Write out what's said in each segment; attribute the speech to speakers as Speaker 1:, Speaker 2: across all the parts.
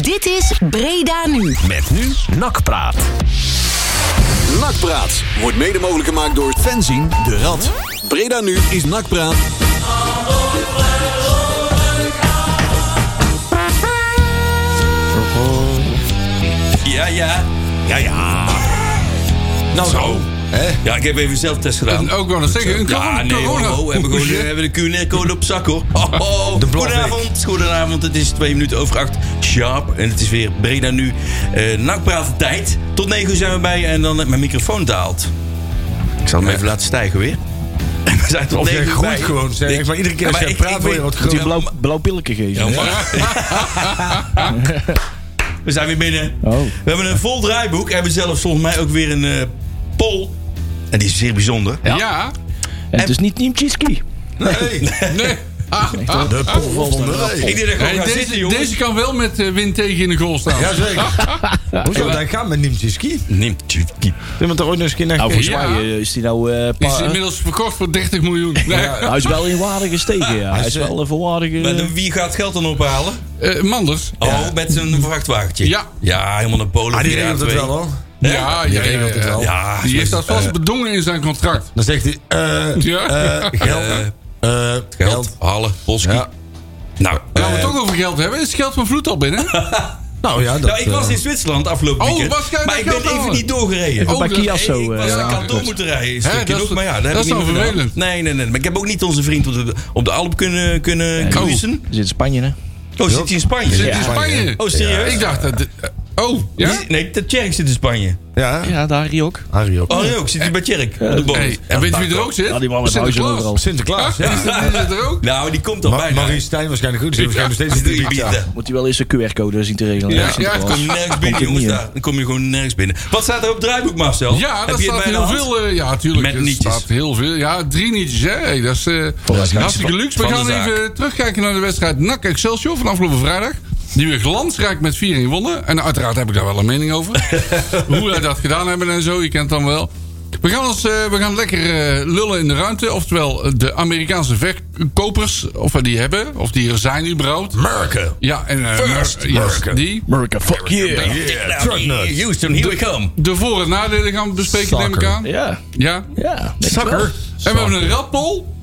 Speaker 1: Dit is Breda Nu.
Speaker 2: Met nu Nakpraat.
Speaker 3: Nakpraat wordt mede mogelijk gemaakt door Fenzin de Rad. Breda nu is Nakpraat.
Speaker 4: Ja, ja.
Speaker 5: Ja, ja.
Speaker 4: Nou,
Speaker 5: Zo. Hè?
Speaker 4: Ja, ik heb even een zelftest gedaan.
Speaker 5: Ook wel een zeggen. een
Speaker 4: Ja,
Speaker 5: corona-
Speaker 4: nee, hoor,
Speaker 5: corona-
Speaker 4: ho, we hebben gewoon eh, we hebben de QR-code op zak, hoor. Ho, ho.
Speaker 2: De blokweek.
Speaker 4: Goedenavond, goedenavond. Het is twee minuten over acht, sharp. En het is weer Breda nu, eh nakpraten tijd. Tot negen uur zijn we bij en dan heb ik mijn microfoon daalt. Ik zal hem even laten stijgen weer. En we zijn tot
Speaker 5: Of jij
Speaker 4: negen uur
Speaker 5: groeit
Speaker 4: bij.
Speaker 5: gewoon, zeg.
Speaker 4: Ik-
Speaker 5: Maar iedere keer als
Speaker 4: maar
Speaker 5: jij
Speaker 4: ik-
Speaker 5: praat,
Speaker 4: ik
Speaker 5: word je
Speaker 4: weet-
Speaker 5: wat
Speaker 2: Moet je
Speaker 5: Ja,
Speaker 2: blauw, blauw pilletje geven?
Speaker 4: Ja, maar- We zijn weer binnen.
Speaker 2: Oh.
Speaker 4: We hebben een vol draaiboek. En hebben zelfs volgens mij ook weer een eh, poll. En die is zeer bijzonder.
Speaker 5: Ja.
Speaker 2: En het is niet Niemczyski.
Speaker 5: Nee. Nee. Ah, ah,
Speaker 2: De
Speaker 5: ah.
Speaker 2: poll van de rap.
Speaker 4: Ik denk dat ik
Speaker 6: Hey,
Speaker 4: gewoon ga zitten,
Speaker 6: deze,
Speaker 4: jongens.
Speaker 6: deze kan wel met eh, wind tegen in de goal staan.
Speaker 5: Jazeker.
Speaker 7: Hoezo? Daar gaan we niet ski. Zullen
Speaker 4: Neemt u- die-
Speaker 7: we er ooit nog eens een keer naar
Speaker 2: Nou, volgens
Speaker 6: Ja.
Speaker 2: mij eh, is die nou... eh, pa-
Speaker 6: Die is inmiddels verkocht voor 30 miljoen. Nee.
Speaker 2: hij is wel in waarde gestegen, ja. Hij is wel een volwaardige...
Speaker 4: Maar de- wie gaat geld dan ophalen?
Speaker 6: Eh, Manders.
Speaker 4: Oh, met zijn vrachtwagentje.
Speaker 6: Ja.
Speaker 4: Ja, helemaal naar Polen.
Speaker 7: Ah, die
Speaker 4: via
Speaker 7: regelt het
Speaker 4: A2.
Speaker 7: wel hoor.
Speaker 6: Ja, ja,
Speaker 7: Die
Speaker 6: ja, ja,
Speaker 7: regelt het
Speaker 6: ja.
Speaker 7: wel.
Speaker 4: Ja, eh,
Speaker 6: Die heeft
Speaker 4: zo-
Speaker 6: dat vast bedongen in zijn contract.
Speaker 7: Dan zegt hij, eh,
Speaker 6: Ja.
Speaker 7: eh, geld,
Speaker 4: Eh,
Speaker 7: eh,
Speaker 4: Geld,
Speaker 7: geld.
Speaker 4: halen, Polski.
Speaker 7: Ja.
Speaker 4: Nou,
Speaker 6: Laten we
Speaker 4: eh,
Speaker 6: het ook over geld hebben. Is het geld van Vloed al binnen?
Speaker 7: Nou ja, dat...
Speaker 4: nou, ik was
Speaker 7: eh,
Speaker 4: in Zwitserland afgelopen
Speaker 6: Oh,
Speaker 4: weekend.
Speaker 6: was jij naar
Speaker 4: maar ik ben
Speaker 6: geld Oh,
Speaker 4: even
Speaker 6: halen?
Speaker 4: niet doorgereden.
Speaker 2: Even bij
Speaker 6: dat-
Speaker 2: Kiasso.
Speaker 4: ik was
Speaker 2: eh,
Speaker 4: naar
Speaker 2: ja.
Speaker 4: kantoor moeten rijden. Een stukje
Speaker 6: dat is-
Speaker 4: nog, maar ja, dat,
Speaker 6: dat
Speaker 4: heb
Speaker 6: is
Speaker 4: ik niet
Speaker 6: dan
Speaker 4: gedaan.
Speaker 6: vervelend.
Speaker 4: Nee, nee, nee. Maar ik heb ook niet onze vriend op de, op de Alp kunnen, kunnen cruisen.
Speaker 2: Zit in Spanje, hè?
Speaker 4: Oh, zit hij in Spanje?
Speaker 6: Zit in Spanje.
Speaker 4: Oh, serieus?
Speaker 6: Ik dacht dat... Oh, ja?
Speaker 4: Die- Nee, de Tjerk zit in Spanje.
Speaker 7: Ja,
Speaker 2: Ja, daar hier ook.
Speaker 7: Harry ook.
Speaker 4: Oh, nee, ook. Zit hij bij Tjerk? op de boot.
Speaker 6: Hey,
Speaker 4: Ja,
Speaker 6: en weet je
Speaker 4: daar
Speaker 6: wie er
Speaker 4: kan-
Speaker 6: ook zit?
Speaker 2: Ja, die man met huizen
Speaker 6: Sinterklaas.
Speaker 2: overal.
Speaker 7: Sinterklaas, ja.
Speaker 6: Die zit er ook.
Speaker 4: Nou, die komt al
Speaker 7: Ma-
Speaker 4: bijna.
Speaker 7: Marie Stijn waarschijnlijk goed. Ze heeft waarschijnlijk nog steeds
Speaker 4: Die
Speaker 7: een pizza.
Speaker 4: bieden.
Speaker 2: Moet hij wel eens een QR-code zien te regelen.
Speaker 6: Ja,
Speaker 2: hè, Sinterklaas?
Speaker 4: Kom je nergens
Speaker 2: Komt
Speaker 4: binnen,
Speaker 2: hij
Speaker 4: jongens.
Speaker 2: niet in.
Speaker 4: Daar. Dan kom je gewoon nergens binnen. Wat staat er op het draaiboek, Marcel?
Speaker 6: Ja,
Speaker 4: Heb
Speaker 6: daar
Speaker 4: je het
Speaker 6: staat
Speaker 4: bij de
Speaker 6: heel
Speaker 4: hand?
Speaker 6: veel. eh, ja, natuurlijk.
Speaker 4: Met
Speaker 6: er
Speaker 4: nietjes.
Speaker 6: staat heel veel. Ja, drie nietjes. Hè. Hey, dat is eh, hartstikke
Speaker 4: van-
Speaker 6: luxe. We
Speaker 4: van de
Speaker 6: gaan
Speaker 4: zaak.
Speaker 6: even terugkijken naar de wedstrijd NAC Excelsior van afgelopen vrijdag. Die we glansrijk met 4-1 wonnen. En uiteraard heb ik daar wel een mening over. Hoe wij dat gedaan hebben en zo, je kent dan wel. We gaan, ons, eh, we gaan lekker eh, lullen in de ruimte. Oftewel, eh, de Amerikaanse verkopers, of we die hebben, of die er zijn überhaupt.
Speaker 4: Merken.
Speaker 6: Ja, en eh,
Speaker 4: First,
Speaker 6: yes,
Speaker 4: Merken.
Speaker 6: die.
Speaker 2: America, fuck yeah.
Speaker 6: eh,
Speaker 4: Yeah, Houston, here we come.
Speaker 6: De voor- en nadelen gaan we bespreken, neem ik
Speaker 7: Soccer.
Speaker 6: aan.
Speaker 2: Ja,
Speaker 6: Ja.
Speaker 2: ja. denk ik
Speaker 4: Sucker.
Speaker 6: En we hebben een radpol.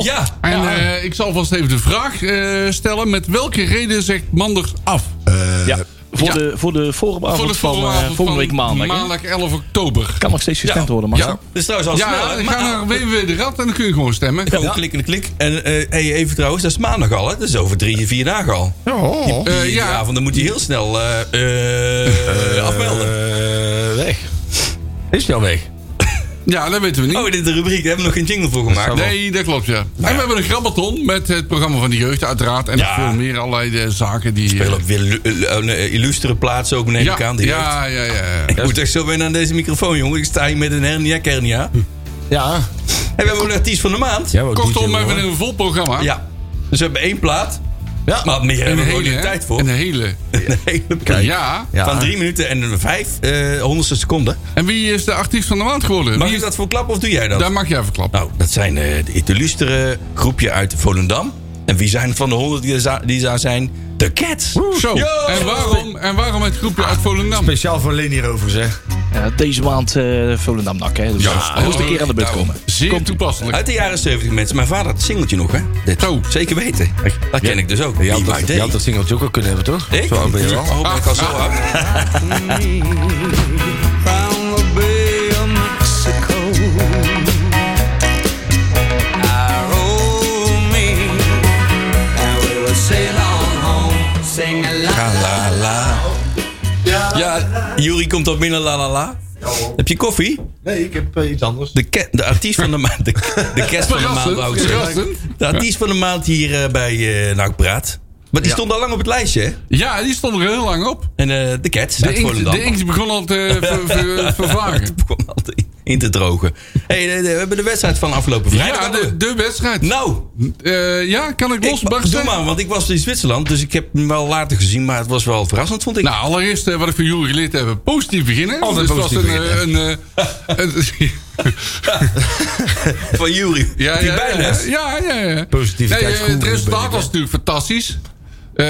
Speaker 4: Ja.
Speaker 6: En eh, ik zal vast even de vraag eh, stellen. Met welke reden zegt Manders af?
Speaker 2: wel. Ja. Voor,
Speaker 6: ja.
Speaker 2: De, voor de forumavond van eh,
Speaker 6: vooravond
Speaker 2: volgende week
Speaker 6: van
Speaker 2: maandag. hè?
Speaker 6: Maandag 11 oktober.
Speaker 2: Kan nog steeds gestemd
Speaker 4: Ja.
Speaker 2: worden, Marcel.
Speaker 6: Ja.
Speaker 4: Dat is trouwens al snel.
Speaker 6: Ja,
Speaker 4: hè?
Speaker 6: dan
Speaker 4: Maar- ah,
Speaker 6: ga naar www de rad en dan kun je gewoon stemmen.
Speaker 4: Gewoon klik en klik. En eh, hey, even trouwens, dat is maandag al. Hè? Dat is over drie, vier dagen al.
Speaker 7: Oh.
Speaker 4: Die,
Speaker 6: Eh,
Speaker 4: die
Speaker 6: ja.
Speaker 4: avond, dan moet hij heel snel eh, eh, afmelden.
Speaker 7: Eh, weg. Is die al weg?
Speaker 6: ja, dat weten we niet.
Speaker 4: Oh, dit is de rubriek. Daar hebben we nog geen jingle voor gemaakt.
Speaker 6: Nee, dat klopt, ja. En we hebben een grabbelton met het programma van de jeugd, uiteraard. En
Speaker 4: Ja.
Speaker 6: nog veel meer allerlei eh, zaken die...
Speaker 4: Spelen op weer lu- eh, eh, illustere plaatsen ook, neem
Speaker 6: ja,
Speaker 4: ik aan. De jeugd.
Speaker 6: ja, ja, ja.
Speaker 4: Ik moet echt zo wennen aan deze microfoon, jongen. Ik sta hier met een hernia kernia.
Speaker 7: Ja.
Speaker 4: En we hebben ook een artiest van de maand.
Speaker 7: Jij wou DJ
Speaker 6: Kortom, we
Speaker 7: worden.
Speaker 6: hebben een vol programma.
Speaker 4: Ja. Dus we hebben één plaat.
Speaker 7: Ja.
Speaker 4: Maar meer
Speaker 6: Een
Speaker 4: hebben we gewoon
Speaker 6: hele,
Speaker 4: niet
Speaker 6: hè?
Speaker 4: tijd voor.
Speaker 6: Een hele.
Speaker 4: Een hele plaat.
Speaker 6: Ja.
Speaker 7: Ja.
Speaker 4: Van drie minuten en vijf eh, honderdste seconden.
Speaker 6: En wie is de artiest van de maand geworden?
Speaker 4: Mag
Speaker 6: Wie
Speaker 4: ik
Speaker 6: is-
Speaker 4: dat voor klappen of doe jij dat?
Speaker 6: Daar mag jij verklappen.
Speaker 4: Nou, dat zijn eh, het illustere groepje uit Volendam. En wie zijn van de honderd die, er za- die daar zijn? De Cats.
Speaker 6: Zo,
Speaker 4: Yo!
Speaker 6: en waarom, en waarom het groepje uit Volendam?
Speaker 7: Speciaal voor Leen hierover zeg.
Speaker 2: Ja, deze maand eh Volendam NAC, hè. Dus
Speaker 6: Ja,
Speaker 2: dat moest een keer aan de beurt
Speaker 6: daarom.
Speaker 2: komen.
Speaker 6: Zeer toepasselijk.
Speaker 4: Uit de jaren 70 mensen. Mijn vader had het singeltje nog, hè? Dit.
Speaker 6: Zo.
Speaker 4: Zeker weten. Dat ken ik dus ook.
Speaker 7: Je had,
Speaker 4: Die
Speaker 7: dat,
Speaker 4: maakt
Speaker 7: je had
Speaker 4: ik.
Speaker 7: dat singeltje ook al kunnen hebben, toch?
Speaker 4: Ik?
Speaker 7: Zo oud ben je wel.
Speaker 4: Oh, ben ik al zo oud?
Speaker 8: From the Bay of Mexico, I rolled me, and we will sail on home, sing a la
Speaker 4: Ah, La, la. Ja, Juri komt al binnen, la la la. Heb je koffie?
Speaker 7: Nee, ik heb eh, iets anders.
Speaker 4: De, ke- de artiest van de maand. De, de kerst van de maand,
Speaker 6: Verrassend,
Speaker 4: wou ik zeggen.
Speaker 6: verrassend.
Speaker 4: De artiest van de maand hier eh, bij eh NAC Praat. Maar die stond al lang op het lijstje, hè?
Speaker 6: Ja, die stond er heel lang op.
Speaker 4: En eh, de Cats
Speaker 6: De
Speaker 4: uit
Speaker 6: inkt,
Speaker 4: Volendam.
Speaker 6: de inkt begon al te ver- ver- vervagen.
Speaker 4: Het begon al te- in te drogen. hey, eh, de- de- we hebben de wedstrijd van afgelopen vrijdag.
Speaker 6: Ja, de, de wedstrijd.
Speaker 4: Nou,
Speaker 6: Eh, ja, kan ik
Speaker 4: ik, doe
Speaker 6: losbarsten?
Speaker 4: maar, want ik was in Zwitserland, dus ik heb hem wel later gezien, maar het was wel verrassend, vond ik.
Speaker 6: Nou, allereerst eh, wat ik van jullie geleerd heb. Positief beginnen.
Speaker 7: Altijd
Speaker 6: Dus het
Speaker 7: positief
Speaker 6: was een, eh, een, eh, een-
Speaker 4: van Juri,
Speaker 6: ja,
Speaker 4: die
Speaker 6: ja,
Speaker 4: bijles.
Speaker 6: Ja, ja, ja.
Speaker 7: Positiviteit
Speaker 6: Nee, eh,
Speaker 7: guru
Speaker 6: het
Speaker 7: ben
Speaker 6: resultaat
Speaker 7: ik, hè.
Speaker 6: was natuurlijk fantastisch. Eh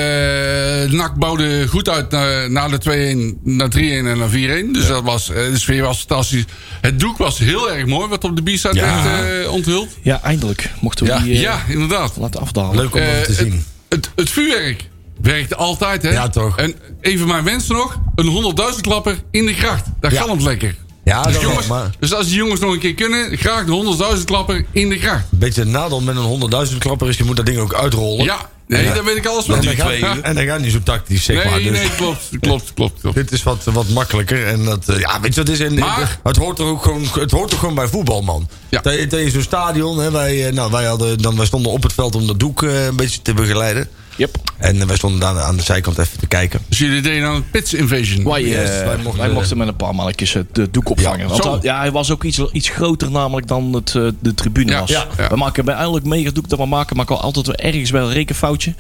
Speaker 6: NAC bouwde goed uit na, na de 2-1, naar 3-1 en naar 4-1. Dus dat was, eh, de sfeer was fantastisch. Het doek was heel erg mooi, wat op de B-side
Speaker 4: Ja.
Speaker 6: werd eh, onthuld.
Speaker 2: Ja, eindelijk mochten we
Speaker 6: Ja,
Speaker 2: die eh,
Speaker 6: inderdaad.
Speaker 2: laten afdalen.
Speaker 7: Leuk om
Speaker 6: Eh,
Speaker 7: dat te
Speaker 6: het-
Speaker 7: zien.
Speaker 6: Het, het vuurwerk werkt altijd, hè?
Speaker 7: Ja, toch.
Speaker 6: En even mijn wens nog: een 100.000 klapper in de kracht. Daar
Speaker 7: Ja.
Speaker 6: kan het lekker.
Speaker 7: Ja, dat wel,
Speaker 6: Jongens,
Speaker 7: maar
Speaker 6: dus als die jongens nog een keer kunnen, graag de 100.000 klapper in de kracht.
Speaker 7: een beetje een nadeel met een 100.000 klapper is, je moet dat ding ook uitrollen.
Speaker 6: Ja, nee, daar weet ik alles van.
Speaker 7: En
Speaker 6: Nee,
Speaker 7: dat, gaat,
Speaker 4: twee uur.
Speaker 7: en dat gaat niet zo tactisch, zeg maar.
Speaker 6: nee,
Speaker 7: Dus
Speaker 6: klopt, klopt, klopt. klopt.
Speaker 7: Dit is wat, wat makkelijker. En dat, eh, ja, weet je wat het is? En,
Speaker 6: Maar-
Speaker 7: het, hoort er ook gewoon, het hoort er gewoon bij voetbal, man.
Speaker 6: Ja.
Speaker 7: Dat je- dat je zo'n stadion, hè, wij, eh, nou, wij, hadden, dan, wij stonden op het veld om dat doek eh, een beetje te begeleiden.
Speaker 2: Yep.
Speaker 7: En eh, wij stonden daar aan de zijkant even te kijken.
Speaker 6: Dus jullie deden aan een pits invasion.
Speaker 2: Wij, eh,
Speaker 7: Yes, wij
Speaker 2: wij,
Speaker 7: mochten-
Speaker 2: mochten, met een paar mannetjes het eh, doek opvangen. Ja,
Speaker 6: zo.
Speaker 2: ja, hij was ook iets, iets groter namelijk dan het, eh, de tribune
Speaker 6: Ja,
Speaker 2: was.
Speaker 6: ja, ja.
Speaker 2: We maken bij elk megadoek dat we maken, maken we altijd wel ergens wel een rekenfoutje.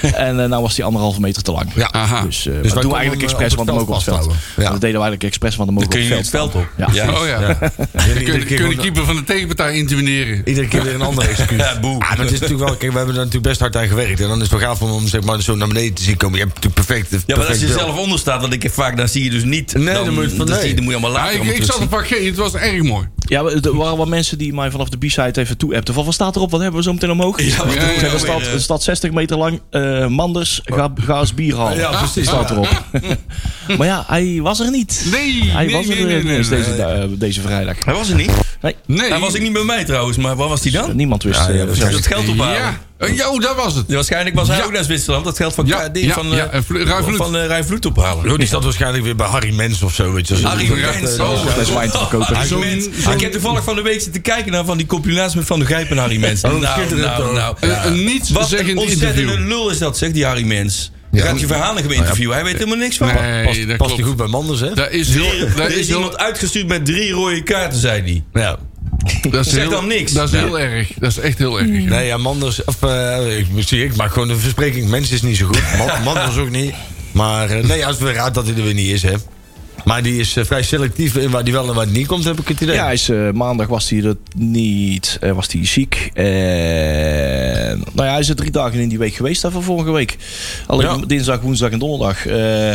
Speaker 2: en eh, nou was die anderhalve meter te lang.
Speaker 6: Aha.
Speaker 2: Dus, eh
Speaker 7: wij konden
Speaker 2: dat doen we
Speaker 7: hem, eh,
Speaker 2: eigenlijk expres,
Speaker 7: op
Speaker 2: want
Speaker 7: het
Speaker 2: dan mogen we op
Speaker 7: veld
Speaker 2: het veld.
Speaker 7: vasthouden. Ja.
Speaker 2: Dat deden we eigenlijk expres, want dan mogen
Speaker 4: kun
Speaker 2: we
Speaker 4: je
Speaker 2: op
Speaker 4: het
Speaker 2: het veld.
Speaker 4: veld op.
Speaker 2: Ja.
Speaker 6: Oh ja.
Speaker 7: Iedere
Speaker 6: Kun,
Speaker 7: keer
Speaker 6: kun de
Speaker 7: gewoon-
Speaker 6: keeper van de tegenpartij intimideren.
Speaker 7: Iedere keer weer een andere excuus.
Speaker 4: Ja, boe.
Speaker 7: Ah, maar het is natuurlijk wel, kijk, we hebben er natuurlijk best hard aan gewerkt. En dan is het wel gaaf om hem zeg maar, zo naar beneden te zien komen. Je hebt natuurlijk perfect.
Speaker 4: Ja, maar als je
Speaker 7: perfect beeld.
Speaker 4: zelf onder staat, wat ik heb vaak, dan zie je dus niet.
Speaker 7: Nee, dan moet je van-
Speaker 4: dan
Speaker 7: nee.
Speaker 4: zie je, dan moet je allemaal
Speaker 6: Ja,
Speaker 4: later.
Speaker 6: ik,
Speaker 4: allemaal
Speaker 6: ik zat
Speaker 4: terugzien.
Speaker 6: een paar keer, het was erg mooi.
Speaker 2: Ja, we- er waren wel mensen die mij vanaf de B-side even toe-appten. Van, wat staat erop? Wat hebben we zo meteen omhoog?
Speaker 4: Ja, wat
Speaker 6: Ja,
Speaker 4: doen we
Speaker 6: ja,
Speaker 2: Zeg,
Speaker 4: nou
Speaker 2: er
Speaker 4: weer,
Speaker 2: staat,
Speaker 4: eh?
Speaker 2: er staat 60 meter lang. eh, Manders, ga, ga eens bier halen.
Speaker 7: Ja, precies.
Speaker 2: Staat erop. maar ja, hij was er niet.
Speaker 6: Nee,
Speaker 2: Hij
Speaker 6: nee,
Speaker 2: was er
Speaker 6: nee, nee,
Speaker 2: eh, niet
Speaker 6: nee,
Speaker 2: eens
Speaker 6: nee.
Speaker 2: deze, eh, deze vrijdag.
Speaker 4: Hij was er niet.
Speaker 2: Nee,
Speaker 6: Nee.
Speaker 4: Hij was ik niet bij mij trouwens, maar waar was hij dan?
Speaker 2: niemand wist.
Speaker 7: ja,
Speaker 2: eh,
Speaker 7: dat is
Speaker 4: Dus het geld ophalen.
Speaker 6: Ja, Eh, ja, oh, dat was het.
Speaker 4: Ja, waarschijnlijk was hij
Speaker 6: Ja.
Speaker 4: ook naar Zwitserland. Dat geld van
Speaker 6: Ja,
Speaker 4: K- die
Speaker 6: ja,
Speaker 4: van, eh,
Speaker 6: ja, en Vlo- Rijn Vloed.
Speaker 4: van eh, Rijn Vloed ophalen.
Speaker 7: Zo, die staat waarschijnlijk weer bij Harry Mens of zo. Weet je, wel.
Speaker 4: Harry
Speaker 7: Zo'n-
Speaker 4: Mens.
Speaker 6: eh,
Speaker 2: een fles wijn te verkopen.
Speaker 4: Harry
Speaker 6: Zo'n-
Speaker 4: Mens.
Speaker 6: zo'n-
Speaker 4: Ik heb toevallig van de week zitten kijken naar van die compilatie met Van de Gijp en Harry Mens.
Speaker 6: Oh,
Speaker 4: Nou, nou,
Speaker 7: schitterend,
Speaker 4: nou,
Speaker 7: hoor.
Speaker 6: Een, een Eh, niets
Speaker 4: Wat
Speaker 6: zeggend
Speaker 4: een ontzettende
Speaker 6: interview. Nou
Speaker 4: lul is dat, zegt die Harry Mens. Je gaat je verhaling interviewen. Hij weet helemaal niks van.
Speaker 6: Nee, dat
Speaker 7: Past hij
Speaker 6: klopt.
Speaker 7: goed bij Manders, hè?
Speaker 6: Dat is
Speaker 4: Drie-
Speaker 6: heel... Dat
Speaker 4: er is
Speaker 6: is heel...
Speaker 4: iemand uitgestuurd met drie rode kaarten, zei hij.
Speaker 7: Ja.
Speaker 6: Dat is
Speaker 4: Zeg
Speaker 6: heel-
Speaker 4: dan niks.
Speaker 6: Dat is
Speaker 4: Ja.
Speaker 6: heel erg. Dat is echt heel erg.
Speaker 7: Nee, ja, Manders. Of, eh, ik, zie, ik maak gewoon een verspreking. Mens is niet zo goed. Man- Manders ook niet. Maar eh, nee, als we raad dat hij er weer niet is, hè? Maar die is eh, vrij selectief in waar die wel en waar die niet komt, heb ik het idee.
Speaker 2: Ja, hij is, eh, maandag was hij dat niet. eh, was hij ziek. Eh, nou ja, hij is er drie dagen in die week geweest daarvan vorige week. Alleen dinsdag, woensdag en donderdag. Eh,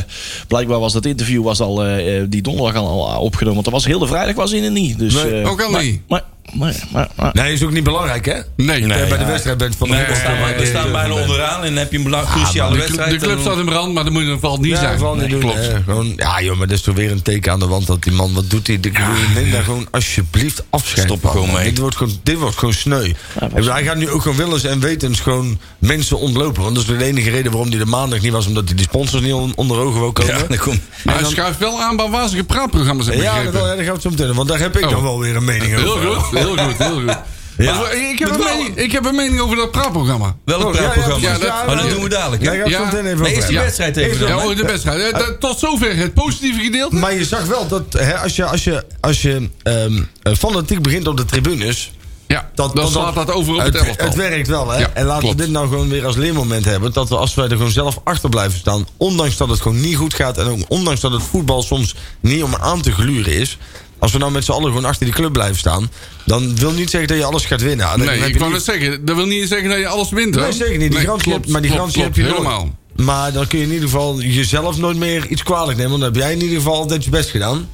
Speaker 2: blijkbaar was dat interview was al, eh, eh, die donderdag al, al opgenomen. Want dat was heel de vrijdag was hij er niet. Dus,
Speaker 7: Nee,
Speaker 2: eh,
Speaker 6: ook al
Speaker 2: maar-
Speaker 6: niet.
Speaker 2: Maar, maar, maar, maar-
Speaker 7: Nee, is ook niet belangrijk, hè?
Speaker 6: Nee.
Speaker 7: Dat je bij de
Speaker 6: de,
Speaker 7: wedstrijd bent van de
Speaker 4: We staan,
Speaker 7: voetbalclub.
Speaker 4: bij- we staan bijna onderaan en dan heb je een belang- cruciale
Speaker 6: de,
Speaker 4: wedstrijd.
Speaker 6: de Ah, club
Speaker 4: en-
Speaker 6: staat in brand, maar dat moet je in ieder geval niet
Speaker 7: Ja,
Speaker 6: zijn.
Speaker 7: gewoon niet
Speaker 6: Nee,
Speaker 7: doen.
Speaker 4: eh.
Speaker 7: hè.
Speaker 6: klopt.
Speaker 7: gewoon, ja, joh, maar dat is toch weer een teken aan de wand dat die man, wat doet hij? Ik bedoel, Neem daar gewoon alsjeblieft afscheid
Speaker 4: Stop er
Speaker 7: van.
Speaker 4: gewoon mee.
Speaker 7: Dit wordt gewoon, dit wordt gewoon sneu. Ik bedoel, hij gaat nu ook gewoon willens en wetens gewoon mensen ontlopen. Want dat is de enige reden waarom hij de maandag niet was, omdat hij die sponsors niet on- onder ogen wou komen.
Speaker 4: Ja, dan kom.
Speaker 6: Maar hij schuift wel aan bij wazige praatprogramma's. heb ik
Speaker 7: Ja, dat
Speaker 6: begrepen.
Speaker 7: wel, ja, daar gaan we het zo meteen over, Want daar heb ik
Speaker 6: Oh.
Speaker 7: dan wel weer een mening over.
Speaker 6: Heel goed, heel goed, heel goed.
Speaker 7: Ja.
Speaker 6: Maar ik, heb
Speaker 4: Dat
Speaker 6: een
Speaker 4: wel-
Speaker 6: mening, ik heb een mening over dat praatprogramma.
Speaker 4: Wel een
Speaker 7: Oh, ja, ja,
Speaker 4: praatprogramma.
Speaker 6: ja, dat-
Speaker 4: maar dat
Speaker 6: ja.
Speaker 4: doen we dadelijk. hè?
Speaker 7: Daar gaan we het
Speaker 6: Ja.
Speaker 7: zo meteen even
Speaker 4: Nee,
Speaker 7: over
Speaker 4: eerst die
Speaker 7: hebben.
Speaker 4: wedstrijd even.
Speaker 7: Eerst-
Speaker 4: dan,
Speaker 6: Ja,
Speaker 4: hè?
Speaker 6: hoor, de wedstrijd. Ja, dat- Tot zover het positieve gedeelte.
Speaker 7: Maar je zag wel dat hè, als je, als je, als je ehm, eh, fanatiek begint op de tribunes...
Speaker 6: Ja,
Speaker 7: Dat,
Speaker 6: dan slaat dat over op het elftal.
Speaker 7: Het werkt wel, hè?
Speaker 6: Ja,
Speaker 7: en laten
Speaker 6: klopt.
Speaker 7: we dit nou gewoon weer als leermoment hebben. Dat we, als wij er gewoon zelf achter blijven staan... ondanks dat het gewoon niet goed gaat... en ook ondanks dat het voetbal soms niet om aan te gluren is... als we nou met z'n allen gewoon achter die club blijven staan... dan wil niet zeggen dat je alles gaat winnen. Dan
Speaker 6: Nee,
Speaker 7: heb
Speaker 6: ik
Speaker 7: je
Speaker 6: wou
Speaker 7: niet-
Speaker 6: net zeggen. Dat wil niet zeggen dat je alles wint, hoor.
Speaker 7: Nee, zeker niet. Die
Speaker 6: Nee,
Speaker 7: garantie
Speaker 6: klopt,
Speaker 7: heb- maar die
Speaker 6: klopt,
Speaker 7: garantie
Speaker 6: klopt,
Speaker 7: heb je nooit.
Speaker 6: helemaal.
Speaker 7: Maar dan kun je in ieder geval jezelf nooit meer iets kwalijk nemen. Want dan heb jij in ieder geval altijd je best gedaan.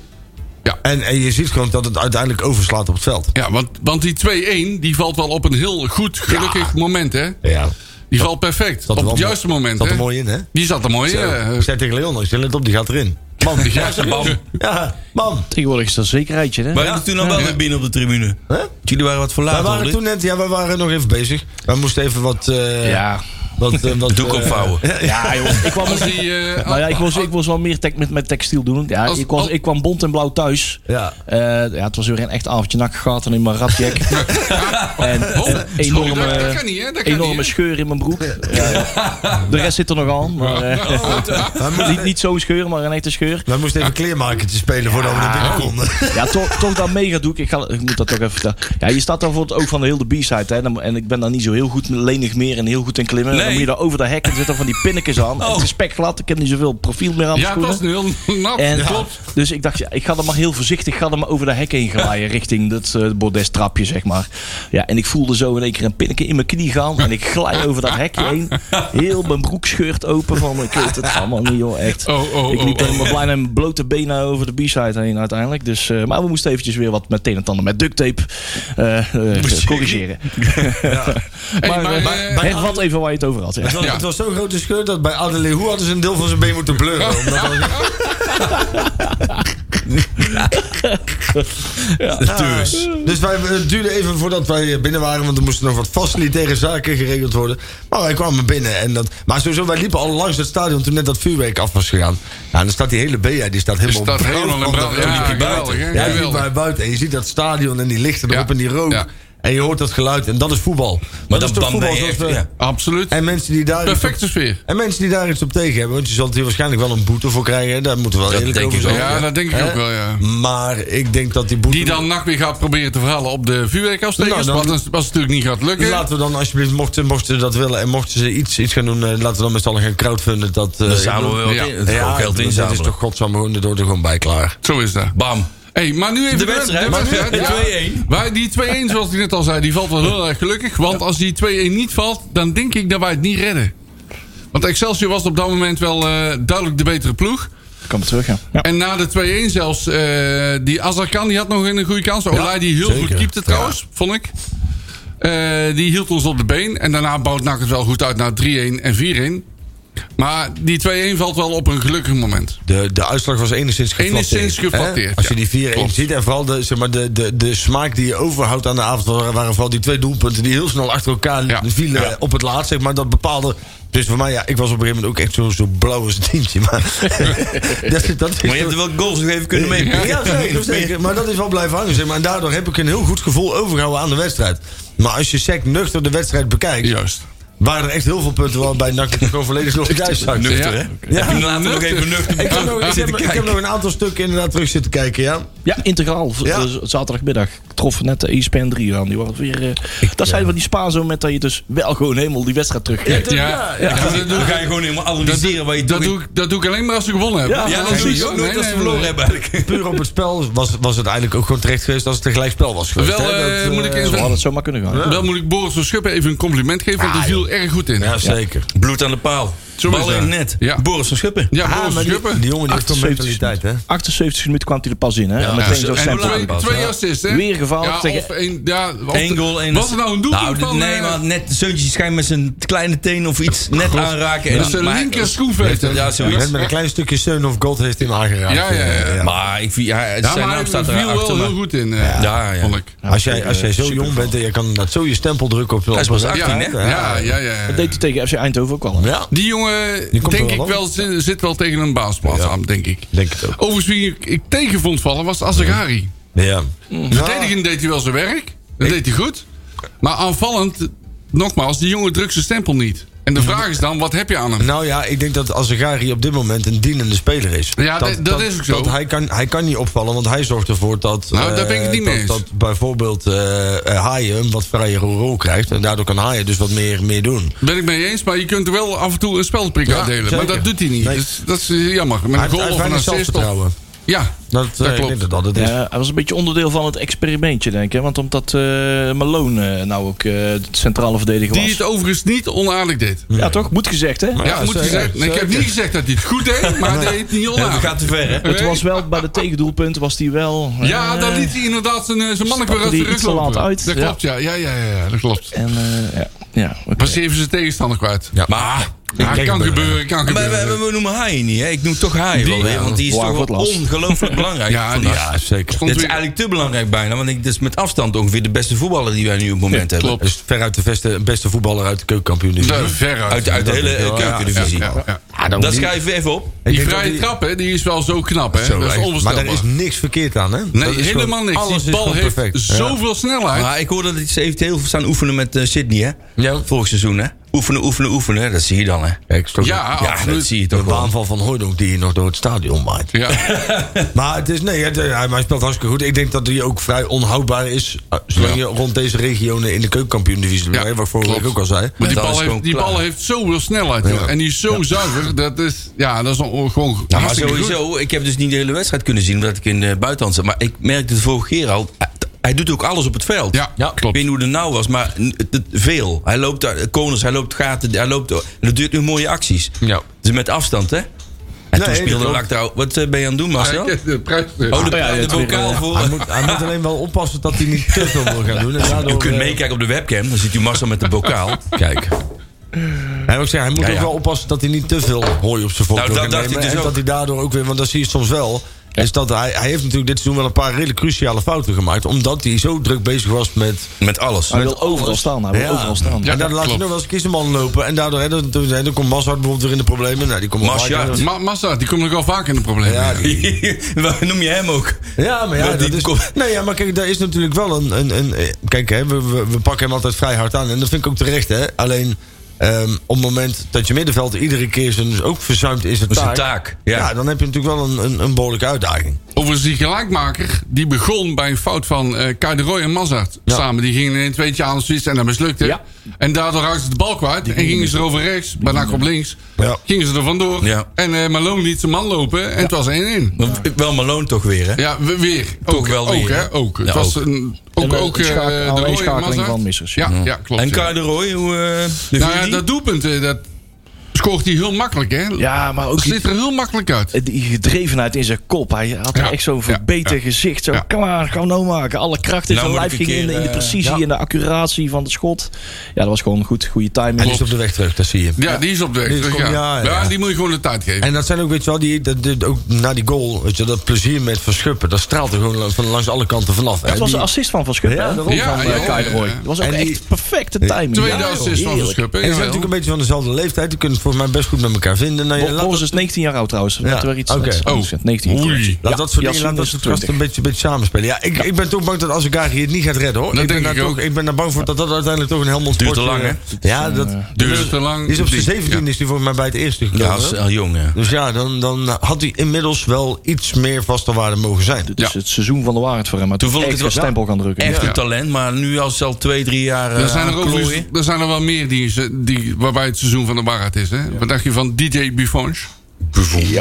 Speaker 6: Ja.
Speaker 7: En, en je ziet gewoon dat het uiteindelijk overslaat op het veld.
Speaker 6: Ja, want, want die 2-1 die valt wel op een heel goed, gelukkig moment, hè?
Speaker 7: Ja.
Speaker 6: Die valt perfect.
Speaker 7: zat er
Speaker 6: Op
Speaker 7: wel
Speaker 6: het
Speaker 7: mo-
Speaker 6: juiste moment,
Speaker 7: zat er
Speaker 6: hè?
Speaker 7: mooi in, hè?
Speaker 6: Die zat er mooi eh, in. ja.
Speaker 7: Ik zei tegen Leon, ik zei, let op, die gaat erin. Man,
Speaker 6: Ja,
Speaker 4: bam.
Speaker 7: ja, man.
Speaker 2: Tegenwoordig is dat een zekerheidje. Hè?
Speaker 4: Wij hadden toen al wel
Speaker 6: Ja.
Speaker 4: weer binnen op de tribune.
Speaker 7: Hè?
Speaker 4: Jullie waren wat
Speaker 7: Wij
Speaker 4: verlaat.
Speaker 7: waren
Speaker 4: hoor.
Speaker 7: toen net, ja, wij waren nog even bezig. Wij moesten even wat... eh,
Speaker 2: Ja,
Speaker 7: wat, eh, wat
Speaker 4: Doek
Speaker 7: eh,
Speaker 4: opvouwen.
Speaker 2: ja joh. ik kwam
Speaker 6: Als
Speaker 2: ook
Speaker 6: die, eh,
Speaker 2: Nou ja, ik was, ik was wel meer tech met, met textiel doen. Ja,
Speaker 6: Als-
Speaker 2: ik, was,
Speaker 6: als-
Speaker 2: ik kwam bont en blauw thuis.
Speaker 7: Ja.
Speaker 2: Eh, ja, het was weer een echt avondje nak gehad en in mijn ratjack. en een
Speaker 6: Oh, sorry,
Speaker 2: enorme,
Speaker 6: dat- dat kan niet, hè? Dat kan
Speaker 2: enorme
Speaker 6: niet, hè?
Speaker 2: scheur in mijn broek. Ja. de rest zit er nog aan. Maar, eh,
Speaker 6: Oh.
Speaker 2: niet niet zo'n scheur, maar een echte scheur.
Speaker 7: Wij moesten even kleermakertje spelen voordat we naar binnen konden.
Speaker 2: Ja, toch, toch dat megadoek. Ik, ga, ik moet dat toch even vertellen. Ja, je staat dan voor het oog van de hele B-side. hè. Dan- En ik ben daar niet zo heel goed lenig meer en heel goed in klimmen.
Speaker 4: Nee,
Speaker 2: Dan moet je daar over de hek en zitten van die pinnetjes aan. En Het is spekglad. Ik heb niet zoveel profiel meer aan de
Speaker 6: Oh. Ja, het
Speaker 2: schoenen.
Speaker 6: was nu heel nat.
Speaker 2: En,
Speaker 6: Klopt.
Speaker 2: Dus ik dacht, ja, ik ga er maar heel voorzichtig ga er maar over de hek heen glijden. Richting dat eh bordestrapje, zeg maar. Ja, en ik voelde zo in één keer een pinnetje in mijn knie gaan. En ik glij over dat hekje heen. Heel mijn broek scheurt open van... Ik weet het allemaal niet, joh. Echt.
Speaker 6: Oh, oh,
Speaker 2: ik
Speaker 6: oh,
Speaker 2: liep
Speaker 6: oh.
Speaker 2: helemaal bijna met blote benen over de B-side heen uiteindelijk. Dus, eh, maar we moesten eventjes weer wat met een en ander met duct tape eh, eh, corrigeren.
Speaker 6: Hey,
Speaker 2: Maar, eh,
Speaker 6: maar, eh,
Speaker 2: hervat even waar je het over had. Ja.
Speaker 7: Het was,
Speaker 6: Ja.
Speaker 7: het was zo'n grote scheur dat bij Adelie Hoe hadden ze een deel van zijn been moeten blurren. Omdat dat-
Speaker 6: Ah.
Speaker 4: Dus.
Speaker 7: Dus wij, het duurde even voordat wij binnen waren, want er moesten nog wat facilitaire zaken geregeld worden. Maar wij kwamen binnen. En dat, maar sowieso, wij liepen al langs het stadion toen net dat vuurwerk af was gegaan. Ja, en dan staat die hele BA, die staat
Speaker 6: er
Speaker 7: helemaal
Speaker 6: staat
Speaker 7: op brand,
Speaker 6: helemaal in
Speaker 7: want
Speaker 6: brand.
Speaker 7: dat-
Speaker 6: Ja, geweldig,
Speaker 7: buiten.
Speaker 6: hè?
Speaker 7: Ja, die liep
Speaker 6: Geweldig.
Speaker 7: maar buiten. En je ziet dat stadion en die lichten erop
Speaker 6: Ja.
Speaker 7: en die rook.
Speaker 6: Ja.
Speaker 7: En je hoort dat geluid en dat is voetbal. dat
Speaker 4: Maar dan,
Speaker 7: is toch
Speaker 4: dan ben
Speaker 7: voetbal
Speaker 4: je
Speaker 7: zoals
Speaker 4: echt...
Speaker 7: we-
Speaker 4: Ja.
Speaker 6: absoluut.
Speaker 7: En mensen die daar...
Speaker 6: Perfecte sfeer.
Speaker 7: En mensen die daar iets op tegen hebben, want je zult hier waarschijnlijk wel een boete voor krijgen. hè, Daar moeten we wel
Speaker 4: Dat
Speaker 7: eerlijk
Speaker 4: denk
Speaker 7: over
Speaker 4: ik
Speaker 7: zijn.
Speaker 4: ook,
Speaker 6: Ja, dat denk ik
Speaker 7: Hè?
Speaker 6: ook wel, ja.
Speaker 7: Maar ik denk dat die boete...
Speaker 6: Die dan NAC weer gaat proberen te verhalen op de vuurwerkafstekers.
Speaker 7: Nou, dan-
Speaker 6: wat, wat natuurlijk niet gaat lukken.
Speaker 7: Dus Laten we dan alsjeblieft, mochten, mochten ze dat willen en mochten ze iets, iets gaan doen, eh, laten we dan met z'n allen gaan crowdfunden. Dat, eh,
Speaker 4: Dan
Speaker 7: ik
Speaker 4: zamelen we
Speaker 7: bedoel-
Speaker 4: wel
Speaker 6: Ja.
Speaker 4: in- het
Speaker 7: Ja,
Speaker 4: geld
Speaker 7: dat
Speaker 4: inzamelen.
Speaker 7: is toch godsam gewoon, daar door er gewoon bij klaar.
Speaker 6: Zo is dat.
Speaker 4: Bam.
Speaker 6: Hey, maar nu even
Speaker 4: De wedstrijd.
Speaker 6: de wedstrijd,
Speaker 4: Ja,
Speaker 6: ja.
Speaker 4: 2-1.
Speaker 6: Wij, die 2-1, zoals ik net al zei, die valt wel heel erg gelukkig. Want als die 2-1 niet valt, dan denk ik dat wij het niet redden. Want Excelsior was op dat moment wel eh, duidelijk de betere ploeg.
Speaker 2: Ik kan me terug, ja. Ja.
Speaker 6: En na de 2-1 zelfs, eh, die Azarkan die had nog een goede kans. Olij die heel goed keepte trouwens, vond ik. Eh, die hield ons op de been. En daarna bouwt NAC het wel goed uit naar 3-1 en 4-1. Maar die 2-1 valt wel op een gelukkig moment.
Speaker 7: De, de uitslag was enigszins geflatteerd.
Speaker 6: Enigszins geflatteerd,
Speaker 7: hè? Als je
Speaker 6: ja.
Speaker 7: die 4-1
Speaker 6: Klopt.
Speaker 7: ziet en vooral de, zeg maar, de, de, de smaak die je overhoudt aan de avond... waren waren vooral die twee doelpunten die heel snel achter elkaar
Speaker 6: Ja.
Speaker 7: vielen
Speaker 6: Ja.
Speaker 7: op het laatst. Zeg maar, dat bepaalde... Dus voor mij, ja, ik was op een gegeven moment ook echt zo'n zo blauw als een tientje. Maar, dat, is- dat is
Speaker 4: Maar je hebt er wel goals nog even kunnen meepakken.
Speaker 7: Ja, zeker, zeker. Maar dat is wel blijven hangen. Zeg maar. En daardoor heb ik een heel goed gevoel overgehouden aan de wedstrijd. Maar als je sec nuchter de wedstrijd bekijkt...
Speaker 6: Juist.
Speaker 7: waren er echt heel veel punten waarbij NAC gewoon volledig nog thuis zakt.
Speaker 4: Nuchter,
Speaker 6: Ja.
Speaker 4: hè?
Speaker 7: Ja.
Speaker 4: Heb je later nog even nuchter
Speaker 7: Ik heb,
Speaker 4: bekeken?
Speaker 7: nog, ik, heb, ik heb nog een aantal stukken inderdaad terug zitten kijken, ja.
Speaker 2: Ja, integraal. V-
Speaker 7: Ja.
Speaker 2: eh, z- zaterdagmiddag troffen net de E ESPN 3 aan. Die waren weer, eh, dat zijn van die Spaanse moment dat je dus wel gewoon helemaal die wedstrijd terugkijkt.
Speaker 6: Ja, ik ga- dat doe
Speaker 4: Dan
Speaker 6: ik-
Speaker 4: ga je gewoon helemaal analyseren waar je
Speaker 6: dat
Speaker 4: toch in-
Speaker 6: doe ik- Dat doe ik alleen maar als ze gewonnen hebben.
Speaker 2: Ja,
Speaker 4: Ja, dat
Speaker 6: Anders
Speaker 4: doe
Speaker 6: zie
Speaker 4: je ook
Speaker 6: nee,
Speaker 4: nooit als
Speaker 6: nee,
Speaker 4: ze verloren
Speaker 6: nee.
Speaker 4: hebben eigenlijk.
Speaker 7: Puur op het spel was, was het eigenlijk ook gewoon terecht geweest als het een gelijkspel was geweest.
Speaker 6: Wel,
Speaker 7: hè.
Speaker 6: eh, moet ik
Speaker 7: eh,
Speaker 6: eens-
Speaker 2: Zo had het zomaar kunnen gaan.
Speaker 6: Dan moet ik Boris van Schuppen even een compliment geven, want die viel erg goed in.
Speaker 7: Ja, zeker.
Speaker 4: Bloed aan de paal.
Speaker 6: Zo is
Speaker 4: Bal in
Speaker 6: dat.
Speaker 4: net.
Speaker 6: Ja.
Speaker 4: Boris van Schuppen.
Speaker 6: Ja,
Speaker 7: Ah,
Speaker 6: Boris van
Speaker 7: maar die,
Speaker 6: Schuppen.
Speaker 7: die jongen die heeft toch
Speaker 2: 78
Speaker 7: mentaliteit, hè?
Speaker 2: 78 minuten kwam hij er pas in. Hè? en meteen
Speaker 4: ja,
Speaker 2: zo'n
Speaker 4: en
Speaker 6: En
Speaker 2: stempel.
Speaker 6: twee,
Speaker 4: aanpas,
Speaker 6: twee
Speaker 4: ja.
Speaker 6: assists, hè?
Speaker 2: Weer gevallen
Speaker 6: Ja,
Speaker 2: tegen-
Speaker 6: of één, ja, of-
Speaker 4: Eén goal, één
Speaker 6: Was er nou een doelpunt
Speaker 4: Nou, dit-
Speaker 6: van...
Speaker 4: Nee,
Speaker 6: eh,
Speaker 4: maar net Zeuntje schijnt met zijn kleine teen of iets net aanraken. en
Speaker 6: Dat is een
Speaker 4: maar hij-
Speaker 6: linker schoenveter.
Speaker 4: Ja,
Speaker 7: Ja,
Speaker 4: zoiets.
Speaker 7: Met een klein stukje Seun of God heeft hij hem aangeraakt.
Speaker 6: Ja, ja, ja.
Speaker 7: Eh,
Speaker 4: Maar ik vind, ja, het
Speaker 6: Ja,
Speaker 4: zijn
Speaker 6: maar
Speaker 4: naam
Speaker 6: hij
Speaker 4: staat
Speaker 6: viel wel
Speaker 4: erachter.
Speaker 6: heel
Speaker 4: maar-
Speaker 6: goed in, eh,
Speaker 4: Ja, ja.
Speaker 6: vond ik.
Speaker 7: Als jij, als jij zo jong bent en je kan inderdaad zo je stempel drukken op
Speaker 4: Hij is
Speaker 7: op een
Speaker 4: pas
Speaker 6: Ja,
Speaker 4: 18, hè?
Speaker 6: ja, ja, ja, ja.
Speaker 2: Dat deed hij tegen FC Eindhoven ook al. hè?
Speaker 7: Ja,
Speaker 6: Die jongen,
Speaker 7: komt
Speaker 6: denk
Speaker 7: er wel
Speaker 6: ik wel, zi- zit wel tegen een baasplaats aan, denk ik.
Speaker 7: denk het ook.
Speaker 6: Overigens, wie ik, ik tegen vond vallen, was Azagari.
Speaker 7: Ja.
Speaker 6: Verdedigend deed hij wel zijn werk. Dat deed hij goed. Maar aanvallend, nogmaals, die jongen drukt zijn stempel niet. En de vraag is dan, wat heb je aan hem?
Speaker 7: Nou ja, ik denk dat Azagari op dit moment een dienende speler is.
Speaker 6: Ja, dat- dat is ook zo.
Speaker 7: hij, kan, hij kan niet opvallen, want hij zorgt ervoor dat...
Speaker 6: Nou, daar
Speaker 7: eh,
Speaker 6: ben ik het niet
Speaker 7: dat,
Speaker 6: mee eens.
Speaker 7: dat bijvoorbeeld eh eh, Haaien een wat vrijere rol krijgt. En daardoor kan Haaien dus wat meer, meer doen.
Speaker 6: Ben ik mee eens, maar je kunt er wel af en toe een spelprik
Speaker 7: Ja,
Speaker 6: uitdelen. Maar
Speaker 7: zeker.
Speaker 6: dat doet hij niet.
Speaker 7: Nee.
Speaker 6: Dus dat is eh, jammer. Met
Speaker 7: Hij
Speaker 6: een
Speaker 7: heeft-
Speaker 6: goal
Speaker 7: hij heeft
Speaker 6: of een
Speaker 7: weinig
Speaker 6: assist. Of,
Speaker 7: zelfvertrouwen.
Speaker 6: ja,
Speaker 7: Dat, eh, ik
Speaker 6: klopt.
Speaker 7: denk dat dat het is.
Speaker 2: Ja, hij was een beetje onderdeel van het experimentje, denk ik. hè? Want omdat eh, Malone eh, nou ook eh, de centrale verdediger
Speaker 6: die
Speaker 2: was.
Speaker 6: het overigens niet onaardig deed.
Speaker 2: Ja, toch? Moet gezegd, hè?
Speaker 6: Ja, moet
Speaker 7: zeker,
Speaker 6: gezegd. Nee, ik heb
Speaker 7: zeker.
Speaker 6: niet gezegd dat hij het goed deed, maar hij deed het niet
Speaker 4: Ja, dat
Speaker 6: onaardig.
Speaker 4: gaat te ver, hè?
Speaker 2: Het was wel bij de tegendoelpunt, was hij wel. eh,
Speaker 6: Ja, daar liet hij inderdaad zijn, eh, zijn mannelijk weer uit
Speaker 2: Stapte
Speaker 6: de
Speaker 2: die
Speaker 6: rug
Speaker 2: iets te laat
Speaker 6: lopen.
Speaker 2: uit.
Speaker 6: Dat
Speaker 2: Ja.
Speaker 6: klopt, ja. Ja, ja, ja, ja, dat klopt.
Speaker 2: En eh, ja, ja oké.
Speaker 6: Was hij even zijn tegenstander kwijt.
Speaker 4: Maar...
Speaker 6: Ja,
Speaker 7: denk
Speaker 6: kan
Speaker 7: het
Speaker 6: gebeuren, kan
Speaker 4: Maar we,
Speaker 6: gebeuren.
Speaker 4: we- we noemen Haaien niet, hè? Ik noem toch Haaien wel weer, want die is
Speaker 2: Wauw,
Speaker 4: toch
Speaker 2: wat
Speaker 4: wel
Speaker 2: last.
Speaker 4: ongelooflijk belangrijk.
Speaker 6: Ja,
Speaker 4: vandaag.
Speaker 6: die is-
Speaker 7: zeker.
Speaker 6: Stond
Speaker 4: Dit is
Speaker 6: weer-
Speaker 4: eigenlijk te belangrijk bijna, want ik, dit is met afstand ongeveer de beste voetballer die wij nu op het moment hebben.
Speaker 6: klopt.
Speaker 7: Dus veruit de beste, beste voetballer uit de keukenkampioen.
Speaker 6: De veruit.
Speaker 4: Uit, uit de hele eh, keukendivisie.
Speaker 6: Ja, ja, ja.
Speaker 4: Dat schrijven we even op.
Speaker 6: Die vrije trap, hè, die is wel zo knap, hè. dat is
Speaker 7: maar
Speaker 6: onvoorstelbaar.
Speaker 7: daar is niks verkeerd aan, hè?
Speaker 6: nee,
Speaker 7: Dat is
Speaker 6: helemaal
Speaker 7: gewoon-
Speaker 6: niks.
Speaker 7: alles
Speaker 6: Die
Speaker 7: is
Speaker 6: bal
Speaker 7: gewoon
Speaker 6: heeft
Speaker 7: perfect. Ja.
Speaker 6: zoveel snelheid.
Speaker 4: Maar ik hoorde dat hij ze heeft heel veel staan oefenen met eh, Sydney, hè?
Speaker 7: Ja.
Speaker 4: Vorig seizoen, hè? Oefenen, oefenen, oefenen. hè. Dat zie je dan, hè?
Speaker 7: Kijk, is toch
Speaker 6: Ja, ah.
Speaker 4: ja, dat
Speaker 6: absoluut.
Speaker 4: zie je
Speaker 7: de
Speaker 4: toch wel.
Speaker 7: baanval van Hooydonk die je nog door het stadion waait.
Speaker 6: Ja.
Speaker 7: Maar het is, nee, het, eh, hij, maar hij speelt hartstikke goed. Ik denk dat hij ook vrij onhoudbaar is. eh, Zolang
Speaker 6: Ja.
Speaker 7: je rond deze regionen in de keukenkampioen-divisie blijft.
Speaker 6: Ja,
Speaker 7: Wat ik vorige
Speaker 6: klopt.
Speaker 7: week ook al zei.
Speaker 6: Maar die
Speaker 4: Dat is
Speaker 6: bal, heeft,
Speaker 4: gewoon
Speaker 6: die
Speaker 4: klaar.
Speaker 6: bal heeft zoveel snelheid. joh. En die is zo zuiver. Dat is, ja, dat is een- gewoon
Speaker 4: Ja, maar
Speaker 6: Nou, hartstikke goed.
Speaker 4: sowieso, ik heb dus niet de hele wedstrijd kunnen zien omdat ik in het buitenland zat. Maar ik merkte de vorige keer al, hij- hij doet ook alles op het veld.
Speaker 6: Ja, Ja. klopt.
Speaker 4: Ik weet niet hoe het nou was, maar n- het- veel. Hij loopt daar, koners, hij loopt gaten, hij loopt. en Dat duurt nu mooie acties.
Speaker 6: Ja.
Speaker 4: Dus met afstand, hè? En toen
Speaker 7: dat
Speaker 4: speelde
Speaker 7: klopt.
Speaker 4: Lactrouw. Wat eh, ben je aan het doen, Marcel?
Speaker 6: Ja, ik- de prijs-
Speaker 4: Oh, de,
Speaker 2: Oh ja,
Speaker 4: de
Speaker 2: ja,
Speaker 4: bokaal voor.
Speaker 7: Hij moet, hij moet alleen wel oppassen dat hij niet te veel wil gaan doen. En daardoor,
Speaker 4: U kunt
Speaker 7: eh,
Speaker 4: meekijken op de webcam, dan ziet u Marcel met de bokaal. Kijk.
Speaker 7: Hij, wil zeggen, hij moet
Speaker 4: Ja, ja.
Speaker 7: ook wel oppassen dat hij niet te veel hooi op zijn
Speaker 4: Nou,
Speaker 7: voorkeur
Speaker 4: dat
Speaker 7: gaat
Speaker 4: dacht
Speaker 7: nemen.
Speaker 4: ik dus
Speaker 7: en
Speaker 4: ook.
Speaker 7: dat hij daardoor ook weer, want dat zie je soms wel. Is dat hij, hij heeft natuurlijk dit seizoen wel een paar hele cruciale fouten gemaakt. Omdat hij zo druk bezig was met.
Speaker 4: Met alles.
Speaker 2: Hij wil overal staan. Hij wil
Speaker 7: Ja.
Speaker 2: overal staan.
Speaker 6: Ja.
Speaker 7: en daardoor laat je
Speaker 6: klopt.
Speaker 7: nog wel eens kiezenman lopen. En daardoor, hè, dan, dan, dan komt Massard bijvoorbeeld weer in de problemen. Nou, die komt wel
Speaker 4: Mazhar.
Speaker 7: vaker in de-
Speaker 6: Ma Mazda, die komt nogal vaak in de problemen.
Speaker 7: Ja, die-
Speaker 4: Noem je hem ook?
Speaker 7: Ja, maar ja,
Speaker 4: Maar
Speaker 7: dat
Speaker 4: die
Speaker 7: is,
Speaker 4: komt-
Speaker 7: nee, ja, maar kijk, daar is natuurlijk wel een... een, een eh, kijk, hè, we, we, we pakken hem altijd vrij hard aan. En dat vind ik ook terecht, hè. Alleen ehm, op het moment dat je middenveld iedere keer zijn, dus ook verzuimt is het
Speaker 4: Dat is
Speaker 7: taak.
Speaker 4: een taak.
Speaker 7: Ja.
Speaker 4: Ja.
Speaker 7: dan heb je natuurlijk wel een, een, een behoorlijke uitdaging.
Speaker 6: Overigens, die gelijkmaker, die begon bij een fout van eh Kai de Roy en Mazart samen. Die gingen in een tweetje aan Suits en dat mislukte.
Speaker 2: Ja.
Speaker 6: En daardoor raakten ze de bal kwijt. en gingen ze over rechts, bijna op links.
Speaker 7: Ja.
Speaker 6: Gingen ze er vandoor.
Speaker 4: Ja.
Speaker 6: En eh Malone liet zijn man lopen en het was 1-1.
Speaker 4: Maar Wel Malone toch weer, hè?
Speaker 6: Ja, we- weer.
Speaker 4: Toch
Speaker 6: Ook,
Speaker 4: wel
Speaker 6: Ook,
Speaker 4: weer,
Speaker 6: hè?
Speaker 4: hè?
Speaker 6: Ook.
Speaker 4: Ja,
Speaker 6: het was
Speaker 4: ook.
Speaker 6: Een, ook,
Speaker 2: En, eh,
Speaker 6: ook
Speaker 2: een
Speaker 6: eh,
Speaker 2: schakel-
Speaker 6: de
Speaker 2: een
Speaker 6: Roy
Speaker 2: schakeling
Speaker 6: Mazart.
Speaker 2: van missers,
Speaker 6: Ja,
Speaker 2: ja.
Speaker 6: ja klopt.
Speaker 4: En
Speaker 6: ja.
Speaker 4: Kai de Roy, hoe... eh, de
Speaker 6: nou ja,
Speaker 4: vierde?
Speaker 6: dat doelpunt, eh, dat scoort hij heel makkelijk, hè?
Speaker 2: Ja, maar ook
Speaker 6: Dat
Speaker 2: die,
Speaker 6: sliet er heel makkelijk uit.
Speaker 2: die gedrevenheid in zijn kop. Hij had
Speaker 6: Ja.
Speaker 2: er echt zo'n verbeten
Speaker 6: Ja. Ja.
Speaker 2: gezicht. Zo,
Speaker 6: Ja.
Speaker 2: kom maar, gaan we nou maken. Alle kracht in
Speaker 4: Nou
Speaker 2: zijn
Speaker 4: moet
Speaker 2: lijf
Speaker 4: ik een
Speaker 2: ging in,
Speaker 4: keer,
Speaker 2: in de
Speaker 4: eh,
Speaker 2: precisie en de accuratie van de schot. Ja, dat was gewoon goed, goede timing.
Speaker 7: En die is op de weg terug, dat zie je.
Speaker 6: Ja, die is op de weg
Speaker 7: Die is
Speaker 6: terug,
Speaker 7: kom-
Speaker 6: ja.
Speaker 7: ja, ja,
Speaker 6: Ja,
Speaker 7: ja.
Speaker 6: die moet je gewoon de tijd geven.
Speaker 7: En dat zijn ook, weet je wel, die, dat, dit- ook na die goal, weet je, dat plezier met Verschuppen, dat straalt er gewoon langs, van langs alle kanten vanaf. hè.
Speaker 2: Dat was
Speaker 7: Die-
Speaker 2: de assist van Van Schuppen,
Speaker 7: Ja,
Speaker 2: hè?
Speaker 7: daarom.
Speaker 6: Ja,
Speaker 2: van
Speaker 6: ja,
Speaker 2: eh, Kai
Speaker 6: ja,
Speaker 2: de Roy.
Speaker 6: ja.
Speaker 2: Dat was ook
Speaker 7: En die-
Speaker 2: echt perfecte timing.
Speaker 6: Tweede
Speaker 2: Ja,
Speaker 6: assist van
Speaker 2: heerlijk.
Speaker 6: Verschuppen.
Speaker 7: en ze zijn
Speaker 6: jawel.
Speaker 7: natuurlijk een beetje van dezelfde leeftijd. Die kunnen het volgens mij best goed met elkaar vinden. Nou, ja,
Speaker 2: Bob
Speaker 7: laat
Speaker 2: Bos is 19 jaar oud trouwens.
Speaker 7: Ja,
Speaker 2: Laten we iets
Speaker 7: oké.
Speaker 2: iets anders
Speaker 6: Oh.
Speaker 2: zeggen. 19 jaar.
Speaker 6: Oei.
Speaker 7: Laat dat
Speaker 2: Ja,
Speaker 7: soort dingen,
Speaker 2: Yassin
Speaker 7: laat dat
Speaker 2: is
Speaker 7: soort
Speaker 2: 20.
Speaker 7: gasten een beetje, een beetje samenspelen. Ja, ik, ik ben toch bang dat als Agari het niet gaat redden, hoor.
Speaker 6: Dat
Speaker 7: ik,
Speaker 6: denk
Speaker 7: ben
Speaker 6: ik
Speaker 7: daar
Speaker 6: ook.
Speaker 7: toch- ik ben daar bang voor dat dat uiteindelijk toch een Helmond
Speaker 4: Duurt te
Speaker 7: Sportje- eh,
Speaker 4: lang, hè?
Speaker 7: Ja, dat
Speaker 6: Duurt te lang.
Speaker 7: die is op zijn
Speaker 6: Die-
Speaker 7: 17 is die voor mij bij het eerste gekomen.
Speaker 4: Ja, als, al jong, ja.
Speaker 7: dus ja, dan, dan had hij inmiddels wel iets meer vaste waarde mogen zijn.
Speaker 2: Dit is Dus het seizoen van de waarheid voor hem. Maar
Speaker 4: Toen vond ik het
Speaker 2: echt een
Speaker 4: wel-
Speaker 2: stempel gaan drukken.
Speaker 4: Echt een talent, maar nu al zelf twee, drie jaar eh,
Speaker 6: Er zijn er,
Speaker 4: aan
Speaker 6: overigens-
Speaker 4: klooien.
Speaker 6: er zijn er wel meer die, ze- die, waarbij het seizoen van de waarheid is. Hè? Wat dacht je van DJ Buffon?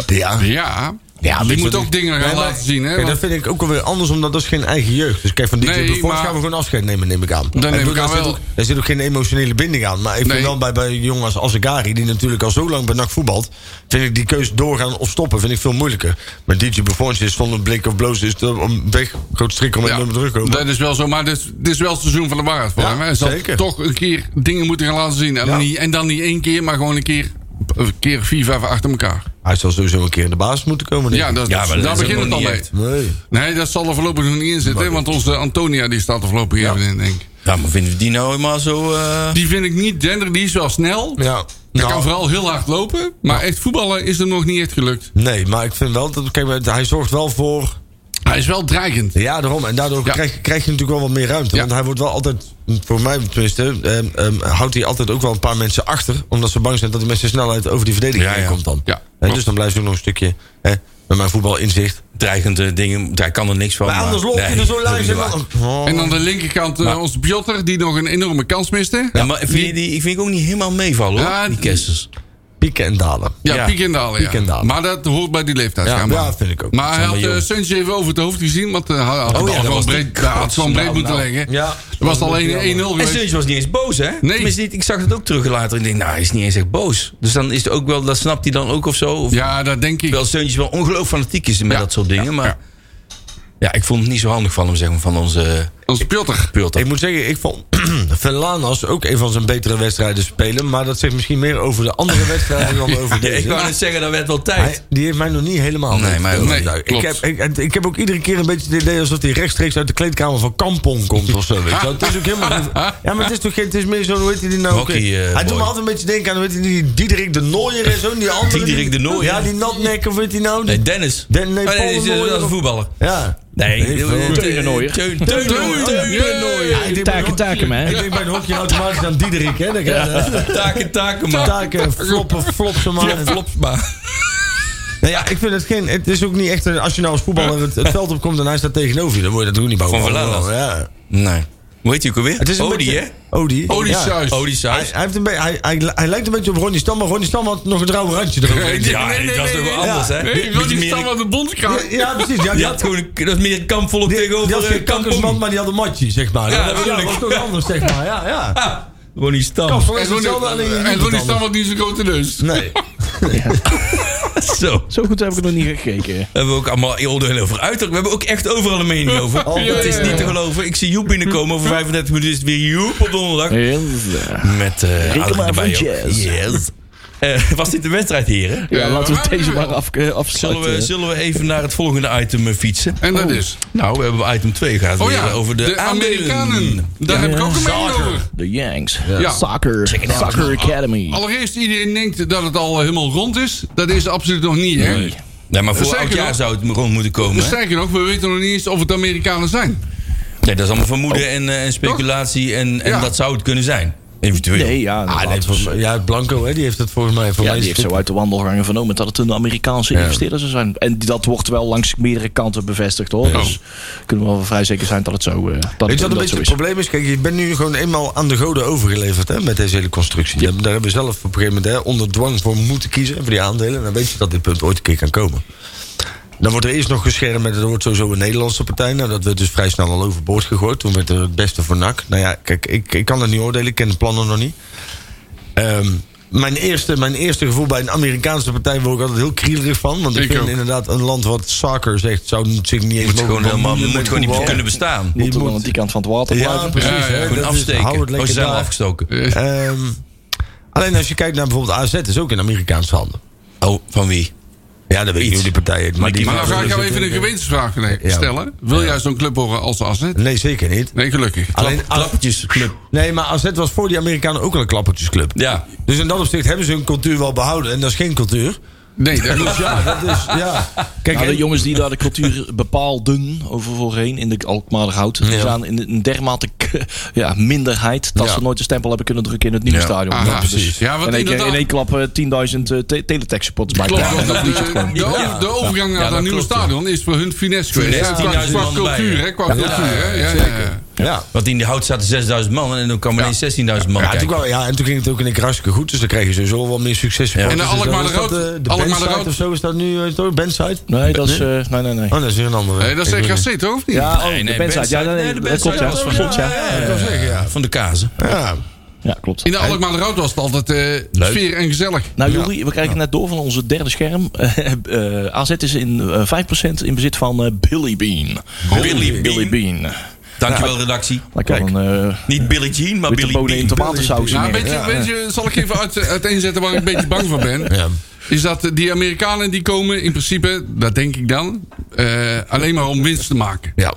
Speaker 7: Ja, ja.
Speaker 6: Ja, die moet ook dingen gaan
Speaker 7: Nee, maar-
Speaker 6: laten zien. Hè?
Speaker 7: Kijk, dat vind
Speaker 6: want-
Speaker 7: ik ook alweer anders, omdat dat is geen eigen jeugd. Dus kijk, van die
Speaker 6: Nee,
Speaker 7: nee,
Speaker 6: maar-
Speaker 7: gaan we gewoon afscheid nemen, neem ik aan.
Speaker 6: neem
Speaker 7: bedoel,
Speaker 6: ik aan
Speaker 7: daar zit
Speaker 6: wel.
Speaker 7: ook- Daar zit ook geen emotionele binding aan. Maar ik vind
Speaker 6: Nee.
Speaker 7: wel bij, bij jongens als Agari, die natuurlijk al zo lang bij NAC voetbalt... vind ik die keuze doorgaan of stoppen, vind ik veel moeilijker. Maar DJ Buffon is zonder blik of bloos, is er om weg, groot strik om
Speaker 6: ja,
Speaker 7: hem terugkomen.
Speaker 6: dat is wel zo, maar dit, is- dit is wel het seizoen van de waarheid voor
Speaker 7: Ja,
Speaker 6: hem. Hij zal
Speaker 7: zeker.
Speaker 6: toch een keer dingen moeten gaan laten zien. En,
Speaker 7: Ja.
Speaker 6: dan niet, en dan niet één keer, maar gewoon een keer, een keer vier, vijf achter elkaar.
Speaker 7: Hij zal sowieso een keer in de basis moeten komen. denk
Speaker 6: Ja,
Speaker 7: ik.
Speaker 6: dat,
Speaker 4: Ja, maar dat
Speaker 6: daar
Speaker 4: is
Speaker 6: begint
Speaker 4: ook
Speaker 6: het
Speaker 4: nog
Speaker 6: al
Speaker 4: niet
Speaker 6: mee.
Speaker 4: echt.
Speaker 7: Nee.
Speaker 6: Nee, dat zal er voorlopig nog niet in zitten. hè, Want onze Antonia die staat er voorlopig even in, denk ik.
Speaker 4: Ja, maar vinden we die nou helemaal zo... eh,
Speaker 6: Die vind ik niet dender, die is wel snel.
Speaker 7: Ja.
Speaker 6: Hij
Speaker 7: Nou,
Speaker 6: kan vooral heel hard lopen, maar echt voetballen is hem nog niet echt gelukt.
Speaker 7: Nee, maar ik vind wel dat... Kijk, hij zorgt wel voor...
Speaker 6: Hij is wel dreigend.
Speaker 7: Ja, daarom. En daardoor
Speaker 6: Ja.
Speaker 7: krijg, krijg je natuurlijk wel wat meer ruimte.
Speaker 6: Ja.
Speaker 7: Want hij wordt wel altijd, voor mij tenminste, ehm, ehm, houdt hij altijd ook wel een paar mensen achter. Omdat ze bang zijn dat hij met zijn snelheid over die verdediging
Speaker 4: Ja,
Speaker 7: heen
Speaker 4: ja.
Speaker 7: komt dan.
Speaker 6: Ja,
Speaker 7: Hè,
Speaker 6: klopt.
Speaker 7: dus dan blijft hij ook nog een stukje hè, met mijn voetbal inzicht.
Speaker 4: dreigende dingen. Hij kan er niks van.
Speaker 7: Maar anders loopt hij
Speaker 4: Oh, Nee,
Speaker 7: er zo
Speaker 4: dat is
Speaker 7: langs. en
Speaker 4: niet waar.
Speaker 7: dan- Oh.
Speaker 6: En aan de linkerkant eh,
Speaker 7: Nou.
Speaker 6: onze Pjotter, die nog een enorme kans miste.
Speaker 4: Ja, maar vind je die, ik vind ik ook niet helemaal meevallen, hoor,
Speaker 6: Ja,
Speaker 4: die
Speaker 6: die-
Speaker 4: Kessels.
Speaker 7: Pieken en dalen.
Speaker 6: Ja,
Speaker 4: Ja,
Speaker 6: piek en dalen. Ja.
Speaker 7: piek en dalen.
Speaker 6: Maar dat hoort bij die leeftijd.
Speaker 7: Ja,
Speaker 6: schijnbaar.
Speaker 7: ja, vind ik ook.
Speaker 6: Maar hij
Speaker 4: Zijn
Speaker 6: had
Speaker 4: we
Speaker 6: uh,
Speaker 4: jong. Oh
Speaker 6: even over het hoofd gezien. Want eh, hij had
Speaker 4: ja,
Speaker 6: het
Speaker 4: dat
Speaker 6: gewoon
Speaker 4: was Nou,
Speaker 6: breed,
Speaker 4: de
Speaker 6: hij had gewoon breed moeten leggen.
Speaker 7: Ja.
Speaker 6: Er was alleen 1-0
Speaker 4: En
Speaker 6: geweest.
Speaker 4: Suntje was niet eens boos, hè?
Speaker 6: Nee.
Speaker 4: Tenminste, niet- ik zag het ook terug later. Ik denk, nou, hij is niet eens echt boos. Dus dan is het ook wel, dat snapt hij dan ook of zo. Of,
Speaker 6: Ja, dat denk ik.
Speaker 4: Terwijl Suntje wel ongelooflijk fanatiek is met
Speaker 6: Ja,
Speaker 4: dat soort dingen.
Speaker 6: ja,
Speaker 4: maar
Speaker 6: ja.
Speaker 4: ja. ik vond het niet zo handig van hem, zeg maar, van onze eh,
Speaker 6: Onze Pjotter.
Speaker 4: Pulta.
Speaker 7: Ik moet zeggen, ik vond Velanas ook een van zijn betere wedstrijden spelen. Maar dat zegt misschien meer over de andere wedstrijden dan over
Speaker 4: Ja, ik
Speaker 7: deze.
Speaker 4: wou net zeggen, dat werd wel tijd.
Speaker 7: Hij- die heeft mij nog niet helemaal.
Speaker 4: Nee, mij ook
Speaker 6: niet. Nee,
Speaker 7: ik,
Speaker 6: klopt.
Speaker 7: heb, ik, ik heb ook iedere keer een beetje het idee alsof hij rechtstreeks uit de kleedkamer van Kampong komt of zo. Weet je. wel. Het is ook helemaal. geen- Ja, maar het is toch geen. Het is meer zo. Hoe heet hij die nou? ook?
Speaker 4: Hockey, eh,
Speaker 7: hij doet me
Speaker 4: boy.
Speaker 7: altijd een beetje denken aan. Hoe heet hij die? Diederik de Nooier en zo. Die andere. die-
Speaker 4: Diederik de Nooijer.
Speaker 7: Ja, die natnek of weet hij nou? Die-
Speaker 4: Nee, Dennis.
Speaker 7: Den- nee,
Speaker 4: Oh,
Speaker 7: Paul
Speaker 4: nee,
Speaker 7: de
Speaker 4: dat is- dat is
Speaker 7: Nooijer.
Speaker 4: een voetballer.
Speaker 7: Ja,
Speaker 4: Nee,
Speaker 7: veel.
Speaker 2: Teun Nooier.
Speaker 4: Teun, Teun, Teun, Teun, Nooier.
Speaker 7: ik denk bij
Speaker 2: Taken,
Speaker 7: een hok-
Speaker 2: taken,
Speaker 7: Ik
Speaker 2: man.
Speaker 7: denk bij een hokje automatisch aan Diederik, hè? Dan ga je-
Speaker 4: Taken, taken, man.
Speaker 7: Taken, floppen, flopsen, man.
Speaker 4: Ja, Flops, maar.
Speaker 7: Nou ja, ik vind het geen. Het is ook niet echt. een- Als je nou als voetballer het, het veld opkomt en hij staat tegenover je, dan moet je dat ook niet bouwen.
Speaker 4: Van Verlaat.
Speaker 7: Ja.
Speaker 4: Nee. Hoe heet hij ook alweer?
Speaker 7: Het is een
Speaker 4: Odie,
Speaker 7: beetje-
Speaker 4: hè?
Speaker 7: Odie.
Speaker 6: Odie
Speaker 7: ja.
Speaker 6: Suis.
Speaker 4: Odie
Speaker 7: Hij,
Speaker 4: Saus.
Speaker 7: hij, heeft een beetje, hij, hij, hij lijkt een beetje op Ronnie Stam, maar Ronnie Stam had nog een rauw randje erover.
Speaker 4: Ja, dat is toch wel anders, hè?
Speaker 6: Nee, ik wil
Speaker 4: Beetje
Speaker 6: niet
Speaker 4: meer-
Speaker 6: staan aan de bondskraag.
Speaker 7: Ja, precies. Ja,
Speaker 4: Die had gewoon een- dat is meer een kampvolk
Speaker 7: die had
Speaker 4: tegenover
Speaker 7: geen
Speaker 4: eh,
Speaker 7: kakkersband,
Speaker 4: kampong.
Speaker 7: maar die had een matje, zeg maar.
Speaker 4: Ja,
Speaker 7: Ja, dat
Speaker 4: tuurlijk.
Speaker 7: was toch anders, zeg maar. Ja, ja.
Speaker 4: Ah, Ronnie Stam.
Speaker 7: Kampong
Speaker 6: En
Speaker 7: is hetzelfde,
Speaker 6: Ronnie-
Speaker 7: alleen je
Speaker 6: En
Speaker 7: doet
Speaker 6: Ronnie
Speaker 7: het
Speaker 6: Stam
Speaker 7: anders.
Speaker 6: had niet zo'n grote neus.
Speaker 7: Nee.
Speaker 4: Zo.
Speaker 2: Zo goed heb ik er nog niet gekeken.
Speaker 4: We hebben ook allemaal oordelen over uiterlijk. We hebben ook echt overal een mening over.
Speaker 7: Oh,
Speaker 4: het is niet te geloven. Ik zie Joep binnenkomen. Over 35 minuten is het weer Joep op donderdag.
Speaker 2: Heel
Speaker 4: Met eh
Speaker 2: Reken
Speaker 4: Adrie
Speaker 2: maar
Speaker 4: erbij
Speaker 2: van
Speaker 4: ook.
Speaker 2: jazz.
Speaker 4: Yes. Eh, was dit de wedstrijd, heren?
Speaker 2: Ja,
Speaker 6: Ja,
Speaker 2: laten we
Speaker 6: maar-
Speaker 2: deze maar af, eh, afsluiten.
Speaker 4: Zullen we, zullen we even naar het volgende item eh, fietsen?
Speaker 6: En dat is.
Speaker 4: Nou, we hebben item 2 gehad.
Speaker 6: Oh
Speaker 4: weer
Speaker 6: ja,
Speaker 4: over de, aandelen.
Speaker 6: Amerikanen. Daar heb ik ook een mening over.
Speaker 2: De Yanks.
Speaker 6: Ja.
Speaker 2: Soccer. Soccer Academy.
Speaker 6: Allereerst, iedereen denkt dat het al helemaal rond is. Dat is absoluut nog niet, hè?
Speaker 4: Nee. Nee, maar voor
Speaker 6: Zeker
Speaker 4: elk jaar
Speaker 6: nog.
Speaker 4: zou het rond moeten komen.
Speaker 6: Dus
Speaker 4: hè?
Speaker 6: sterker nog, we weten nog niet eens of het Amerikanen zijn.
Speaker 4: Nee, dat is allemaal vermoeden en, eh, en speculatie. En, en
Speaker 6: Ja.
Speaker 4: dat zou het kunnen zijn. Eventueel.
Speaker 2: Nee, ja.
Speaker 7: Ah,
Speaker 2: laten
Speaker 7: nee,
Speaker 2: we-
Speaker 7: volgens mij- ja, Blanco, hè, die heeft het volgens mij. Voor
Speaker 2: ja,
Speaker 7: mij
Speaker 2: die
Speaker 7: is
Speaker 2: heeft
Speaker 7: het-
Speaker 2: zo uit de wandelgangen vernomen dat het een Amerikaanse investeerder zou zijn. En die- dat wordt wel langs meerdere kanten bevestigd hoor. Dus kunnen we wel vrij zeker zijn dat het zo, eh dat, het-
Speaker 7: Weet je wat
Speaker 2: dat
Speaker 7: een beetje
Speaker 2: zo
Speaker 7: het
Speaker 2: is.
Speaker 7: probleem is? Kijk, je bent nu gewoon eenmaal aan de goden overgeleverd hè, met deze hele constructie. Daar, daar hebben we zelf op een gegeven moment hè, onder dwang voor moeten kiezen, voor die aandelen. En dan weet je dat dit punt ooit een keer kan komen. Dan wordt er eerst nog geschermd met, er wordt sowieso een Nederlandse partij. Nou, dat werd dus vrij snel al overboord gegooid. Toen werd er het beste voor NAC. Nou ja, kijk, ik, ik kan dat niet oordelen, ik ken de plannen nog niet. Ehm, mijn, eerste, mijn eerste gevoel bij een Amerikaanse partij word ik altijd heel krielerig van. Want ik,
Speaker 6: Ik
Speaker 7: vind
Speaker 6: ook.
Speaker 7: inderdaad een land wat soccer zegt, zou zich niet eens
Speaker 4: Moet
Speaker 7: mogen
Speaker 4: gewoon, helemaal,
Speaker 7: bemoeien met
Speaker 4: moet gewoon niet
Speaker 7: voetbal.
Speaker 4: kunnen bestaan.
Speaker 2: Moet
Speaker 7: je
Speaker 2: wel
Speaker 7: moet-
Speaker 2: aan die kant van het water blijven.
Speaker 7: Ja, precies.
Speaker 6: Ja, ja,
Speaker 7: hè.
Speaker 6: gewoon
Speaker 7: Dat
Speaker 4: Gewoon
Speaker 7: is-
Speaker 4: afsteken.
Speaker 7: hou het
Speaker 4: oh,
Speaker 7: lekker
Speaker 4: ze zijn al
Speaker 7: daar.
Speaker 4: afgestoken.
Speaker 6: Eh,
Speaker 7: Ehm, alleen als je kijkt naar bijvoorbeeld AZ, is ook in Amerikaanse handen.
Speaker 4: Oh, van wie?
Speaker 7: Ja, dat weet ik niet
Speaker 4: Iets.
Speaker 7: hoe die partij heet. Maar,
Speaker 4: Mickey
Speaker 7: die
Speaker 6: Maar dan
Speaker 4: Mouse.
Speaker 6: ga ik jou
Speaker 7: zitten
Speaker 6: even een
Speaker 7: in de-
Speaker 6: gewetensvraag eh,
Speaker 7: Ja.
Speaker 6: stellen. Wil jij zo'n club horen als AZ?
Speaker 7: Nee, zeker niet.
Speaker 6: Nee, gelukkig.
Speaker 7: Alleen,
Speaker 4: Klappertjesclub.
Speaker 7: nee, maar AZ was voor die Amerikanen ook al een klappertjesclub.
Speaker 4: Ja.
Speaker 7: Dus in dat opzicht hebben ze hun cultuur wel behouden. En dat is geen cultuur.
Speaker 6: Nee, dat
Speaker 7: Dus
Speaker 6: klopt.
Speaker 7: ja, dat is... Ja. Kijk,
Speaker 2: Nou, de
Speaker 7: en-
Speaker 2: jongens die daar de cultuur bepaalden over voorheen in de Alkmaarderhout, die
Speaker 7: Ja.
Speaker 2: zijn in een dermate k- ja, minderheid dat
Speaker 7: Ja.
Speaker 2: ze nooit een stempel hebben kunnen drukken in het nieuwe
Speaker 4: Ja.
Speaker 2: stadion.
Speaker 6: Aha,
Speaker 2: Dat is
Speaker 6: Ah, precies. Ja, want
Speaker 2: in, één keer,
Speaker 6: inderdaad-
Speaker 2: in één klap eh, 10.000 eh, te- teletext supporters bij
Speaker 6: Klopt,
Speaker 2: elkaar.
Speaker 6: want
Speaker 2: Dat
Speaker 6: de,
Speaker 2: liet je het gewoon.
Speaker 6: de, over- de overgang naar
Speaker 4: Ja,
Speaker 6: dat
Speaker 4: dat
Speaker 6: nieuwe
Speaker 4: klopt, ja.
Speaker 6: stadion is voor hun finesse geweest.
Speaker 4: Finesse,
Speaker 6: Ja, qua,
Speaker 4: 10.000
Speaker 6: qua
Speaker 4: man
Speaker 6: cultuur,
Speaker 4: bij.
Speaker 6: hè? Qua cultuur, hè? Ja, ja, ja.
Speaker 7: ja.
Speaker 4: Want in de hout zaten 6000 man en dan kwam ineens 16.000 man
Speaker 7: Ja,
Speaker 4: kijken.
Speaker 7: toen kwam- ja, en toen ging het ook in één keer hartstikke goed. Dus dan kreeg je sowieso wel meer succes.
Speaker 4: Ja.
Speaker 6: En de
Speaker 7: Dus dan
Speaker 6: Alkmaar
Speaker 7: is
Speaker 6: de
Speaker 7: dat, eh,
Speaker 6: Rood-
Speaker 7: De
Speaker 6: Alkmaar de
Speaker 7: Bandside
Speaker 6: Rood.
Speaker 7: of zo is dat nu. eh, toch? Bandside?
Speaker 2: Nee, dat is. eh, nee, nee, nee.
Speaker 7: Oh, dat is weer een andere.
Speaker 6: Eh, dat is
Speaker 7: Ik weet niet.
Speaker 6: RKC, toch? Of niet?
Speaker 2: Ja, oh,
Speaker 4: Nee, nee,
Speaker 2: de Benside. Ja,
Speaker 4: Benside.
Speaker 2: nee,
Speaker 4: Nee, de
Speaker 2: dat klopt, ja.
Speaker 4: Benside was
Speaker 2: Klopt, ja.
Speaker 7: Ja, dat was ik, ja.
Speaker 4: Van de kazen.
Speaker 7: Ja.
Speaker 2: Ja, klopt.
Speaker 6: In de Alkmaar de Rood was het altijd eh sfeer en gezellig.
Speaker 2: Nou, Joeri, we krijgen net door van onze derde scherm. Eh, eh, AZ is in eh, 5% in bezit van eh, Billy Bean.
Speaker 4: Billy
Speaker 2: Billy
Speaker 4: Bean.
Speaker 2: Bean.
Speaker 4: Dankjewel, redactie.
Speaker 2: Daar kan een eh
Speaker 4: Niet Billy Jean, maar
Speaker 2: witte
Speaker 4: Billy
Speaker 2: bonen in
Speaker 4: Bean.
Speaker 2: tomatensaus
Speaker 6: Nou,
Speaker 2: in.
Speaker 6: weet je, weet je, zal ik even uit, uiteenzetten waar ik een beetje bang voor ben? Is dat eh, die Amerikanen die komen in principe, dat denk ik dan, eh, alleen maar om winst te maken.
Speaker 7: Ja.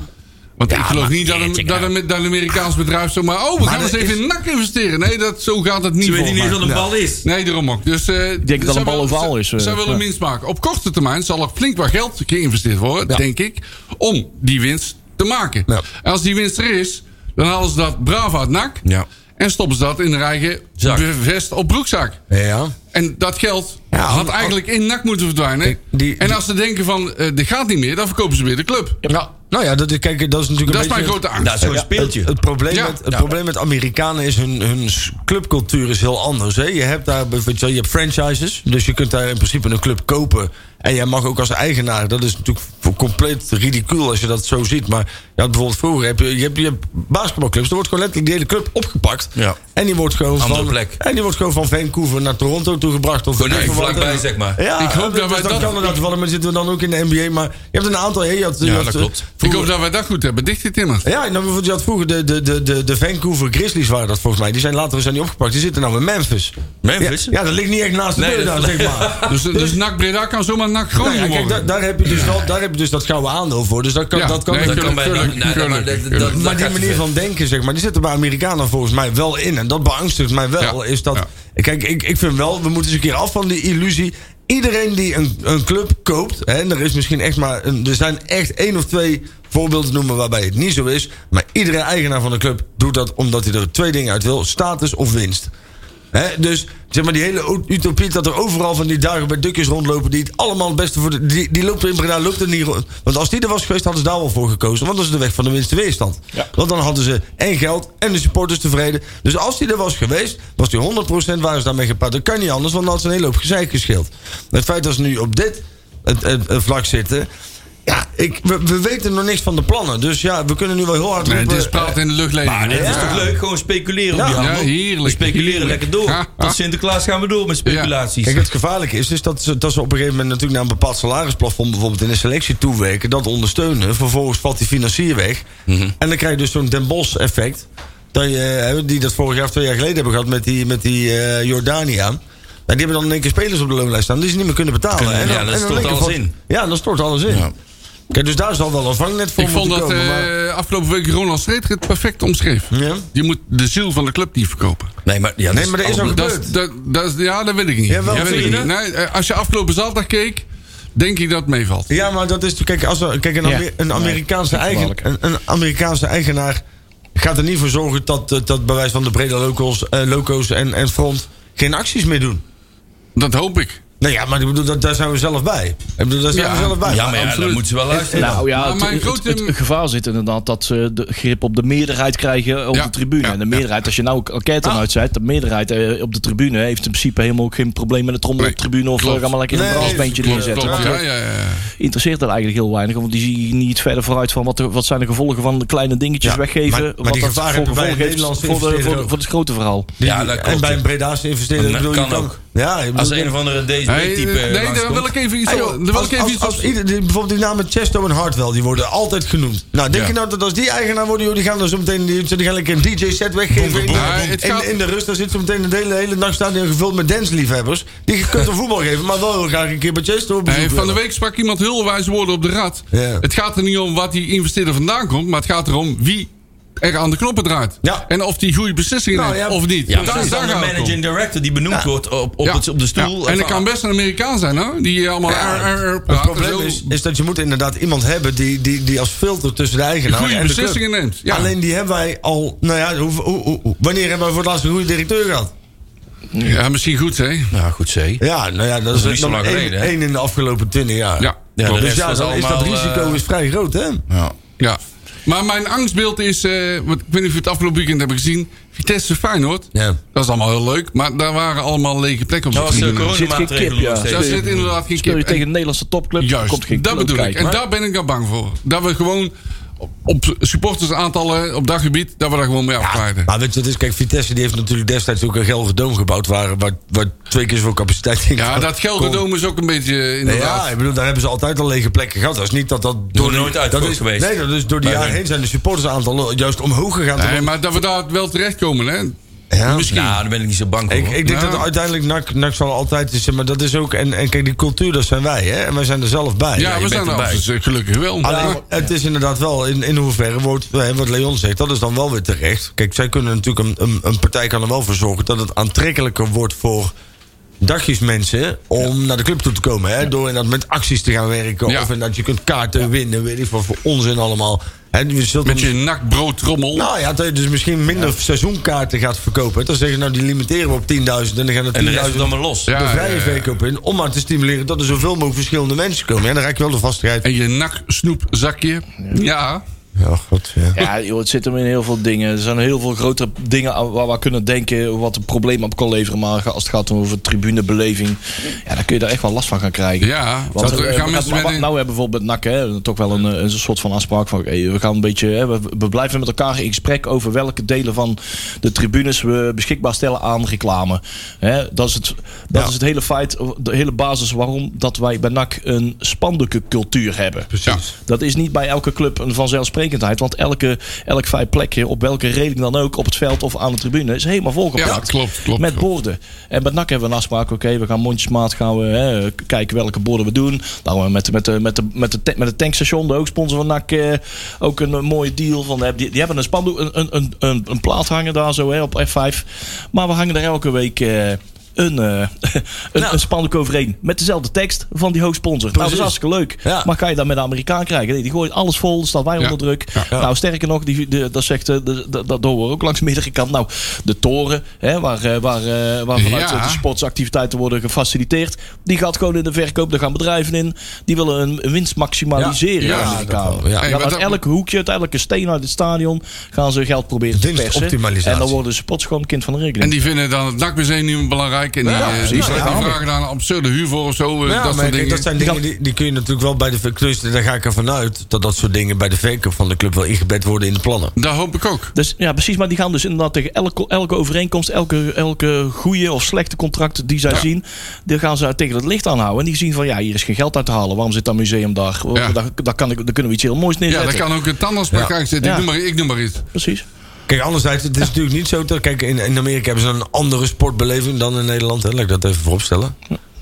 Speaker 6: Want ik geloof
Speaker 4: maar
Speaker 6: niet dat een,
Speaker 4: jeetje,
Speaker 6: dat, een, dat een Amerikaans bedrijf zomaar... Oh, we gaan eens even in NAC investeren. Nee, dat, zo gaat het niet.
Speaker 4: Ze weten
Speaker 6: volgens
Speaker 4: niet eens
Speaker 6: mij.
Speaker 4: wat een bal is.
Speaker 6: Nee, daarom ook. Dus, eh ik
Speaker 2: denk dat een bal ovaal is, eh,
Speaker 6: Zij willen
Speaker 2: ja.
Speaker 6: winst maken. Op korte termijn zal er flink wat geld geïnvesteerd worden, denk ik, om die winst te maken.
Speaker 7: Ja.
Speaker 6: En als die winst er is, dan halen ze dat braaf uit NAC.
Speaker 4: Ja.
Speaker 6: En stoppen ze dat in hun eigen
Speaker 4: Zak.
Speaker 6: vest op broekzak.
Speaker 7: Ja.
Speaker 6: En dat geld
Speaker 7: Ja,
Speaker 6: had
Speaker 7: al-
Speaker 6: eigenlijk in NAC moeten verdwijnen.
Speaker 7: die-
Speaker 6: en als ze denken van, eh dit gaat niet meer, dan verkopen ze weer de club.
Speaker 7: Nou, nou ja, dat is, kijk, dat is natuurlijk
Speaker 6: Dat
Speaker 7: een
Speaker 6: is mijn
Speaker 7: beetje...
Speaker 6: grote angst.
Speaker 4: Dat is Nou, zo'n speeltje.
Speaker 7: Het probleem,
Speaker 6: Ja.
Speaker 7: met, het probleem met Amerikanen is hun, hun s- clubcultuur is heel anders. Hè? Je hebt daar bijvoorbeeld- je hebt franchises, dus je kunt daar in principe een club kopen. En jij mag ook als eigenaar, dat is natuurlijk voor- compleet ridicuul als je dat zo ziet. Maar je had bijvoorbeeld vroeger, heb je, je, hebt, je hebt basketbalclubs, er wordt gewoon letterlijk die hele club opgepakt.
Speaker 4: Ja.
Speaker 7: En, die wordt gewoon
Speaker 4: Andere
Speaker 7: van,
Speaker 4: plek.
Speaker 7: en die wordt gewoon van Vancouver naar Toronto toegebracht. Of
Speaker 4: Gewoon
Speaker 7: weet ik
Speaker 4: even
Speaker 7: veel wat.
Speaker 4: vlakbij, zeg maar.
Speaker 7: Ja,
Speaker 6: Ik hoop dat
Speaker 7: dus
Speaker 6: wij
Speaker 7: dan
Speaker 6: dat-
Speaker 7: kan er dat wel, maar zitten we dan ook in de NBA. Maar je hebt een aantal... hè, Je had, je
Speaker 4: Ja,
Speaker 7: had,
Speaker 4: dat
Speaker 7: eh,
Speaker 4: klopt.
Speaker 6: Ik hoop dat wij dat goed hebben. Dichtgetimmerd.
Speaker 7: ja, en dan bijvoorbeeld, je had vroeger de, de, de, de, de Vancouver Grizzlies waren dat volgens mij. Die zijn later zijn die opgepakt. Die zitten nou in Memphis.
Speaker 4: Memphis?
Speaker 7: Ja, ja, dat ligt niet echt naast de
Speaker 4: Nee,
Speaker 7: deur
Speaker 4: dat- Oh,
Speaker 7: daar, zeg maar.
Speaker 6: Dus, dus NAC Breda kan zomaar NAC
Speaker 7: Nou ja,
Speaker 6: Groningen
Speaker 7: kijk, daar,
Speaker 6: worden.
Speaker 7: daar, heb je dus wel, daar heb je dus dat gouden aandeel voor. Dus dat kan,
Speaker 6: Ja,
Speaker 7: dat kan
Speaker 6: nee,
Speaker 7: niet.
Speaker 4: Dat kan bij
Speaker 6: Tuurlijk,
Speaker 4: nou, nou,
Speaker 6: tuurlijk,
Speaker 4: maar dat-
Speaker 6: tuurlijk.
Speaker 4: dat- dat
Speaker 7: maar die
Speaker 4: gaat te
Speaker 7: manier
Speaker 4: ver.
Speaker 7: van denken, zeg maar, die zit er bij Amerikanen volgens mij wel in. En dat beangstigt mij wel.
Speaker 6: Ja,
Speaker 7: Is dat,
Speaker 6: ja.
Speaker 7: Kijk, ik, ik vind wel, we moeten eens een keer af van die illusie. iedereen die een, een club koopt, hè, en er is misschien echt maar, een, er zijn echt één of twee voorbeelden te noemen waarbij het niet zo is, maar iedere eigenaar van de club doet dat omdat hij er twee dingen uit wil: status of winst. Hè, dus zeg maar die hele o- utopie dat er overal van die duigen bij dukjes rondlopen die het allemaal het beste voor de, die, die loopt er in Breda loopt er niet rond. Want als die er was geweest hadden ze daar wel voor gekozen, want dat is de weg van de minste weerstand. Want dan hadden ze en geld en de supporters tevreden. Dus als die er was geweest, was die 100% waren ze daarmee gepaard. Dat kan niet anders, want dan had ze een hele hoop gezeik gescheeld. Het feit dat ze nu op dit het, het- het vlak zitten. Ja, ik, we, we weten nog niks van de plannen. Dus ja, we kunnen nu wel heel hard
Speaker 6: Nee,
Speaker 7: roepen,
Speaker 6: dit is praat in de luchtleiding.
Speaker 4: Maar dit
Speaker 6: hè?
Speaker 4: is toch leuk? Gewoon speculeren op die
Speaker 6: Ja,
Speaker 4: handel.
Speaker 6: heerlijk,
Speaker 4: We speculeren
Speaker 6: heerlijk.
Speaker 4: lekker door.
Speaker 6: Ja.
Speaker 4: Tot Sinterklaas gaan we door met speculaties.
Speaker 7: Kijk, het gevaarlijke is, is dat, ze, dat ze op een gegeven moment natuurlijk naar een bepaald salarisplafond bijvoorbeeld in een selectie toewerken. Dat ondersteunen. Vervolgens valt die financier weg.
Speaker 4: Mhm.
Speaker 7: En dan krijg je dus zo'n Den Bos effect. Dat je, eh, die dat vorig jaar of twee jaar geleden hebben gehad met die, met die eh, Jordania. En die hebben dan in één keer spelers op de loonlijst staan die ze niet meer kunnen betalen.
Speaker 4: Kunnen-
Speaker 7: en dan,
Speaker 4: ja, dat
Speaker 7: en dan
Speaker 4: stort
Speaker 7: in één keer
Speaker 4: alles
Speaker 7: valt-
Speaker 4: in.
Speaker 7: Ja, dat stort alles in. Kijk, dus daar zal wel een vangnet voor
Speaker 6: Ik vond
Speaker 7: moeten
Speaker 6: dat
Speaker 7: komen. maar-
Speaker 6: eh, afgelopen week Ronald Street het perfect omschreef.
Speaker 7: Ja.
Speaker 6: Je moet de ziel van de club niet verkopen.
Speaker 4: Nee, maar, ja,
Speaker 7: nee, maar er is ook
Speaker 6: Dat, is-
Speaker 7: gebeurd.
Speaker 6: dat, dat, is- ja, dat weet ik niet.
Speaker 7: Ja, wel,
Speaker 6: Dat
Speaker 7: zie
Speaker 6: weet ik
Speaker 7: je
Speaker 6: niet. Nee, eh, als je afgelopen zaterdag keek, denk ik dat het meevalt.
Speaker 7: Ja, maar dat is. Kijk, als er, kijk een,
Speaker 2: Ja.
Speaker 7: Amer- een, Amerikaanse
Speaker 2: Nee, dat is
Speaker 7: eigen,
Speaker 2: gevaarlijk.
Speaker 7: een, een Amerikaanse eigenaar gaat er niet voor zorgen dat, dat, dat bij wijze van de brede locals, eh, loco's en, en front geen acties meer doen.
Speaker 6: Dat hoop ik.
Speaker 7: Nou ja, maar ik bedoel, dat, daar zijn we zelf bij. Ik bedoel, daar zijn
Speaker 6: Ja,
Speaker 7: we zelf bij.
Speaker 4: Ja, maar ja,
Speaker 6: Absoluut.
Speaker 4: dan moeten ze wel luisteren.
Speaker 2: Nou ja,
Speaker 6: Maar
Speaker 2: het,
Speaker 6: mijn
Speaker 2: het-
Speaker 6: grote-
Speaker 2: het- het gevaar zit inderdaad dat ze de grip op de meerderheid krijgen op
Speaker 6: Ja,
Speaker 2: de tribune.
Speaker 6: ja, Ah.
Speaker 2: en de meerderheid, als je nou ook enquête aan uitzet, de meerderheid eh, op de tribune heeft in principe helemaal ook geen probleem met de trommel
Speaker 6: Nee,
Speaker 2: op de tribune of
Speaker 6: klopt.
Speaker 2: we gaan maar lekker een
Speaker 7: Nee,
Speaker 2: brassbeentje
Speaker 6: Klopt,
Speaker 2: neerzetten.
Speaker 6: klopt.
Speaker 2: Want
Speaker 6: Ja,
Speaker 2: eh,
Speaker 6: ja, ja.
Speaker 2: interesseert dat eigenlijk heel weinig, want die zie je niet verder vooruit van wat, de- wat zijn de gevolgen van de kleine dingetjes
Speaker 7: Ja,
Speaker 2: weggeven.
Speaker 7: maar- maar
Speaker 2: wat
Speaker 7: die
Speaker 2: dat
Speaker 7: gevaren
Speaker 2: voor
Speaker 7: hebben wij
Speaker 2: gevolgen heeft voor,
Speaker 7: Nederlandse
Speaker 2: de, voor, de-
Speaker 7: investeerders ook.
Speaker 2: voor het grote verhaal.
Speaker 4: Ja, dat
Speaker 7: en
Speaker 4: klopt.
Speaker 7: bij een Breda's investeerder.
Speaker 4: Dat
Speaker 7: ik bedoel, je
Speaker 4: kan ook.
Speaker 7: Ja, ik bedoel,
Speaker 4: Als een of andere
Speaker 6: Hey,
Speaker 4: DSB-type
Speaker 6: eh, nee, daar wil ik even iets
Speaker 7: Hey,
Speaker 6: over.
Speaker 7: joh,
Speaker 6: daar wil
Speaker 7: als-
Speaker 6: ik even
Speaker 7: als-
Speaker 6: iets
Speaker 7: als ieder- die- Bijvoorbeeld die namen Chesto en Hartwell, die worden altijd genoemd. Nou, denk
Speaker 6: Ja.
Speaker 7: je nou dat als die eigenaar worden, joh, die gaan dan zo meteen die, die gaan lekker een DJ-set weggeven. in, de-
Speaker 6: boem, boem.
Speaker 7: in-
Speaker 6: Nou, Het gaat-
Speaker 7: in de rust, daar zit zo meteen de hele, hele nachtstadion gevuld met dansliefhebbers. Die je kunt een voetbal geven, maar wel heel graag een keer bij Chesto op
Speaker 6: Hey,
Speaker 7: bezoek
Speaker 6: van de
Speaker 7: willen.
Speaker 6: week sprak iemand heel wijze woorden op de rad.
Speaker 7: Ja.
Speaker 6: Het gaat er niet om wat die investeerder vandaan komt, maar het gaat erom wie er aan de knoppen draait.
Speaker 7: Ja.
Speaker 6: En of die goede beslissingen
Speaker 7: Nou,
Speaker 6: neemt
Speaker 7: ja,
Speaker 6: of niet.
Speaker 4: Ja,
Speaker 6: Daar-
Speaker 4: dat is dan
Speaker 6: daar
Speaker 4: de
Speaker 6: gaat het om.
Speaker 4: managing director die benoemd wordt op, op,
Speaker 6: Ja.
Speaker 4: het, op de stoel.
Speaker 6: Ja. En dat kan best een Amerikaan zijn, hoor. Die eh, allemaal
Speaker 7: Ja,
Speaker 6: RR
Speaker 7: Het
Speaker 6: praat en
Speaker 7: probleem
Speaker 6: zo.
Speaker 7: is, is dat je moet inderdaad iemand hebben die, die, die als filter tussen de eigenaar
Speaker 6: Goede
Speaker 7: nou, en de club.
Speaker 6: beslissingen neemt, ja.
Speaker 7: Alleen die hebben wij al. Nou ja, hoe, hoe- hoe- wanneer hebben we voor het laatst een goede directeur gehad?
Speaker 6: Ja, misschien goed, hè.
Speaker 4: Nou, goed, zee.
Speaker 7: Ja, nou ja, dat is,
Speaker 4: niet zo
Speaker 7: dan
Speaker 4: lang
Speaker 7: één-
Speaker 4: geleden, hè?
Speaker 7: één in de afgelopen 20 jaar.
Speaker 6: Ja.
Speaker 4: Ja, de
Speaker 7: dus
Speaker 4: rest
Speaker 7: ja,
Speaker 4: was
Speaker 7: dan is dat
Speaker 4: allemaal,
Speaker 7: risico
Speaker 4: eh,
Speaker 7: is vrij groot, hè?
Speaker 4: Ja.
Speaker 6: Ja. Maar mijn angstbeeld is, eh, want ik weet niet of je het afgelopen weekend hebt gezien, Vitesse Feyenoord.
Speaker 7: Ja.
Speaker 6: Dat is allemaal heel leuk, maar daar waren allemaal lege plekken op
Speaker 4: Dat was eh,
Speaker 6: de
Speaker 4: de
Speaker 6: tribune.
Speaker 2: Zit geen kip,
Speaker 4: coronamaatregelen
Speaker 2: ja.
Speaker 4: nog steeds.
Speaker 6: Daar zit inderdaad geen
Speaker 2: Speel je
Speaker 6: kip. En-
Speaker 2: tegen een Nederlandse topclub,
Speaker 6: Juist,
Speaker 2: komt geen
Speaker 6: dat
Speaker 2: club
Speaker 6: bedoel ik.
Speaker 2: kijken.
Speaker 6: En daar ben ik dan bang voor. Dat we gewoon op, op supportersaantallen op dat gebied, dat we daar gewoon mee afkwaarden.
Speaker 7: Maar weet je, het is, kijk, Vitesse die heeft natuurlijk destijds ook een Gelre Doom gebouwd... waar, waar, waar twee keer zoveel capaciteit in
Speaker 6: Ja,
Speaker 7: kon-
Speaker 6: dat Gelderdoom is ook een beetje
Speaker 7: kon.
Speaker 6: inderdaad.
Speaker 7: Ja, ik bedoel, daar hebben ze altijd al lege plekken gehad. Dat is niet dat dat...
Speaker 4: Nog nooit uitverkocht
Speaker 7: dat is,
Speaker 4: geweest.
Speaker 7: Nee, dat is door de
Speaker 4: Bij
Speaker 7: jaren
Speaker 4: hun.
Speaker 7: heen zijn de supportersaantallen juist omhoog gegaan.
Speaker 6: Nee, maar dat we daar wel terechtkomen, hè?
Speaker 7: Ja.
Speaker 6: Misschien.
Speaker 4: Nou, daar ben ik niet zo bang voor.
Speaker 7: Ik, ik denk
Speaker 6: Ja.
Speaker 7: dat uiteindelijk NAC, NAC zal altijd... is, Maar dat is ook... En, en kijk, die cultuur, dat zijn wij, hè? En wij zijn er zelf bij.
Speaker 6: ja,
Speaker 4: je
Speaker 6: we zijn
Speaker 4: bent
Speaker 6: er
Speaker 4: erbij.
Speaker 6: dus, eh, gelukkig wel.
Speaker 7: Alleen,
Speaker 6: Maar-
Speaker 7: het is inderdaad wel, in, in hoeverre wordt, eh, wat Leon zegt, dat is dan wel weer terecht. Kijk, zij kunnen natuurlijk, een, een, een partij kan er wel voor zorgen dat het aantrekkelijker wordt voor dagjesmensen om naar de club toe te komen. Hè? Door inderdaad met acties te gaan werken.
Speaker 6: Ja.
Speaker 7: Of inderdaad je kunt kaarten winnen, weet ik wat voor onzin allemaal. Hè, dus je zult
Speaker 6: Met je nakbroodtrommel.
Speaker 7: nou ja, dat je dus misschien minder seizoenkaarten gaat verkopen. Dan zeggen ze, nou die limiteren we op 10.000 en dan gaan er 10.000
Speaker 4: en de rest is dan maar los.
Speaker 6: Ja.
Speaker 7: de vrije
Speaker 6: ja, ja.
Speaker 7: verkoop in. Om maar te stimuleren dat er zoveel mogelijk verschillende mensen komen. Ja, dan raak je wel de vastigheid.
Speaker 6: En je naksnoepzakje. Ja.
Speaker 7: Ja, god, ja.
Speaker 2: Ja, joh, het zit hem in heel veel dingen. Er zijn heel veel grotere dingen aan waar we aan kunnen denken wat een probleem op kan leveren. Maar als het gaat over tribunebeleving, ja, dan kun je daar echt wel last van gaan krijgen.
Speaker 6: Ja.
Speaker 2: Want
Speaker 6: Want,
Speaker 2: eh, we
Speaker 6: gaan
Speaker 2: gaan-
Speaker 6: mensen
Speaker 2: maar wat
Speaker 6: met een-
Speaker 2: nou hebben bijvoorbeeld NAC hè, toch wel een, eh, een soort van afspraak van oké, we gaan een beetje, hè, we, we blijven met elkaar in gesprek over welke delen van de tribunes we beschikbaar stellen aan reclame. Hè, dat is het, dat is het hele feit, de hele basis waarom dat wij bij NAC een spandoekencultuur hebben.
Speaker 6: Precies.
Speaker 2: Dat is niet bij elke club een vanzelfsprekendheid, want elke, elk vrij plekje op welke reden dan ook op het veld of aan de tribune is helemaal volgepakt.
Speaker 6: Ja, klopt, klopt,
Speaker 2: Met
Speaker 6: klopt.
Speaker 2: borden. En bij NAC hebben we een afspraak. Oké, we gaan mondjesmaat gaan we hè, k- kijken welke borden we doen. Nou, we met, met, de- met, de, met, de, ta- met het tankstation, de hoogsponsor van NAC, eh, ook een, eh, mooie deal. Van, eh, die, die hebben een spandoek, een, een, een, een, een plaat hangen daar zo hè, op F5. Maar we hangen daar elke week... eh, een, eh een,
Speaker 7: Nou.
Speaker 2: een spandoek overheen. Met dezelfde tekst van die hoogsponsor. Nou, dat is
Speaker 7: Precies.
Speaker 2: hartstikke leuk.
Speaker 7: Ja.
Speaker 2: Maar kan je dat met de Amerikaan krijgen? Nee, die gooit alles vol. Dan staan wij onder druk. Nou, sterker nog, die, de, dat zegt, eh, de- de- dat horen we ook langs de middenkant. Nou, de toren, hè, waar, eh, waar, eh, waar vanuit
Speaker 6: Ja.
Speaker 2: de sportsactiviteiten worden gefaciliteerd. Die gaat gewoon in de verkoop. Daar gaan bedrijven in. Die willen hun winst maximaliseren.
Speaker 6: Ja,
Speaker 2: de
Speaker 6: ja,
Speaker 2: Amerikanen.
Speaker 7: dat wel, ja.
Speaker 2: Die
Speaker 6: Hey,
Speaker 2: gaan
Speaker 6: maar
Speaker 2: uit
Speaker 6: dat-
Speaker 2: elk hoekje, uit elke steen uit het stadion... gaan ze geld proberen te
Speaker 7: Winst
Speaker 2: persen.
Speaker 7: optimalisatie.
Speaker 2: En dan worden ze plots gewoon kind van de rekening.
Speaker 6: En die vinden dan het NAC-museum niet meer belangrijk. En die, eh, die,
Speaker 2: precies.
Speaker 6: die
Speaker 2: Ja, ja.
Speaker 6: vragen daar een absurde huur voor of zo. eh,
Speaker 7: Ja,
Speaker 6: dat
Speaker 7: maar
Speaker 6: soort
Speaker 7: kijk,
Speaker 6: dingen.
Speaker 7: dat zijn dingen die, die kun je natuurlijk wel bij de ver- dus daar ga ik ervan uit dat dat soort dingen bij de verkoop van de club wel ingebed worden in de plannen.
Speaker 6: Daar hoop ik ook.
Speaker 2: Dus ja, precies. Maar die gaan dus inderdaad tegen elke, elke overeenkomst, elke, elke goede of slechte contract die zij zien, die gaan ze tegen het licht aanhouden. En die zien van ja, hier is geen geld uit te halen. Waarom zit dat museum daar?
Speaker 6: Ja.
Speaker 2: Daar, daar, kan ik, daar kunnen we iets heel moois
Speaker 6: Ja, daar
Speaker 2: neerzetten.
Speaker 6: kan ook een tandartspraktijk zitten. Ik,
Speaker 2: Ja.
Speaker 6: noem maar, ik noem maar iets.
Speaker 2: Precies.
Speaker 7: Kijk, anderzijds, het is natuurlijk niet zo dat. Kijk, in, in Amerika hebben ze een andere sportbeleving dan in Nederland. Hè? Laat ik dat even vooropstellen.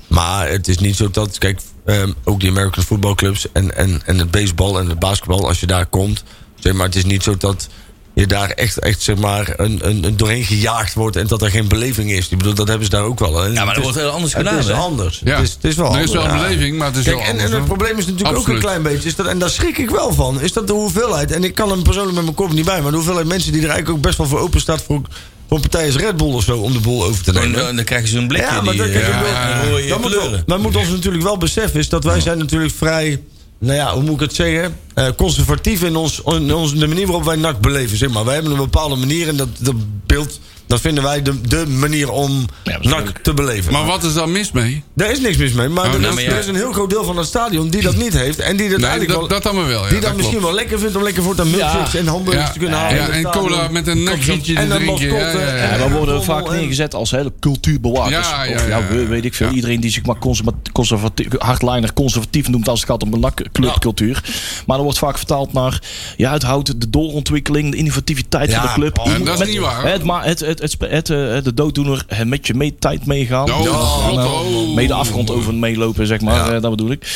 Speaker 7: Maar het is niet zo dat. Kijk, ehm, ook die American voetbalclubs en, en, en het baseball en het basketbal, als je daar komt. Zeg maar, het is niet zo dat je daar echt, echt zeg maar, een, een, een doorheen gejaagd wordt en dat er geen beleving is. Ik bedoel, dat hebben ze daar ook wel. hè.
Speaker 4: Ja, maar
Speaker 7: Het
Speaker 4: dat
Speaker 7: is-
Speaker 4: wordt heel anders
Speaker 7: Het
Speaker 4: gedaan,
Speaker 7: is
Speaker 4: hè?
Speaker 7: anders.
Speaker 6: Ja.
Speaker 7: Het, is, Dus het is wel
Speaker 6: Er
Speaker 7: anders.
Speaker 6: is wel een
Speaker 7: ja.
Speaker 6: beleving, maar het is
Speaker 7: Kijk,
Speaker 6: wel
Speaker 7: en,
Speaker 6: anders.
Speaker 7: en het
Speaker 6: hoor.
Speaker 7: probleem is natuurlijk ook
Speaker 6: Absoluut.
Speaker 7: een klein beetje, is dat, en daar schrik ik wel van, is dat de hoeveelheid, en ik kan hem persoonlijk met mijn kop niet bij, maar de hoeveelheid mensen die er eigenlijk ook best wel voor open staat voor, voor een partij als Red Bull of zo om de boel over te
Speaker 4: Dan,
Speaker 7: nemen.
Speaker 4: eh, dan, dan krijg je zo'n blikje.
Speaker 7: Ja, maar
Speaker 4: die,
Speaker 7: dat krijg je
Speaker 4: eh,
Speaker 7: wel-
Speaker 4: ja, rode
Speaker 7: Dat moet, wel-
Speaker 4: kleuren.
Speaker 7: maar moet ons natuurlijk wel beseffen is dat wij zijn natuurlijk vrij, nou ja, hoe moet ik het zeggen, eh, conservatief in, ons, in ons, de manier waarop wij NAC beleven. Zeg maar. Wij hebben een bepaalde manier en dat, dat beeld, dat vinden wij de, de manier om NAC te beleven.
Speaker 6: Maar wat is daar mis mee?
Speaker 7: Daar is niks mis mee, maar,
Speaker 6: Oh,
Speaker 7: er,
Speaker 6: nou,
Speaker 7: is,
Speaker 4: maar ja.
Speaker 7: er is een heel groot deel van het stadion die dat niet heeft. En die dat
Speaker 6: Nee,
Speaker 7: eigenlijk wel,
Speaker 6: dat, dat dan maar wel. Ja,
Speaker 7: die
Speaker 6: dat
Speaker 7: dat misschien
Speaker 6: klopt.
Speaker 7: wel lekker vindt om lekker voor de milkshakes en hamburgers te kunnen halen. in
Speaker 6: Ja,
Speaker 7: het
Speaker 6: en
Speaker 7: stadion.
Speaker 6: cola met een nekgietje te
Speaker 7: En eh, een
Speaker 6: drinken. Ja,
Speaker 7: mascotte.
Speaker 6: ja,
Speaker 2: Ja,
Speaker 6: ja.
Speaker 2: wij worden
Speaker 7: Rommel
Speaker 2: vaak
Speaker 7: en-
Speaker 2: neergezet als hele cultuurbewakers.
Speaker 6: Eh, Ja, ja,
Speaker 2: of ja,
Speaker 6: ja, ja.
Speaker 2: we- weet ik veel.
Speaker 6: Ja.
Speaker 2: Iedereen die zich maar conservatief, conservatief, hardliner conservatief noemt als het gaat om een clubcultuur. Maar dat wordt vaak vertaald naar ja, het houdt de doorontwikkeling, de innovativiteit van de club.
Speaker 6: en oh, dat is niet waar, hè?
Speaker 2: Het, maar het, het, het, het, eh, de dooddoener eh, met je mee, tijd meegaan.
Speaker 6: Oh, God, oh.
Speaker 2: Mee de afgrond over meelopen, zeg maar. eh, dat bedoel ik.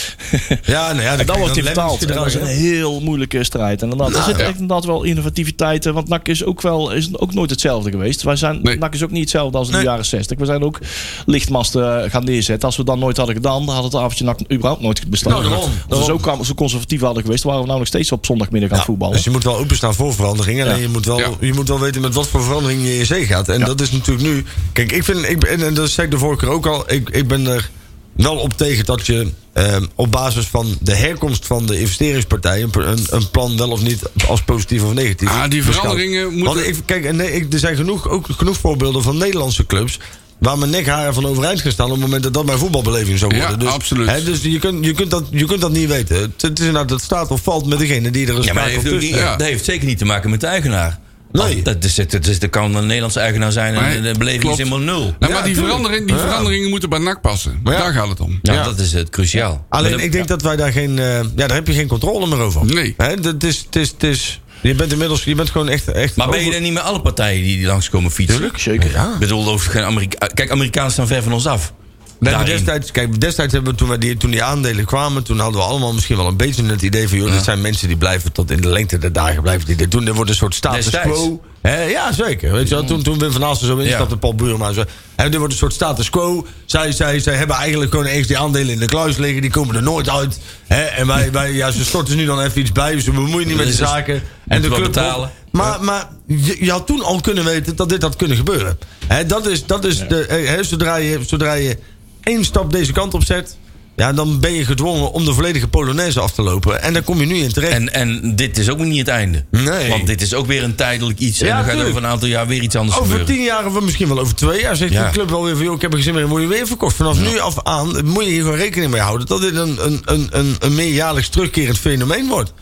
Speaker 7: Ja, nou ja,
Speaker 2: En
Speaker 7: krijg je
Speaker 2: dat wordt
Speaker 7: dan
Speaker 2: je vertaald.
Speaker 7: lemmetjes
Speaker 2: En dat is een
Speaker 7: eruit, hè.
Speaker 2: heel moeilijke strijd. En inderdaad, er zit
Speaker 6: ja.
Speaker 2: echt inderdaad wel innovativiteit. eh, Want NAC is ook, wel, is ook nooit hetzelfde geweest. Wij zijn,
Speaker 6: Nee.
Speaker 2: NAC is ook niet hetzelfde als in de jaren 60. We zijn ook lichtmasten eh, gaan neerzetten. Als we dat nooit hadden gedaan, dan had het avondje NAC überhaupt nooit bestaan.
Speaker 7: Nou, daarom.
Speaker 2: als we zo, kam- zo conservatief hadden geweest, waren we namelijk steeds op zondagmiddag aan het voetballen.
Speaker 7: Dus je moet wel openstaan voor verandering. Alleen je, moet wel,
Speaker 6: Ja.
Speaker 7: je moet wel weten met wat voor verandering je in zee gaat. En dat is natuurlijk nu. Kijk, ik vind. Ik, ben- en, en dat zei ik de vorige keer ook al. Ik, ik ben er wel op tegen dat je ehm, op basis van de herkomst van de investeringspartij. Een, een, een plan wel of niet als positief of negatief.
Speaker 6: Ah, die
Speaker 7: beschouwt.
Speaker 6: veranderingen moeten-
Speaker 7: Want ik, kijk, en nee, ik, er zijn genoeg, ook genoeg voorbeelden van Nederlandse clubs. Waar mijn nekharen van overeind gaan staan op het moment dat dat mijn voetbalbeleving zou
Speaker 6: Ja,
Speaker 7: worden. dus,
Speaker 6: absoluut.
Speaker 7: hè, dus je kunt, je, kunt dat, je kunt dat niet weten. Het, het is inderdaad, dat staat of valt met degene die er een
Speaker 4: Ja, maar dat
Speaker 7: schakel
Speaker 4: heeft, ook
Speaker 7: tussen-
Speaker 4: niet,
Speaker 6: Ja.
Speaker 4: dat heeft zeker niet te maken met de eigenaar.
Speaker 7: Nee.
Speaker 4: Dat, is, het- dat, is, dat kan een Nederlandse eigenaar zijn en
Speaker 6: Nee,
Speaker 4: de beleving
Speaker 6: klopt.
Speaker 4: is helemaal nul.
Speaker 6: Nou,
Speaker 7: Ja,
Speaker 6: maar die,
Speaker 7: tuurlijk.
Speaker 6: verandering, die
Speaker 7: Ja.
Speaker 6: veranderingen moeten bij NAC passen.
Speaker 7: ja.
Speaker 6: Daar gaat het om.
Speaker 4: Ja, dat is het cruciaal.
Speaker 7: Alleen
Speaker 4: Maar dat-
Speaker 7: ik denk dat wij daar geen. eh, ja, daar heb je geen controle meer over.
Speaker 6: Nee.
Speaker 7: Hè, dat is, het is, het is, je bent inmiddels. Je bent gewoon echt. echt
Speaker 4: maar ben je
Speaker 7: over-
Speaker 4: er niet met alle partijen die, die langskomen fietsen? Tuurlijk,
Speaker 2: zeker.
Speaker 4: Ik bedoel, er hoeft geen Amerika Kijk, Amerikanen staan ver van ons af.
Speaker 7: We hebben
Speaker 4: Daarin.
Speaker 7: destijds, kijk, destijds hebben we toen, wij die, toen die aandelen kwamen. Toen hadden we allemaal misschien wel een beetje het idee van. joh, dit zijn mensen die blijven tot in de lengte der dagen blijven die dit doen. Er wordt een soort status
Speaker 4: Destijds.
Speaker 7: quo. Hè, ja, zeker. Weet je wel, toen, toen Wim van Aalsten zo instapte,
Speaker 4: Ja.
Speaker 7: Paul Buurma. en Zo, hè, er wordt een soort status quo. Zij, zij, zij hebben eigenlijk gewoon eens die aandelen in de kluis liggen. Die komen er nooit uit. Hè, en wij, wij ja, ze storten nu dan even iets bij. Ze bemoeien niet met de
Speaker 4: Dus het-
Speaker 7: zaken.
Speaker 4: moeten
Speaker 7: En de
Speaker 4: wel
Speaker 7: club
Speaker 4: betalen.
Speaker 7: Maar, maar je, je had toen al kunnen weten dat dit had kunnen gebeuren. Hè, dat is, dat is de, eh, hè, zodra, je, zodra je één stap deze kant op zet... Ja, dan ben je gedwongen om de volledige Polonaise af te lopen. En daar kom je nu in terecht.
Speaker 4: En, en dit is ook niet het einde.
Speaker 7: Nee.
Speaker 4: Want dit is ook weer een tijdelijk iets.
Speaker 7: Ja,
Speaker 4: en dan gaat er
Speaker 7: tuurlijk.
Speaker 4: over een aantal jaar weer iets anders
Speaker 7: over
Speaker 4: gebeuren.
Speaker 7: tien jaar of misschien wel over twee jaar... zegt
Speaker 4: Ja.
Speaker 7: de club wel weer van... Joh, ik heb er geen zin meer in, word je weer verkocht. Vanaf nu af aan moet je hier gewoon rekening mee houden... dat dit een, een, een, een, een meerjaarlijks terugkerend fenomeen wordt.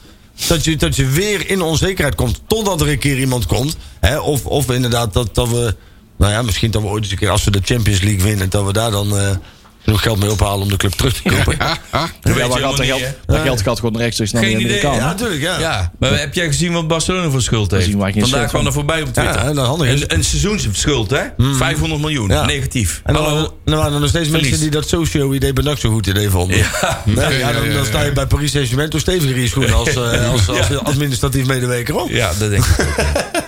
Speaker 7: Dat je, dat je weer in onzekerheid komt... totdat er een keer iemand komt. Hè? Of, of inderdaad dat, dat we... Nou ja, misschien dat we ooit eens een keer... als we de Champions League winnen... dat we daar dan eh, nog geld mee ophalen om de club terug te kopen.
Speaker 6: Ah, ah.
Speaker 4: Dat
Speaker 2: Ja,
Speaker 4: weet
Speaker 2: waar
Speaker 4: je
Speaker 2: gaat dat
Speaker 4: helemaal
Speaker 2: geld,
Speaker 4: niet, hè?
Speaker 2: dat geld gaat gewoon rechtstreeks naar de
Speaker 4: Geen idee,
Speaker 2: Amerikanen.
Speaker 7: Ja, natuurlijk, ja.
Speaker 4: Ja, maar heb jij gezien wat Barcelona voor schuld heeft?
Speaker 2: zien wij geen
Speaker 4: Vandaag
Speaker 2: schuld
Speaker 4: kwam er voorbij op Twitter.
Speaker 7: Ja, en dat handig is.
Speaker 4: een, een seizoensschuld, hè? 500 miljoen,
Speaker 7: Ja.
Speaker 4: negatief.
Speaker 7: En dan,
Speaker 4: Hallo.
Speaker 7: waren- dan waren er nog steeds
Speaker 4: Verlies.
Speaker 7: mensen die dat socio-idee bedacht zo goed idee vonden.
Speaker 4: Ja.
Speaker 7: Nee, ja,
Speaker 6: Ja, ja,
Speaker 7: dan,
Speaker 6: ja,
Speaker 7: dan sta je bij Paris Saint-Germain toch steviger in je schoenen als, eh, als, als administratief medewerker op.
Speaker 4: Ja, dat denk ik ook.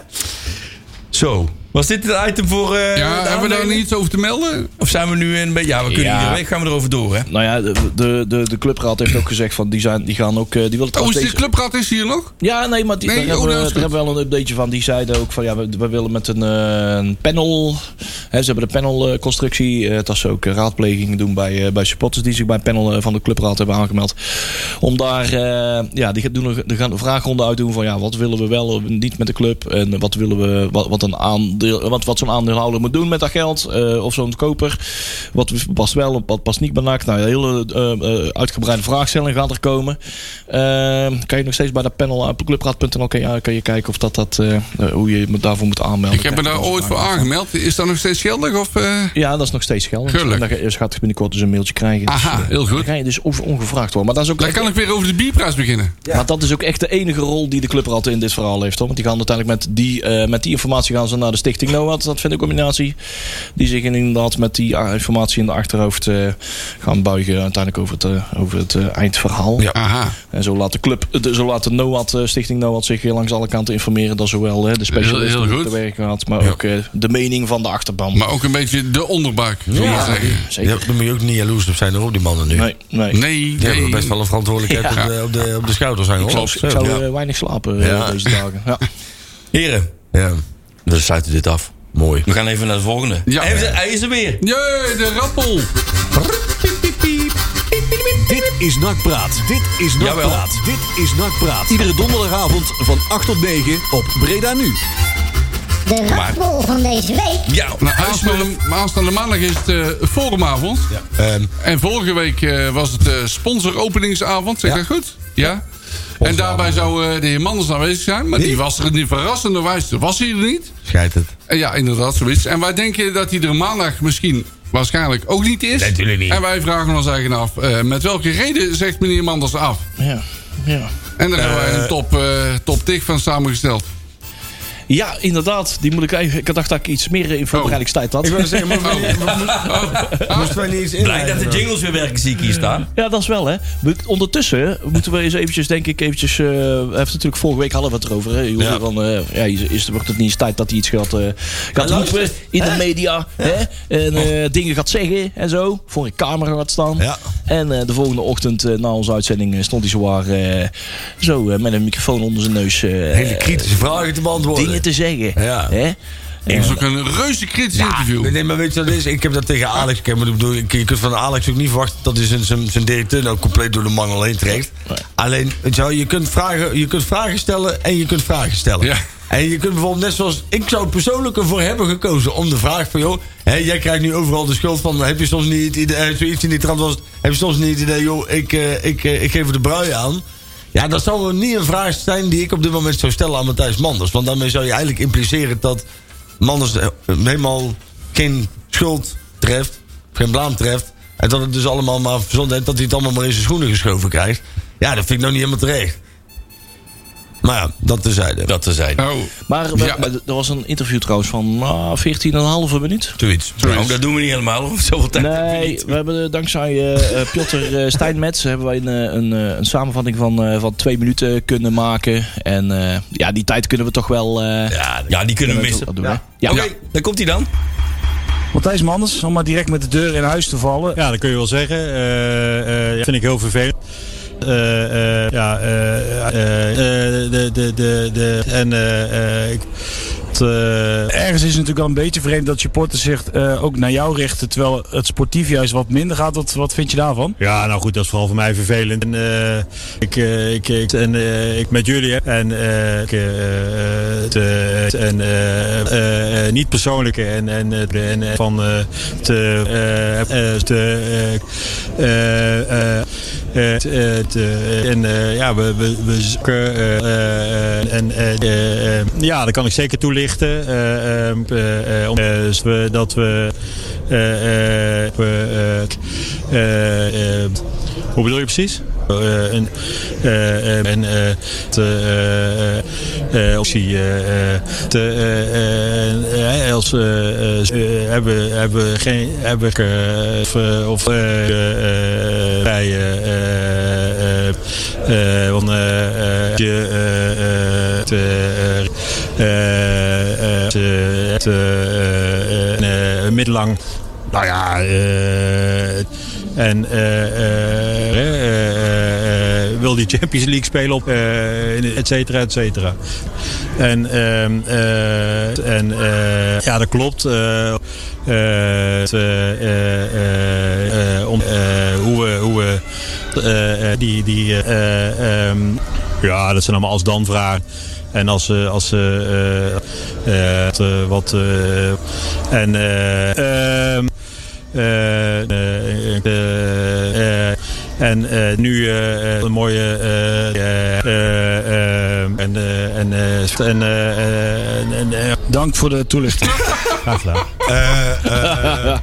Speaker 4: Zo, Was dit het item voor. eh,
Speaker 6: Ja,
Speaker 4: de
Speaker 6: hebben we daar
Speaker 4: aanleiding?
Speaker 6: niets over te melden?
Speaker 4: Of zijn we nu een beetje. Ja, we kunnen
Speaker 2: Ja.
Speaker 4: iedere week gaan we erover door, hè?
Speaker 2: Nou ja, de, de, de, de clubraad heeft ook gezegd van die, zijn, die gaan ook. eh, die willen
Speaker 6: Oh, is
Speaker 2: trouwens
Speaker 6: de
Speaker 2: deze-
Speaker 6: clubraad is hier nog?
Speaker 2: Ja, nee, maar die,
Speaker 6: Nee,
Speaker 2: daar,
Speaker 6: oh, dat
Speaker 2: hebben,
Speaker 6: is
Speaker 2: we- daar
Speaker 6: goed.
Speaker 2: hebben we wel een updateje van. Die zeiden ook van ja, we, we willen met een, eh, een panel. Hè, ze hebben de panelconstructie. eh, dat ze ook eh, raadplegingen doen bij, eh, bij supporters die zich bij het panel eh, van de clubraad hebben aangemeld. Om daar, eh, ja, die gaan, doen, nog- die gaan een vraagronde uitdoen van ja, wat willen we wel of niet met de club. En wat willen we, wat, wat, een aandeel, wat, wat zo'n aandeelhouder moet doen met dat geld. eh, of zo'n koper. Wat past wel, wat past niet bij NAC. Nou, een hele eh, eh, uitgebreide vraagstelling gaat er komen. Ehm, kan je nog steeds bij dat panel op clubraad.nl kan je, kan je kijken of dat, dat eh, eh, hoe je je daarvoor moet aanmelden.
Speaker 6: Ik heb me daar ooit voor aangemeld. Is dat nog steeds geldig? Of, eh?
Speaker 2: Ja, dat is nog steeds geldig.
Speaker 6: Gelukkig.
Speaker 2: En dan ga- dus gaat binnenkort dus een mailtje krijgen. Dus,
Speaker 6: Aha,
Speaker 2: eh,
Speaker 6: heel
Speaker 2: dan
Speaker 6: goed.
Speaker 2: ga je dus over- ongevraagd worden. Maar dat, is ook
Speaker 6: Dan kan ik weer over de bierprijs beginnen.
Speaker 2: maar dat is ook echt de enige rol die de clubraad in dit verhaal heeft. Hoor. Want die gaan uiteindelijk met die, eh, met die informatie gaan ze naar de stichting NOAD. Dat vind ik een combinatie. Die zich inderdaad met die ah, informatie in de achterhoofd eh, gaan buigen. Uiteindelijk over het, eh, over het eh, eindverhaal.
Speaker 6: Aha.
Speaker 2: En zo laat de club, de, zo laat de NOAD, eh, Stichting NOAD zich langs alle kanten informeren. Dat zowel hè, de specialist
Speaker 6: Heel- heel
Speaker 2: die
Speaker 6: goed.
Speaker 2: te werk gaat, maar ook eh, de mening van de achterban.
Speaker 6: Maar ook een beetje de onderbuik, zullen we maar zeggen.
Speaker 7: Ja,
Speaker 2: Zeker.
Speaker 7: daar moet je ook niet jaloers op zijn, hoor, op die mannen nu.
Speaker 2: Nee, nee.
Speaker 6: Nee,
Speaker 7: Die hebben
Speaker 6: nee.
Speaker 7: best wel een verantwoordelijkheid
Speaker 6: Ja.
Speaker 7: op, de, op, de, op de schouders hangen, hoor.
Speaker 2: Ik zou eh, weinig slapen eh,
Speaker 7: Ja.
Speaker 2: deze dagen. Ja.
Speaker 4: Heren,
Speaker 7: Ja,
Speaker 4: we sluiten dit af.
Speaker 7: mooi.
Speaker 4: We gaan even naar de volgende.
Speaker 6: Ja.
Speaker 4: Hij, is, hij is er weer.
Speaker 6: Jee, de rappel.
Speaker 3: Dit is NAC Praat. Dit is NAC
Speaker 4: Jawel.
Speaker 3: Praat. Dit is NAC Praat. Iedere donderdagavond van 8 tot 9 op Breda Nu.
Speaker 9: De ratbol van deze week.
Speaker 4: Ja,
Speaker 6: Nou,
Speaker 4: hij is er weer.
Speaker 6: aanstaande, maar aanstaande maandag is het eh, forumavond.
Speaker 7: Ehm,
Speaker 6: En vorige week eh, was het eh sponsoropeningsavond. Zeg
Speaker 7: Ja.
Speaker 6: dat goed? Ja. En daarbij zou eh, de heer Manders aanwezig zijn. Maar die was er niet verrassende wijze. Was hij er niet?
Speaker 7: schijt het.
Speaker 6: En ja, inderdaad, zoiets. En wij denken dat hij er maandag misschien waarschijnlijk ook niet is.
Speaker 4: Natuurlijk niet.
Speaker 6: En wij vragen ons eigen af, eh, met welke reden zegt meneer Manders af?
Speaker 2: Ja. Ja.
Speaker 6: En daar hebben wij een top, eh top tig van samengesteld.
Speaker 2: ja, inderdaad. Die moet ik eigenlijk. Ik dacht dat ik iets meer eh, in voorbereidingstijd had.
Speaker 7: Oh. Ik wil zeggen, moesten wij niet- moesten wij niet iets
Speaker 4: Blij dat de
Speaker 7: inleiden?
Speaker 4: jingles weer werken, zie ik hier staan.
Speaker 2: Ja, dat is wel, hè. We- ondertussen moeten we eens eventjes, denk ik, eventjes... eh, we heeft natuurlijk vorige week hadden we het erover, hè. Joel, Van, eh, ja, is, is, wordt het niet eens tijd dat hij iets gaat, eh gaat roepen in de media. Hè? En eh, dingen gaat zeggen en zo. Voor een camera gaat staan.
Speaker 7: Ja.
Speaker 2: En eh, de volgende ochtend eh, na onze uitzending eh, stond hij zowaar eh, zo eh, met een microfoon onder zijn neus eh,
Speaker 7: Hele kritische vragen te beantwoorden.
Speaker 2: dingen te zeggen.
Speaker 7: Ja.
Speaker 2: Hè?
Speaker 6: Dat is ook een reuze kritisch interview.
Speaker 7: Nee, maar weet je wat het is? Ik heb dat tegen Alex. Ik heb, ik bedoel, ik- je kunt van Alex ook niet verwachten dat hij zijn, zijn, zijn directeur nou compleet door de mangel heen trekt. Alleen, weet je, wel, je, kunt vragen, je kunt vragen stellen en je kunt vragen stellen.
Speaker 6: Ja.
Speaker 7: En je kunt bijvoorbeeld net zoals... Ik zou persoonlijk ervoor hebben gekozen om de vraag van... joh, hè, jij krijgt nu overal de schuld van... heb je soms niet het idee... eh, zoiets in die trant was... het, heb je soms niet het idee... joh, ik, eh, ik, eh, ik geef er de brui aan... Ja, dat zou wel niet een vraag zijn die ik op dit moment zou stellen aan Matthijs Manders. Want daarmee zou je eigenlijk impliceren dat Manders eh, helemaal geen schuld treft, geen blaam treft. En dat het dus allemaal maar verzond heeft dat hij het allemaal maar in zijn schoenen geschoven krijgt. Ja, dat vind ik nou niet helemaal terecht. Maar ja, dat tezijde.
Speaker 4: Dat te zijn.
Speaker 6: Oh,
Speaker 2: Maar we-
Speaker 6: Ja.
Speaker 2: maar er was een interview trouwens van ah, 14,5 minuut.
Speaker 7: Zoiets.
Speaker 4: Nou, dat doen we niet helemaal. Of zoveel tijd hebben we
Speaker 2: Nee,
Speaker 4: niet.
Speaker 2: we hebben eh, dankzij eh, eh, Piotr eh, Steinmetz hebben wij een, eh, een, eh, een samenvatting van, eh, van twee minuten kunnen maken. En eh, ja, die tijd kunnen we toch wel. eh,
Speaker 4: Ja, ja, die kunnen we missen.
Speaker 2: wel doen, hè? Ja.
Speaker 4: Oké, daar komt hij dan.
Speaker 7: Oh.
Speaker 10: Matthijs Manders, om maar direct met de deur in huis te vallen.
Speaker 11: Ja, dat kun je wel zeggen. Eh, eh, ja, vind ik heel vervelend. Eh, eh, ja, eh, eh, eh, de, de, de, de, en eh, eh, ik, t, eh,
Speaker 10: Ergens is het natuurlijk al een beetje vreemd dat supporters zich eh, ook naar jou richten. Terwijl het sportief juist wat minder gaat. Wat, wat vind je daarvan?
Speaker 11: Ja, nou goed, dat is vooral voor mij vervelend. En, eh, ik, eh, ik, ik, en eh, ik met jullie hè. en, eh, ik, eh, eh, te- en eh, eh, eh, niet persoonlijke en, en, eh, en eh, van eh, te, eh, eh, te, eh, eh, eh, eh, te- eh, te- en eh, ja, we, we, we zoeken eh, eh, eh, en eh, eh, eh, ja, dat kan ik zeker toelichten. eh, ehm, eh, eh, om, eh, dus we- dat we eh, eh, we, eh, eh, eh, hoe bedoel je precies? Eh, en eh, eh, en eh, te, eh, eh, eh, optie eh, eh, te, eh, eh, eh, als eh, eh, eh, hebben hebben geen hebben ik, eh, of, eh, of eh, eh, eh, bij eh, eh, eh, van eh, eh, je eh, eh, te, eh, eh, eh, te, het eh, eh, eh, middellang. Nou ja, eh, en eh, eh, eh, eh, wil die Champions League spelen op, eh, et cetera, et cetera. En, ehm, eh, en eh, ja, dat klopt. eh, eh, het, eh, eh, eh, om, eh, hoe we, hoe we eh, eh, die, die eh, ehm, ja, dat zijn allemaal als dan vragen. En als ze, als ze eh, eh, wat, eh, wat eh, en eh, ehm, eh, eh, eh, eh, en eh, nu eh, eh, een mooie. eh, eh, eh, eh, en, eh, en, eh, en, eh, en, en, eh,
Speaker 10: Dank voor de toelichting.
Speaker 11: Graag gedaan.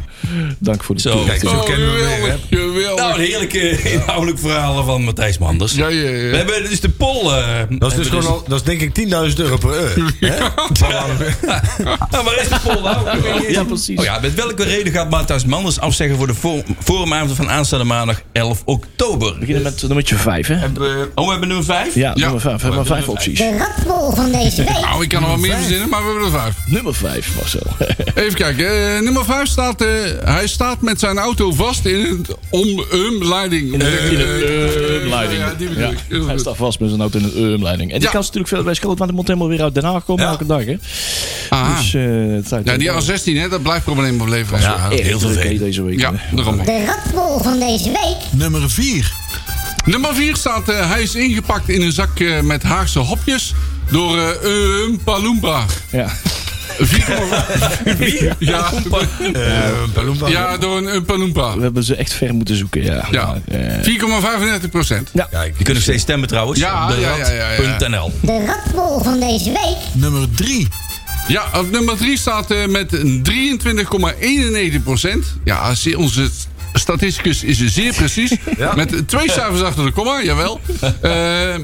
Speaker 2: Dank voor de
Speaker 4: Zo,
Speaker 2: toelichting.
Speaker 6: oh,
Speaker 4: kijk, zo kennen we hem weer,
Speaker 6: Geweldig, geweldig.
Speaker 4: Nou, een heerlijke inhoudelijk verhalen van Matthijs Manders.
Speaker 6: Ja, ja, ja.
Speaker 4: We hebben dus de poll. eh, hebben
Speaker 7: Dat is dus gewoon al, dat is denk ik 10.000 euro per uur. hè?
Speaker 4: Nou, waar is de poll nou?
Speaker 2: Ja, precies.
Speaker 4: Oh ja, met welke reden gaat Matthijs Manders afzeggen voor de for- forumavond van aanstaande maandag 11 oktober?
Speaker 2: We beginnen met nummertje 5, hè?
Speaker 4: Hebben we- Oh, we hebben nummer 5?
Speaker 2: Ja, nummer 5. We hebben maar vijf opties.
Speaker 9: De ratbol van deze week.
Speaker 6: Nou, ik kan er wel meer verzinnen, maar we hebben er vijf.
Speaker 2: Nummer 5, Marcel.
Speaker 6: Even kijken. eh, nummer 5 staat. eh, hij staat met zijn auto vast in het om-um-leiding.
Speaker 2: In een- in een Eh, umleiding.
Speaker 6: Ja, die bedoel ik. Heel
Speaker 2: Hij
Speaker 6: goed.
Speaker 2: staat vast met zijn auto in een umleiding. En die
Speaker 6: Ja.
Speaker 2: kans is natuurlijk veel bij groot, want die moet helemaal weer uit Den Haag komen
Speaker 4: Ja.
Speaker 2: elke dag, hè?
Speaker 6: Aha.
Speaker 2: Dus, eh, het zou-
Speaker 6: Ah. Ja, die A16, hè, dat blijft probleem opleveren.
Speaker 4: Ja,
Speaker 6: Ja,
Speaker 2: Echt
Speaker 4: heel
Speaker 2: druk, hè,
Speaker 4: vervelend.
Speaker 2: deze week.
Speaker 6: ja
Speaker 2: hè.
Speaker 6: daarom.
Speaker 9: De ratbol van deze week.
Speaker 5: Nummer 4.
Speaker 6: Nummer 4 staat. eh, hij is ingepakt in een zak eh, met Haagse hopjes. Door eh Oompa Loompa.
Speaker 2: Ja.
Speaker 6: 4,5. Ja, ja, door een Oompa Loompa.
Speaker 2: We hebben ze echt ver moeten zoeken, ja.
Speaker 6: Ja,
Speaker 2: Eh,
Speaker 6: 4,35 procent.
Speaker 4: Je kunt nog steeds stemmen trouwens.
Speaker 6: Ja,
Speaker 4: op de
Speaker 6: ja, ja, ja, ja.
Speaker 4: rad.nl.
Speaker 9: De ratbol van deze week.
Speaker 5: Nummer 3.
Speaker 6: Ja, op nummer 3 staat eh, met een 23,91 procent. Ja, ze- onze statisticus is zeer precies. Met twee cijfers achter de komma, jawel. Eh,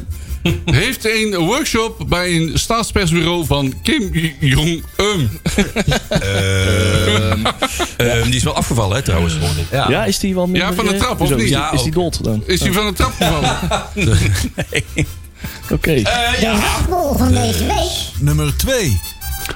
Speaker 6: heeft een workshop bij een staatspersbureau van Kim Jong-un.
Speaker 4: Ehm, die is wel afgevallen, hè, trouwens. hoorde ik.
Speaker 2: ja. is die wel meer...
Speaker 6: Ja, van de
Speaker 2: eh,
Speaker 6: trap, of
Speaker 2: zo, is
Speaker 6: niet?
Speaker 2: die-
Speaker 4: Ja,
Speaker 2: Is die dood dan?
Speaker 6: Is hij van de trap gevallen?
Speaker 2: Oké.
Speaker 4: Eh,
Speaker 9: De
Speaker 4: ja.
Speaker 9: ratbol van deze week.
Speaker 5: Nummer 2.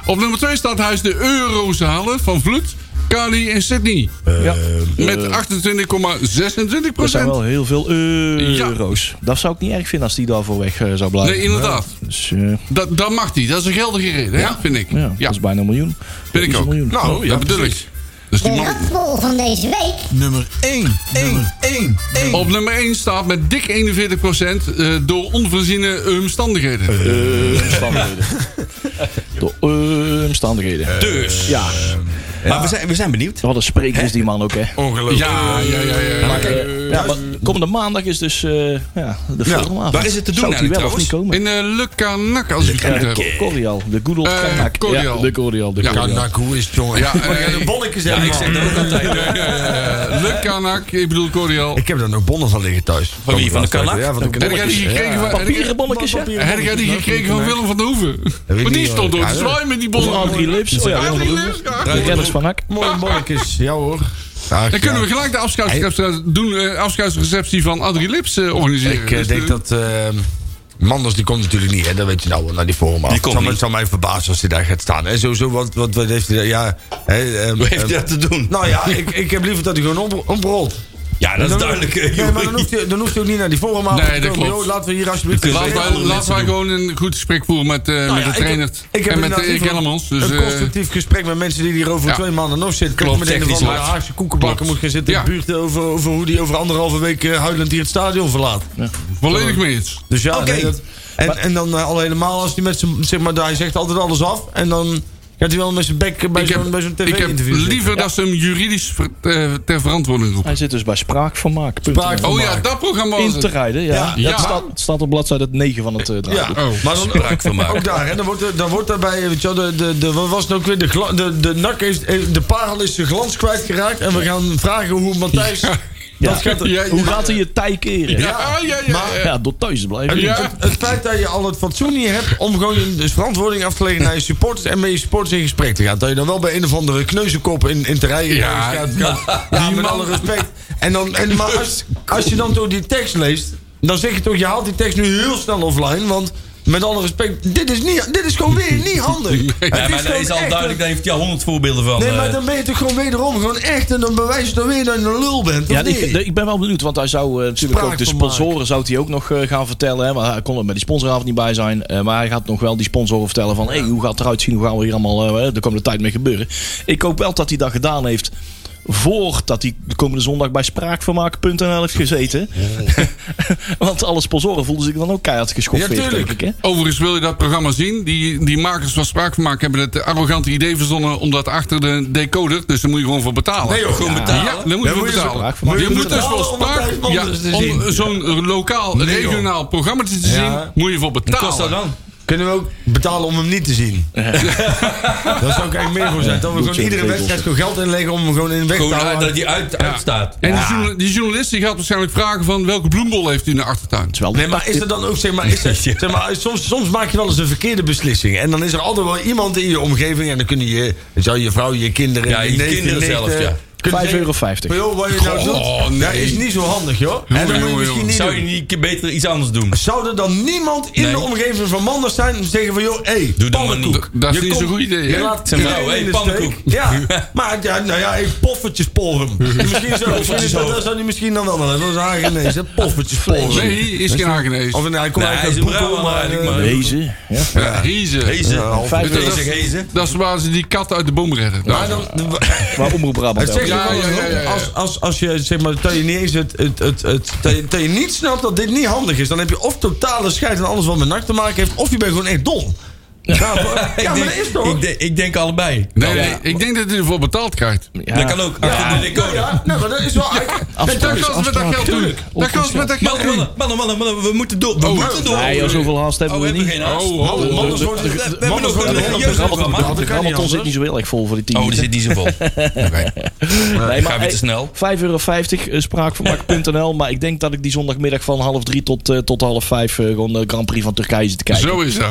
Speaker 6: Op nummer 2 staat huis de eurozalen van Vloed, Kali en Sydney. Eh,
Speaker 2: ja.
Speaker 6: Met 28,26
Speaker 2: Dat zijn
Speaker 6: procent.
Speaker 2: wel heel veel euro's. Dat zou ik niet erg vinden als die daarvoor weg eh, zou blijven.
Speaker 6: Nee, inderdaad.
Speaker 2: Dus eh,
Speaker 6: Dat, dat mag die. Dat is een geldige reden, hè, vind ik.
Speaker 2: ja, dat is bijna een miljoen. Dat
Speaker 6: Vind
Speaker 2: is
Speaker 6: ik
Speaker 2: een
Speaker 6: ook.
Speaker 2: miljoen.
Speaker 6: Nou, dat bedoel ik. Dus die
Speaker 9: De
Speaker 6: man-
Speaker 9: ratbol van deze week.
Speaker 5: Nummer 1. 1. 1. 1.
Speaker 6: op nummer 1 staat met dik 41 eh, door onvoorziene omstandigheden.
Speaker 2: Eh, omstandigheden. De eh, omstandigheden.
Speaker 4: Dus.
Speaker 2: Ja,
Speaker 4: Maar we zijn, we zijn benieuwd.
Speaker 2: wat een spreker is die man ook, hè.
Speaker 6: Ongelooflijk. Ja, ja, ja. ja, ja.
Speaker 2: Ja, maar komende maandag is dus eh, ja, de volgende avond.
Speaker 4: waar is het te doen
Speaker 2: Zou die wel
Speaker 4: eigenlijk
Speaker 2: of niet komen?
Speaker 6: In eh Lukanak, als ik het goed heb.
Speaker 2: Eh, Corial, de good old
Speaker 6: Eh,
Speaker 2: Kanak.
Speaker 6: Corial.
Speaker 2: Ja, de Corial, de
Speaker 6: Ja,
Speaker 2: Corial.
Speaker 6: Kanak.
Speaker 7: Hoe is het, jongen?
Speaker 6: Ja, eh,
Speaker 7: de bonnetjes
Speaker 4: Ja, ik zeg dat ook altijd.
Speaker 6: ja, ja, ja. Lukanak, ik bedoel Corial.
Speaker 7: Ik heb daar nog bonnen van liggen thuis.
Speaker 4: Van wie? Van de kanak?
Speaker 7: Ja, van de
Speaker 6: Heb jij die gekregen van... heb jij-
Speaker 2: Papieren bonnetjes, ja.
Speaker 6: Heb jij die gekregen van Willem van der Hoeven?
Speaker 7: ik
Speaker 6: Maar die
Speaker 7: niet,
Speaker 6: stond
Speaker 7: hoor.
Speaker 6: door te
Speaker 7: Ja,
Speaker 6: zwaaien met die
Speaker 2: Van Adrie
Speaker 6: bollen.
Speaker 2: Lips. Oh ja,
Speaker 6: Adrie Lips, ja,
Speaker 2: de
Speaker 6: Adrie
Speaker 2: renners van Hak.
Speaker 7: Mooie bonnetjes. Ja hoor. Ach,
Speaker 6: Dan kunnen we
Speaker 7: ja.
Speaker 6: gelijk de afscheidsreceptie doen, eh, afscheidsreceptie van Adrie Lips eh, organiseren.
Speaker 7: Ik eh,
Speaker 6: Dus,
Speaker 7: denk
Speaker 6: eh,
Speaker 7: dat... eh, Manders die komt natuurlijk niet, hè? dat weet je nou wel, naar die forum. Het
Speaker 4: komt
Speaker 7: zal, me-
Speaker 4: niet.
Speaker 7: zal mij verbazen als hij daar gaat staan. En sowieso, want wat, wat heeft hij daar... Ja, hè, ehm,
Speaker 4: Hoe heeft hij
Speaker 7: ehm,
Speaker 4: dat te doen?
Speaker 7: Nou ja, ik, ik heb liever dat hij gewoon op- oprolt.
Speaker 4: ja, dat is duidelijk.
Speaker 7: Nee,
Speaker 4: eh,
Speaker 7: maar dan
Speaker 4: Joeri.
Speaker 7: hoeft, hij, dan hoeft hij ook niet naar die forum aan
Speaker 6: Nee,
Speaker 7: te
Speaker 6: dat
Speaker 7: komen.
Speaker 6: klopt.
Speaker 7: Joh, laten we hier alsjeblieft...
Speaker 4: Dus Je kunt wel
Speaker 6: Laten wij,
Speaker 4: andere
Speaker 6: laten
Speaker 4: mensen
Speaker 6: wij gewoon een goed gesprek voeren met, eh,
Speaker 4: Nou
Speaker 6: met de trainer. en met
Speaker 7: inderdaad
Speaker 6: eh, Erik
Speaker 7: liever
Speaker 6: Hellemans. Dus,
Speaker 7: een
Speaker 6: eh,
Speaker 7: constructief gesprek met mensen die hier over
Speaker 6: ja.
Speaker 7: twee maanden nog zitten. Kijk,
Speaker 4: Klopt,
Speaker 7: met een of
Speaker 4: technisch
Speaker 7: andere
Speaker 4: hard.
Speaker 7: Haagse koekenbakken
Speaker 6: Klopt.
Speaker 7: moet gaan zitten in de
Speaker 6: Ja.
Speaker 7: buurt over, over hoe die over anderhalve week eh, huilend hier het stadion verlaat.
Speaker 6: volledig mee eens.
Speaker 7: Dus ja,
Speaker 4: Oké.
Speaker 7: nee, dat- en, en dan eh, al helemaal als hij met zijn, zeg maar, hij zegt altijd alles af en dan gaat hij wel met zijn bek eh, bij
Speaker 6: Ik heb,
Speaker 7: zo'n bij zo'n
Speaker 6: ik heb
Speaker 7: tv-interview zitten.
Speaker 6: liever dat ze hem juridisch ver- eh, ter verantwoording roepen.
Speaker 2: Hij zit dus bij Spraakvermaak.
Speaker 7: Spraakvermaak.
Speaker 6: Oh ja, dat programma was
Speaker 2: In te
Speaker 6: het.
Speaker 2: rijden, ja.
Speaker 7: Ja.
Speaker 2: ja.
Speaker 6: Ja.
Speaker 2: Het, staat, het staat op bladzijde 9 van het eh,
Speaker 7: Ja,
Speaker 2: draaiboek.
Speaker 6: Oh.
Speaker 7: maar dan
Speaker 4: Spraak van maken.
Speaker 7: ook daar, hè, dan wordt, er- dan wordt daarbij, weet je wel, de, de, de, wat was het ook weer, de, gla- de, de nak heeft, heeft- de parel is zijn glans kwijtgeraakt en we gaan vragen hoe Matthijs...
Speaker 2: Ja.
Speaker 7: Dat gaat er-
Speaker 6: Ja,
Speaker 2: Hoe gaat hij je tij keren? Ja,
Speaker 6: Ja, ah, ja, ja. ja, ja.
Speaker 2: door thuis te blijven.
Speaker 6: Ja.
Speaker 7: Het, het feit dat je al het fatsoen niet hebt om gewoon je dus verantwoording af te leggen naar je supporters en met je supporters in gesprek te gaan. Dat je dan wel bij een of andere kneuzenkop in, in te rijden
Speaker 6: Ja,
Speaker 7: gaat. gaat- ja, met alle respect. En dan, en, maar als, als je dan door die tekst leest, dan zeg je toch, je haalt die tekst nu heel snel offline, want... Met alle respect, dit is, niet, dit is gewoon weer niet handig. Het
Speaker 4: Ja, maar dat
Speaker 7: gewoon
Speaker 4: is al
Speaker 7: echt
Speaker 4: duidelijk. Daar heeft hij al honderd voorbeelden van.
Speaker 7: Nee, maar
Speaker 4: eh.
Speaker 7: dan ben je toch gewoon wederom gewoon echt en dan bewijs je dan weer dat je een lul bent.
Speaker 2: Ja,
Speaker 7: Ja, niet?
Speaker 2: ik, ik ben wel benieuwd, want hij zou eh, natuurlijk ook de
Speaker 7: Spraakvermaak.
Speaker 2: sponsoren zou hij ook nog eh, gaan vertellen. Hè, maar hij kon er bij die sponsoravond niet bij zijn. eh, maar hij gaat nog wel die sponsoren vertellen van... Hey, hoe gaat het eruit zien? Hoe gaan we hier allemaal eh, de komende tijd mee gebeuren? Ik hoop wel dat hij dat gedaan heeft... Voordat hij de komende zondag bij spraakvermaken.nl heeft gezeten. Want alle sponsoren voelden zich dan ook keihard geschoffeerd, denk ik. Hè?
Speaker 6: Overigens wil je dat programma zien. Die, die makers van Spraakvermaak hebben het arrogante idee verzonnen... om dat achter de decoder... dus daar moet je gewoon voor betalen.
Speaker 4: Nee joh, gewoon betalen.
Speaker 6: Ja, daar moet je
Speaker 4: Dan moet
Speaker 6: voor
Speaker 4: je
Speaker 6: betalen.
Speaker 4: zo- moet
Speaker 6: je
Speaker 4: je
Speaker 6: moet dus
Speaker 4: betalen
Speaker 6: voor
Speaker 4: om dat
Speaker 6: Spraak...
Speaker 4: ergens
Speaker 6: Ja,
Speaker 4: anders te
Speaker 6: om
Speaker 4: zien.
Speaker 6: zo'n lokaal,
Speaker 7: Nee, joh.
Speaker 6: regionaal programma te zien...
Speaker 7: Ja.
Speaker 6: moet je voor betalen.
Speaker 4: kost dat dan?
Speaker 7: Kunnen we ook betalen om hem niet te zien? Daar zou ik eigenlijk meer voor zijn. Dat we
Speaker 2: Doeltje
Speaker 7: gewoon iedere
Speaker 2: regels.
Speaker 7: wedstrijd gewoon geld inleggen om hem gewoon in de weg te
Speaker 4: Gewoon uit-
Speaker 7: houden.
Speaker 4: nou, dat hij uit, uitstaat.
Speaker 6: En die, journal- die journalist die gaat waarschijnlijk vragen van... welke bloembol heeft u in de achtertuin?
Speaker 2: Wel,
Speaker 7: Nee, maar is er dan ook, zeg maar, is er, zeg maar soms, soms maak je wel eens een verkeerde beslissing. En dan is er altijd wel iemand in je omgeving. En dan kunnen je, weet je, wel, je vrouw, je kinderen.
Speaker 4: Ja, je
Speaker 7: neef,
Speaker 4: kinderen
Speaker 7: nicht,
Speaker 4: zelf,
Speaker 7: eh,
Speaker 4: ja.
Speaker 7: kunnen
Speaker 2: 5,50
Speaker 7: zeggen,
Speaker 2: euro.
Speaker 7: "Maar joh, wat je nou doet,
Speaker 6: Goh, nee.
Speaker 7: dat is niet zo handig, joh. En
Speaker 6: Jongen,
Speaker 7: dan moet je misschien
Speaker 6: jongen,
Speaker 7: niet
Speaker 4: Zou
Speaker 7: doen.
Speaker 4: je niet een keer beter iets anders doen?
Speaker 7: Zou er dan niemand in
Speaker 4: Nee.
Speaker 7: de omgeving van Manders zijn en zeggen van joh, hé, hey,
Speaker 4: Doe dat maar
Speaker 7: pannenkoek.
Speaker 4: niet.
Speaker 6: Dat is
Speaker 7: Je
Speaker 6: niet zo'n
Speaker 7: komt-
Speaker 6: goed idee,
Speaker 7: Je
Speaker 6: hè?
Speaker 7: laat
Speaker 4: Zijn vrouw,
Speaker 7: iedereen
Speaker 4: hé,
Speaker 7: in de
Speaker 4: pannenkoek.
Speaker 7: steek. Ja, maar ja, nou ja, ik poffertjesporum. misschien zou, misschien is dat, dat zou die misschien dan wel wel. Dat is aangenees, hè? Poffertjesporum.
Speaker 6: Nee, is geen aangenees.
Speaker 7: Of nou, hij komt
Speaker 4: Nee, hij is
Speaker 7: eigenlijk
Speaker 4: een
Speaker 7: uit Boekel, maar...
Speaker 4: Brabant eigenlijk,
Speaker 7: eh,
Speaker 4: maar-
Speaker 2: Deze. Ja.
Speaker 6: Ja, Riezen.
Speaker 4: Hezen.
Speaker 7: Ja, half-
Speaker 2: Vijf
Speaker 6: Dat
Speaker 2: euro.
Speaker 6: is-
Speaker 4: Bezig hezen.
Speaker 6: Dat is waar ze die kat uit de boom redden.
Speaker 7: Maar dan,
Speaker 2: Maar Omroep Brabant
Speaker 7: het zegt
Speaker 2: ook.
Speaker 6: Ja,
Speaker 7: ook wel eens
Speaker 6: ja, ja, ja.
Speaker 7: Als, als, als je zeg maar, dat je niet eens het, het, het, het- dat, je, dat je niet snapt dat dit niet handig is, dan heb je of totale scheid aan alles wat met nak te maken heeft, of je bent gewoon echt dom. Ja, maar, ja,
Speaker 4: Ik
Speaker 7: maar
Speaker 4: denk-
Speaker 7: dat is toch?
Speaker 4: Ik, denk- ik denk allebei.
Speaker 6: Nee, nee, ik denk dat hij ervoor betaald krijgt.
Speaker 2: Ja.
Speaker 4: Dat kan ook. Achter de
Speaker 7: Nou
Speaker 4: decoder.
Speaker 7: ja, nou, maar dat is wel. eigenlijk-
Speaker 6: Dat
Speaker 2: Afspraak
Speaker 6: kan
Speaker 2: is
Speaker 6: ze met dat
Speaker 2: afspraak,
Speaker 6: geld doen.
Speaker 2: tuurlijk.
Speaker 6: Dat kan ze met dat geld
Speaker 4: Mannen,
Speaker 6: doen.
Speaker 4: mannen, mannen, mannen, mannen, we moeten door. We
Speaker 6: Oh,
Speaker 4: moeten door.
Speaker 2: Nee, joh, zoveel haast hebben
Speaker 4: Oh,
Speaker 2: we niet.
Speaker 4: geen haast.
Speaker 6: Oh, oh,
Speaker 4: We- we-
Speaker 7: mannen
Speaker 4: we-
Speaker 7: worden-
Speaker 4: we- We hebben
Speaker 7: mannen
Speaker 4: nog een
Speaker 7: worden-
Speaker 4: eh,
Speaker 7: mannen worden-
Speaker 4: jeugdprogramma.
Speaker 2: De
Speaker 7: Dat kan niet
Speaker 2: Grabbelton zit
Speaker 7: anders.
Speaker 2: niet zo heel erg vol voor die team.
Speaker 4: Oh, die zit niet zo vol. Oké.
Speaker 2: Nee,
Speaker 4: Ga weer te
Speaker 2: eh,
Speaker 4: snel.
Speaker 2: 5,50 euro, eh, spraakvermaak.nl. Maar ik denk dat ik die zondagmiddag van half drie tot, eh, tot half vijf eh, gewoon de Grand Prix van Turkije zit te kijken.
Speaker 6: Zo is dat.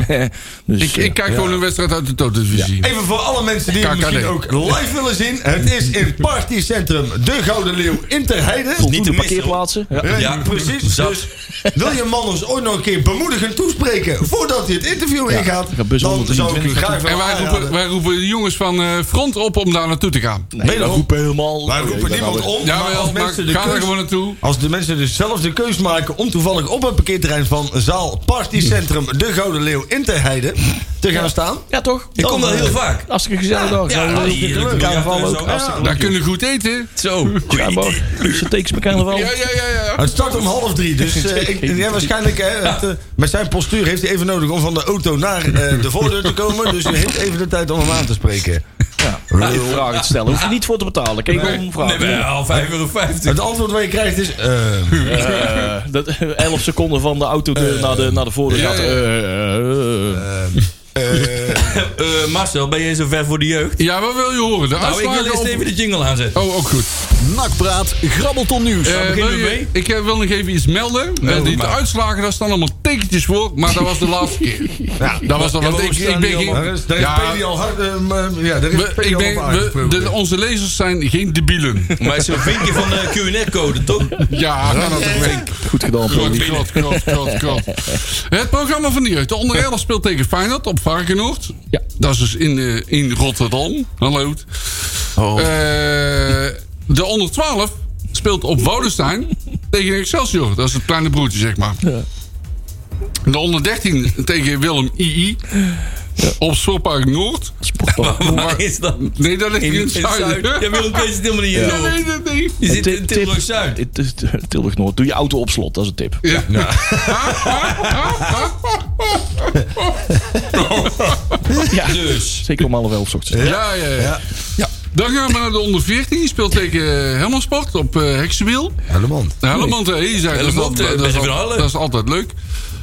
Speaker 2: Dus,
Speaker 6: Ik,
Speaker 2: eh,
Speaker 6: ik kijk gewoon een wedstrijd uit de Tototvisie.
Speaker 7: Even voor alle mensen die het
Speaker 6: KKD.
Speaker 7: misschien ook live willen zien. Het is in Partycentrum De Gouden Leeuw in Terheide.
Speaker 2: voldoende
Speaker 4: te missen,
Speaker 2: parkeerplaatsen. Ja.
Speaker 7: Ja,
Speaker 4: Ja,
Speaker 7: precies.
Speaker 4: zat.
Speaker 7: Dus wil je Manders ooit nog een keer bemoedigend toespreken voordat hij het interview ingaat,
Speaker 2: ik heb bus
Speaker 7: dan
Speaker 2: 123
Speaker 7: zou ik u graag
Speaker 6: En
Speaker 7: willen
Speaker 6: wij roepen,
Speaker 7: aanraden.
Speaker 6: wij roepen de jongens van eh, Front op om daar naartoe te gaan.
Speaker 2: Nee, we roepen helemaal...
Speaker 7: Wij
Speaker 2: Ik ben
Speaker 7: roepen niemand
Speaker 2: nou weer-
Speaker 7: om, maar
Speaker 6: Jawel,
Speaker 7: als
Speaker 6: maar
Speaker 7: mensen de
Speaker 6: ga er
Speaker 7: keus...
Speaker 6: gewoon naartoe.
Speaker 7: Als de mensen dus zelf de keus maken om toevallig op het parkeerterrein van zaal Partycentrum De Gouden Leeuw in Terheide te gaan staan.
Speaker 2: Ja, toch? eh,
Speaker 4: Ik kom daar heel vaak.
Speaker 2: Hartstikke gezellig dag.
Speaker 4: Ja,
Speaker 2: Ja,
Speaker 4: heerlijk.
Speaker 2: leuk. Carnaval
Speaker 4: Ja,
Speaker 2: ook.
Speaker 4: zo.
Speaker 2: Hartstikke
Speaker 6: Daar
Speaker 2: leuk.
Speaker 6: kunnen we goed eten.
Speaker 4: Zo.
Speaker 2: Ja, maar Luxe takes bij carnaval.
Speaker 6: Ja, ja, ja, ja.
Speaker 7: Het start om half drie, dus eh, ik, ja, waarschijnlijk hè, het, eh, met zijn postuur heeft hij even nodig om van de auto naar eh, de voordeur te komen. Dus hij heeft even de tijd om hem aan te spreken.
Speaker 2: Ja, even vragen te stellen. Hoef je niet voor te betalen. Kijk gewoon om
Speaker 4: Nee,
Speaker 2: vragen.
Speaker 4: wel, 5,50 euro.
Speaker 7: Het antwoord wat je krijgt is... eh,
Speaker 2: Eh, dat, 11 seconden van de autodeur naar de, naar de voordeur.
Speaker 6: ja,
Speaker 2: gaat,
Speaker 6: ja.
Speaker 2: eh, eh, eh.
Speaker 4: Eh, Marcel, ben je zo ver voor de jeugd?
Speaker 6: Ja, wat wil je horen? De
Speaker 4: Nou, ik wil
Speaker 6: uitslagen
Speaker 4: eerst even
Speaker 6: op...
Speaker 4: de jingle aanzetten.
Speaker 6: Oh, ook goed.
Speaker 3: Nakpraat, grabbelton nieuws.
Speaker 6: Eh,
Speaker 4: beginnen
Speaker 6: wil
Speaker 4: we
Speaker 6: je-
Speaker 4: mee?
Speaker 6: ik eh, wil nog even iets melden. Eh, die, de
Speaker 4: maar.
Speaker 6: uitslagen, daar staan allemaal tekentjes voor. Maar dat was de laatste keer. Ja, dat was dan,
Speaker 4: Ja,
Speaker 6: want
Speaker 4: maar
Speaker 6: ik,
Speaker 4: hoe staan
Speaker 6: ik
Speaker 4: die
Speaker 6: ben geen-
Speaker 7: daar is, daar is
Speaker 6: Ja,
Speaker 7: Peli al hard... eh, m- ja, daar is
Speaker 6: we-
Speaker 7: Peli
Speaker 6: ik
Speaker 7: al op
Speaker 6: ben, we,
Speaker 7: aangesproken.
Speaker 6: de, onze lezers zijn geen debielen.
Speaker 4: Maar is zo'n vinkje van de QR-code, toch?
Speaker 6: Ja, kan dat ook mee.
Speaker 2: Goed gedaan,
Speaker 6: Klot,
Speaker 2: Poli.
Speaker 6: klot, klot, klot, klot. Het programma van de jeugd. De onder 11 speelt tegen Feyenoord op Varkenoord.
Speaker 2: Ja.
Speaker 6: Dat is dus in, eh, in Rotterdam. Hallo. Eh, de onder 12 speelt op Woudenstein tegen Excelsior. Dat is het kleine broertje, zeg maar. De onder 13 tegen Willem II. Op Sportpark Noord.
Speaker 4: Waar is dat?
Speaker 6: Nee, dat ligt in, het
Speaker 4: in het
Speaker 6: zuiden.
Speaker 4: zuiden. Ja, Willem II zit helemaal niet in
Speaker 6: Ja,
Speaker 4: Noord.
Speaker 6: nee, nee, nee.
Speaker 4: Je zit
Speaker 2: Ti-
Speaker 4: in Tilburg-Zuid.
Speaker 2: tip- het is- Tilburg Noord. Doe je auto op slot, dat is een tip.
Speaker 6: Ja.
Speaker 4: Dus.
Speaker 2: Zeker om half elf 's ochtends.
Speaker 6: Ja, ja, ja. Dan gaan we naar de onder 14. Die speelt tegen eh, Helmersport op eh Heksenwiel.
Speaker 7: Hellemond.
Speaker 6: Nou, Hellemond, eh, hier zijn dat, is
Speaker 4: Hellemond,
Speaker 6: al-
Speaker 4: eh,
Speaker 6: dat, is
Speaker 4: beste
Speaker 6: al-
Speaker 4: verhalen.
Speaker 6: dat is altijd leuk.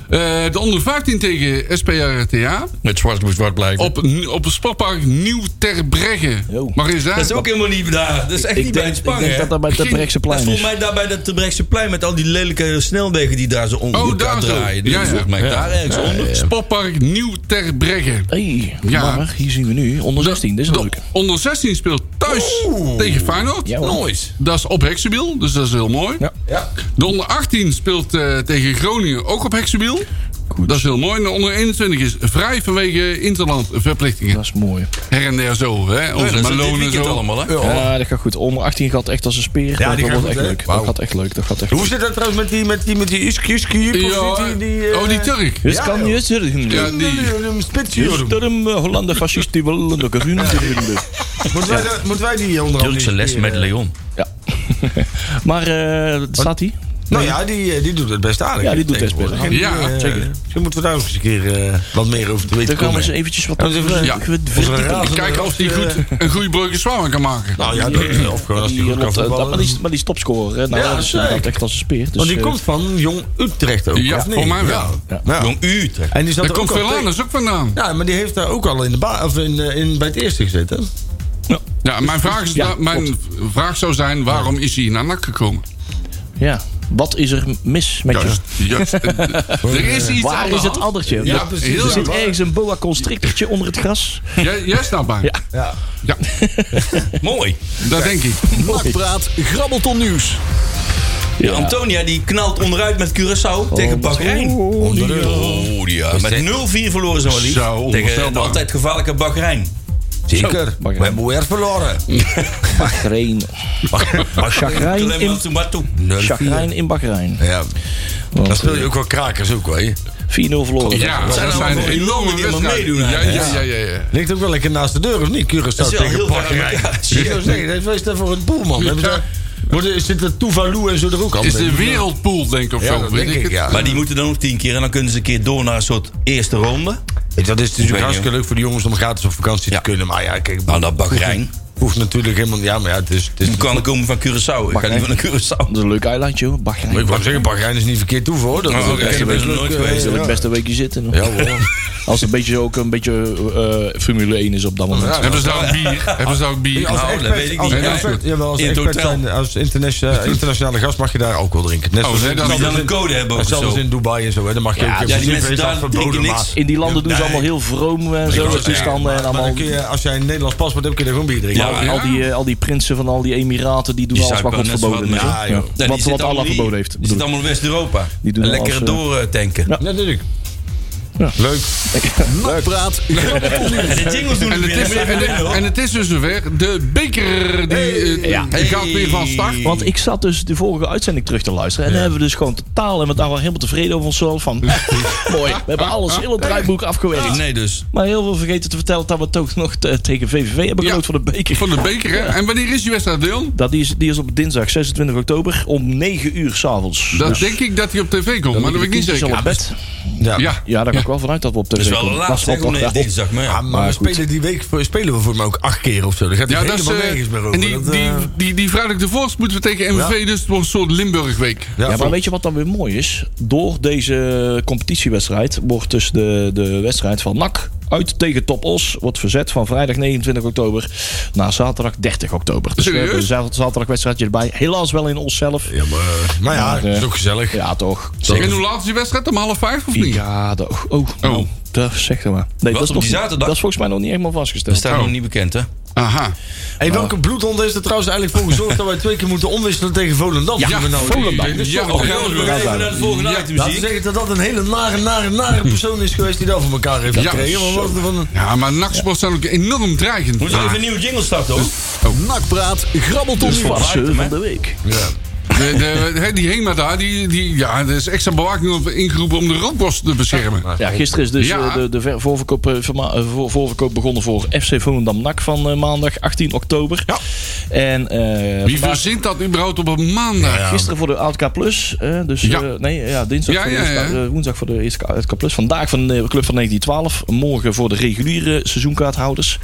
Speaker 6: Eh, de onder 15 tegen SPRTA.
Speaker 4: Met zwart moet zwart blijven.
Speaker 6: Op, een- op het sportpark Nieuw Terbregge.
Speaker 2: Yo.
Speaker 6: Mag eens daar?
Speaker 4: Dat is ook helemaal niet daar. Dat is echt niet
Speaker 2: Ik
Speaker 4: bij het
Speaker 2: denk, ik
Speaker 4: Spang,
Speaker 2: denk dat
Speaker 4: hè?
Speaker 2: dat bij het
Speaker 6: Geen-
Speaker 4: Dat is
Speaker 2: Brechtseplein
Speaker 4: volgens
Speaker 2: is.
Speaker 4: mij daar bij dat Brechtseplein met al die lelijke snelwegen die daar zo onder
Speaker 6: Oh,
Speaker 4: elkaar
Speaker 6: daar zo.
Speaker 4: draaien. Dus
Speaker 6: Ja, ja.
Speaker 4: volgens mij
Speaker 6: Ja.
Speaker 4: daar ergens onder.
Speaker 6: Sportpark Nieuw Terbregge.
Speaker 2: hey,
Speaker 6: Ja.
Speaker 2: maar hier zien we nu onder 16. Dit is
Speaker 6: De
Speaker 2: leuk.
Speaker 6: onder 16 speelt thuis tegen Feyenoord.
Speaker 2: Ja, hoor.
Speaker 6: Nice. Dat is op Heksenwiel, dus dat is heel mooi.
Speaker 2: Ja.
Speaker 6: De onder 18 speelt eh, tegen Groningen ook op Heksenwiel. Dat is heel mooi. En onder 21 is vrij vanwege interlandverplichtingen. Dat
Speaker 2: is mooi.
Speaker 6: Her en der zo, hè? Onze
Speaker 2: dat is dit
Speaker 6: Malone en
Speaker 2: weekend
Speaker 6: zo.
Speaker 2: allemaal, hè? Ja, dat gaat goed. Onder 18 gaat echt als een speer.
Speaker 7: Ja,
Speaker 2: dat
Speaker 7: die gaat
Speaker 2: wordt
Speaker 7: goed,
Speaker 2: echt
Speaker 7: hè?
Speaker 2: leuk.
Speaker 7: Wauw.
Speaker 2: Dat gaat echt leuk. Dat gaat echt
Speaker 7: Hoe
Speaker 2: leuk.
Speaker 7: zit dat trouwens met die, met die, met die Iski, Iski, die, die, eh,
Speaker 6: Oh, die Turk.
Speaker 2: Dus
Speaker 7: Ja,
Speaker 2: kan
Speaker 7: joh.
Speaker 2: je zeggen.
Speaker 7: Ja, die.
Speaker 2: Dus
Speaker 7: Spitsuur.
Speaker 2: daarom eh, Hollanden fascist die wel een lekker doen.
Speaker 7: Moeten wij,
Speaker 2: Ja.
Speaker 7: dat- moeten wij die onder andere...
Speaker 4: Turkse les
Speaker 7: die,
Speaker 4: met
Speaker 7: eh,
Speaker 4: Leon.
Speaker 2: Maar eh, staat hij?
Speaker 7: Nou ja, die, eh, die doet het best aardig.
Speaker 2: Ja, die
Speaker 7: hè,
Speaker 2: doet best
Speaker 7: tegenwoordig.
Speaker 2: best
Speaker 7: En die,
Speaker 2: aardig. Ja,
Speaker 7: eh,
Speaker 2: zeker.
Speaker 7: Misschien moeten we daar ook eens een keer eh, wat meer over te weten
Speaker 2: Dan gaan we
Speaker 7: komen.
Speaker 2: eens eventjes wat...
Speaker 7: Ja, dat is- ja.
Speaker 6: Ik kijk of die goed, een goede breuken zwaar kan maken.
Speaker 7: Nou ja, dat- of gewoon als die
Speaker 2: Die
Speaker 7: goed kan
Speaker 2: loopt, eh, dat- Maar
Speaker 7: voetballen.
Speaker 2: die is- maar die is topscorer. hè. Nou,
Speaker 7: Ja,
Speaker 2: dat is
Speaker 7: zeker.
Speaker 2: inderdaad echt als een speer. Dus,
Speaker 7: Want die
Speaker 2: eh,
Speaker 7: komt van Jong Utrecht ook.
Speaker 6: Ja,
Speaker 7: of niet?
Speaker 6: voor mij wel.
Speaker 2: ja.
Speaker 7: Ja.
Speaker 4: Jong Utrecht.
Speaker 7: En die zat
Speaker 6: Daar
Speaker 7: er
Speaker 6: komt dus-
Speaker 7: ook al tegen.
Speaker 6: Velanus ook vandaan.
Speaker 7: Ja, maar die heeft daar ook al in de ba- of in, eh, in, bij het eerste gezeten.
Speaker 6: Ja, mijn vraag, is,
Speaker 2: Ja,
Speaker 6: mijn vraag zou zijn, waarom is hij naar NAC gekomen?
Speaker 2: Ja. Wat is er mis met je?
Speaker 7: dus-
Speaker 6: Juist, juist. Eh, Er is iets aan
Speaker 2: Waar
Speaker 6: de
Speaker 2: is het
Speaker 6: hand.
Speaker 2: addertje?
Speaker 6: Ja,
Speaker 7: dus
Speaker 2: Ja,
Speaker 6: precies.
Speaker 2: Er zit ergens een boa constrictortje onder het gras.
Speaker 6: Jij, jij snapt mij.
Speaker 2: Ja.
Speaker 7: Ja.
Speaker 6: nou, Ja,
Speaker 4: Mooi.
Speaker 6: dat denk ik.
Speaker 5: Nakpraat, grabbelton nieuws.
Speaker 4: Ja, Antonia die knalt onderuit met Curaçao tegen Bahrein. Oh, die, ja. Met 0-4 verloren zo maar lief.
Speaker 6: Zo,
Speaker 4: tegen de
Speaker 6: onvoorstelbaar.
Speaker 4: altijd gevaarlijke Bahrein.
Speaker 7: Zeker.
Speaker 2: Bagger.
Speaker 7: we hebben weer verloren.
Speaker 2: Bahrein. Chagrijn in, Nou, chagrijn in Bahrein.
Speaker 7: Ja. Dan
Speaker 2: Want,
Speaker 7: speel je ook wel krakers ook, hè?
Speaker 2: 4-0 verloren.
Speaker 6: Ja,
Speaker 4: Wat
Speaker 6: dat
Speaker 4: zijn
Speaker 6: zijn,
Speaker 4: nou allemaal
Speaker 6: enorme
Speaker 4: die allemaal
Speaker 6: wedstrijden.
Speaker 4: meedoen
Speaker 6: Ja, ja, ja, ja, ja.
Speaker 7: Ligt ook wel lekker naast de deur, of niet? Curaçao
Speaker 4: Dat is wel
Speaker 7: tegen
Speaker 4: heel
Speaker 7: Bahrein.
Speaker 4: raar. Ja,
Speaker 7: Serieus, nee, dat is daar voor het boel, man. Hebben ze daar- Worden, zit er Tuvalu en zo er ook al
Speaker 6: Is de
Speaker 7: mee?
Speaker 6: wereldpool, denk ik, of
Speaker 7: Ja,
Speaker 6: zo.
Speaker 7: dat
Speaker 6: weet
Speaker 7: denk ik,
Speaker 6: het.
Speaker 7: ja.
Speaker 4: Maar die moeten dan nog tien keer en dan kunnen ze een keer door naar een soort eerste ronde.
Speaker 7: Dat is
Speaker 4: weet
Speaker 7: natuurlijk hartstikke
Speaker 4: niet.
Speaker 7: leuk voor die jongens om gratis op vakantie te kunnen. Maar ja, kijk,
Speaker 4: Nou, dat Bahrein. Hmm.
Speaker 7: hoeft natuurlijk helemaal... Ja, maar ja, het is... Het is
Speaker 4: Die kan komen van Curaçao. Ik ga niet van een Curaçao.
Speaker 2: Dat is een leuk eilandje hoor,
Speaker 7: maar
Speaker 2: Bahrein.
Speaker 7: ik wou zeggen, Bahrein is niet verkeerd toe, hoor. Dat
Speaker 4: Oh,
Speaker 7: is ook
Speaker 4: oké,
Speaker 7: echt
Speaker 4: ik ben er nooit
Speaker 7: eh,
Speaker 4: geweest.
Speaker 2: Daar wil ik
Speaker 7: ja.
Speaker 2: best een weekje zitten. hoor.
Speaker 7: Ja, hoor.
Speaker 2: Als het een beetje ook een beetje eh, Formule 1 is op dat moment.
Speaker 7: Ja.
Speaker 6: Hebben ze daar ook bier? Hebben ze daar ook bier?
Speaker 4: Nou, dat weet ik
Speaker 7: Als,
Speaker 4: niet.
Speaker 6: Nee,
Speaker 7: expert-
Speaker 6: nee.
Speaker 7: jawel, als,
Speaker 4: In het
Speaker 7: expert
Speaker 4: hotel.
Speaker 7: zijn- als internationale, internationale gast mag je daar alcohol drinken. Net
Speaker 6: Oh,
Speaker 7: zoals
Speaker 6: nee,
Speaker 7: in-
Speaker 6: dat-
Speaker 4: Kan
Speaker 6: die
Speaker 4: dan een code hebben of
Speaker 7: zelfs
Speaker 4: zo.
Speaker 7: in Dubai en zo, hè, dan mag je
Speaker 2: Ja,
Speaker 7: ook...
Speaker 2: ja,
Speaker 4: die mensen
Speaker 7: is
Speaker 4: daar
Speaker 7: dat
Speaker 4: drinken
Speaker 7: verboden,
Speaker 4: niks.
Speaker 7: maar-
Speaker 2: In die landen doen ze allemaal heel vroom en zo.
Speaker 4: klopt,
Speaker 2: met toestanden en
Speaker 7: Maar
Speaker 2: allemaal.
Speaker 7: dan kun je, als jij in Nederlands paspoort hebt, kun je daar gewoon bier drinken.
Speaker 4: Ja,
Speaker 2: Al die, eh, al die prinsen van al die emiraten, die doen
Speaker 4: Die
Speaker 2: alles wat
Speaker 4: zuipen
Speaker 2: God
Speaker 4: net zo
Speaker 2: verboden
Speaker 4: wat
Speaker 2: is.
Speaker 4: mee.
Speaker 2: hè?
Speaker 7: Ja, joh.
Speaker 2: Ja.
Speaker 4: Nee,
Speaker 2: Wat,
Speaker 4: die
Speaker 2: wat
Speaker 4: zit allemaal
Speaker 2: Allah
Speaker 4: hier.
Speaker 2: verboden heeft.
Speaker 4: Die zit
Speaker 2: bedoel ik.
Speaker 4: allemaal in West-Europa.
Speaker 2: Die doen
Speaker 4: En
Speaker 2: alles,
Speaker 4: Lekker
Speaker 2: eh,
Speaker 4: doortanken.
Speaker 7: Ja, natuurlijk. Leuk.
Speaker 5: Nakpraat, grabbelton nieuws.
Speaker 4: En de jingles doen
Speaker 6: En het, is, en, het- en het is dus zover. De beker die, eh,
Speaker 2: Ja.
Speaker 6: die gaat weer van start.
Speaker 2: Want ik zat dus de vorige uitzending terug te luisteren. En daar hebben we dus gewoon totaal en we daar wel helemaal tevreden over onszelf. Van, mooi, we hebben alles, heel het draaiboek afgewerkt.
Speaker 4: Nee, dus.
Speaker 2: Maar heel veel vergeten te vertellen dat we toch nog te- tegen VVV hebben
Speaker 6: Ja.
Speaker 2: geloot van de beker.
Speaker 6: Van de beker, hè? En wanneer is die wedstrijd, Leon?
Speaker 2: Dat die, is, die is op dinsdag 26 oktober om 9 uur s'avonds. Dus
Speaker 6: Dat denk ik dat hij op tv komt, maar dat weet ik niet
Speaker 2: Al
Speaker 6: zeker.
Speaker 2: op bed.
Speaker 7: Ja.
Speaker 6: Ja,
Speaker 2: Ja, daar ga ik wel vanuit dat we op tv
Speaker 4: Dat is wel
Speaker 2: komen.
Speaker 4: laat
Speaker 2: wel
Speaker 4: zeg om
Speaker 2: toch-
Speaker 4: nee, dinsdag. Maar
Speaker 7: Ah,
Speaker 4: ja.
Speaker 7: maar we spelen die week voor- spelen we voor mij ook acht keer of zo. Daar gaat hij
Speaker 6: ja dat is.
Speaker 7: helemaal
Speaker 6: eh,
Speaker 7: nergens meer over.
Speaker 6: en die,
Speaker 7: Dat, eh,
Speaker 6: die, die, die vrijdag de Vorst moeten we tegen MVV, dus het wordt een soort Limburgweek.
Speaker 7: ja,
Speaker 2: Ja,
Speaker 7: voor-
Speaker 2: maar weet je wat dan weer mooi is? Door deze competitiewedstrijd wordt dus de, de wedstrijd van NAC uit tegen Top Os wordt verzet van vrijdag 29 oktober naar zaterdag 30 oktober. Dus we
Speaker 6: Serieus?
Speaker 2: hebben een za- zaterdagwedstrijdje erbij. Helaas wel in onszelf.
Speaker 7: ja, maar, maar ja,
Speaker 2: Maar, eh,
Speaker 7: is ook gezellig.
Speaker 2: Ja, toch.
Speaker 6: En hoe laat is die wedstrijd? Om half vijf of niet?
Speaker 2: Ja, dat, oh, oh,
Speaker 6: Oh.
Speaker 2: dat zegt hij maar. Nee,
Speaker 4: Wat,
Speaker 2: dat is,
Speaker 4: op
Speaker 2: nog,
Speaker 4: die zaterdag?
Speaker 2: dat is volgens mij nog niet helemaal
Speaker 4: Dat
Speaker 2: vastgesteld.
Speaker 4: staat nog niet bekend, hè?
Speaker 6: Aha.
Speaker 7: Hey, welke bloedhond is er trouwens eigenlijk voor gezorgd dat wij twee keer moeten omwisselen tegen Volendam?
Speaker 6: Ja,
Speaker 7: Die we nou
Speaker 6: Volendam.
Speaker 7: Dus
Speaker 6: Ja,
Speaker 7: toch-
Speaker 6: oké.
Speaker 4: Gaan we nog even naar de volgende
Speaker 6: Ja,
Speaker 4: item
Speaker 7: Laten we
Speaker 4: zien.
Speaker 7: zeggen dat dat een hele nare, nare, nare persoon is geweest die dat voor elkaar heeft
Speaker 6: Ja.
Speaker 7: gekregen. Maar wat er van een...
Speaker 6: Ja, maar nachtsports zijn ook enorm dreigend. Ah.
Speaker 4: Moeten we even een nieuwe jingle starten, hoor?
Speaker 5: Nakpraat, grabbelton
Speaker 2: Dus
Speaker 5: nieuws.
Speaker 2: farsen
Speaker 4: item, hè?
Speaker 2: van de week.
Speaker 6: De, de, hè, die Hema daar, die, die, ja, er is extra bewaking op ingeroepen om de rookbos te beschermen.
Speaker 2: Ja, gisteren is dus
Speaker 6: Ja.
Speaker 2: eh, de, de ver- voorverkoop, eh, verma- eh, voor- voorverkoop begonnen voor FC Volendam NAC van eh, maandag 18 oktober.
Speaker 6: Ja.
Speaker 2: En eh,
Speaker 6: Wie
Speaker 2: vandaag-
Speaker 6: verzint dat überhaupt op een maandag?
Speaker 2: Gisteren voor de ATK Plus. eh, dus
Speaker 6: Ja.
Speaker 2: eh, nee, ja, dinsdag
Speaker 6: Ja,
Speaker 2: voor de
Speaker 6: ja,
Speaker 2: eerste-
Speaker 6: ja.
Speaker 2: eh, woensdag voor de eerste ATK Plus. Vandaag van de Club van 1912. Morgen voor de reguliere seizoenkaarthouders.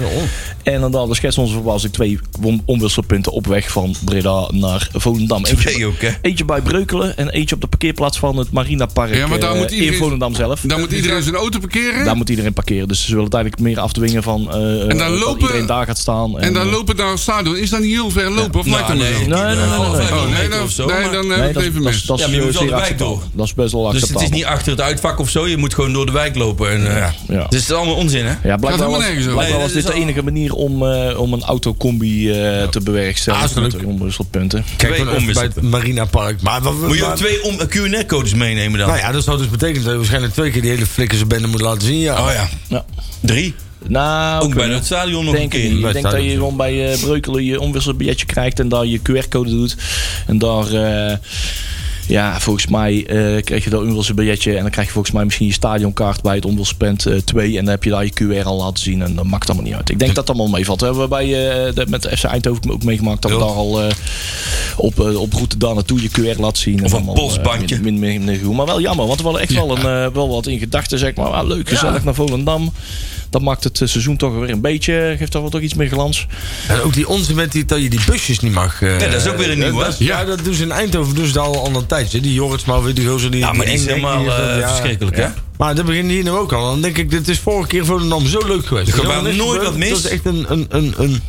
Speaker 2: En dan dan de schets onze verbazing twee won- omwisselpunten op weg van Breda naar Volendam.
Speaker 4: Twee ook, hè?
Speaker 2: eentje bij Breukelen en eentje op de parkeerplaats van het Marina Park
Speaker 6: Ja, maar daar
Speaker 2: eh,
Speaker 6: moet iedereen-
Speaker 2: in Volendam zelf.
Speaker 6: Dan moet iedereen zijn auto parkeren.
Speaker 2: Daar moet iedereen parkeren. Dus ze willen het eigenlijk meer afdwingen van eh,
Speaker 6: dan
Speaker 2: dat
Speaker 6: lopen-
Speaker 2: iedereen daar gaat staan. eh,
Speaker 6: en dan lopen naar het stadion. Is dat niet heel ver lopen? Of lijkt
Speaker 4: Nou,
Speaker 6: dat
Speaker 4: nee.
Speaker 6: wel?
Speaker 4: Nee,
Speaker 2: Nee, nee, nee, nee, nee.
Speaker 6: Oh, nee, dan,
Speaker 4: Of zo,
Speaker 6: nee,
Speaker 4: maar-
Speaker 6: dan heb
Speaker 2: Nee,
Speaker 6: ik het
Speaker 2: dat, is-
Speaker 6: even
Speaker 2: dat, is-
Speaker 6: mis.
Speaker 2: dat is
Speaker 4: Ja, maar je moet
Speaker 2: zeer
Speaker 4: wel de wijk
Speaker 2: acceptabel.
Speaker 4: door.
Speaker 2: Dat is best wel
Speaker 4: Dus het
Speaker 2: acceptabel.
Speaker 4: is niet achter het uitvak of zo. Je moet gewoon door de wijk lopen. En, eh,
Speaker 2: Ja.
Speaker 4: Dus het is allemaal onzin, hè?
Speaker 2: Ja, blijkbaar
Speaker 6: helemaal
Speaker 2: was,
Speaker 6: nergens over.
Speaker 2: blijkbaar
Speaker 4: Nee,
Speaker 2: was
Speaker 4: dit
Speaker 2: dit
Speaker 4: is
Speaker 2: de
Speaker 4: al-
Speaker 2: enige manier om, eh, om een autocombi eh, te bewerkstelligen.
Speaker 7: Ah, is
Speaker 2: met
Speaker 7: leuk.
Speaker 2: omwisselpunten.
Speaker 4: Twee
Speaker 7: Kijk, we even bij het,
Speaker 4: omwisselpunten.
Speaker 7: Marina Park. Maar, wat-
Speaker 4: Moet je ook
Speaker 7: maar-
Speaker 4: twee om- QNR-codes meenemen dan?
Speaker 7: Nou ja, dat zou dus betekenen dat je waarschijnlijk twee keer die hele flikkerse bende moet laten zien. Ja.
Speaker 4: Oh ja. Drie.
Speaker 2: Nou,
Speaker 4: Ook bij het stadion nog
Speaker 2: denk
Speaker 4: een keer.
Speaker 2: ik niet. Ik denk dat je gewoon bij eh, Breukelen je omwisselbilletje krijgt en daar je QR-code doet. En daar, eh, ja, volgens mij eh, krijg je dat omwisselbilletje en dan krijg je volgens mij misschien je stadionkaart bij het omwisselpunt eh, 2. En dan heb je daar je QR al laten zien en dat maakt allemaal niet uit. Ik denk dat dat allemaal meevalt. Dat hebben we bij, eh, de- met de FC Eindhoven ook meegemaakt dat we daar al eh, op, eh, op route daar naartoe je QR laten zien. Of een
Speaker 4: polsbandje.
Speaker 2: min, min, min- goed. maar wel jammer, want we hadden echt wel, een, eh, wel wat in gedachten. Zeg maar, ah, leuk, gezellig naar Volendam. Dat maakt het eh, seizoen toch weer een beetje, geeft toch wel toch iets meer glans.
Speaker 7: En ook die onze met die, dat je die busjes niet mag... eh,
Speaker 4: Nee, dat is ook weer een
Speaker 7: dat-
Speaker 4: nieuwe,
Speaker 7: dat-
Speaker 4: hè?
Speaker 7: Ja, dat doen ze in Eindhoven dus al al een tijdje. Die Jorits, maar weer die gozer die...
Speaker 4: Ja, maar die is
Speaker 7: eng- eng-
Speaker 4: helemaal,
Speaker 7: die-
Speaker 4: eh, verschrikkelijk, hè?
Speaker 7: Maar dat begint hier nu ook al. Dan denk ik, dit is vorige keer Volendam zo leuk geweest.
Speaker 4: Er gaat
Speaker 7: Helemaal niks
Speaker 4: nooit
Speaker 7: gebeurd.
Speaker 4: wat mis.
Speaker 7: Dat is echt een... een, een, een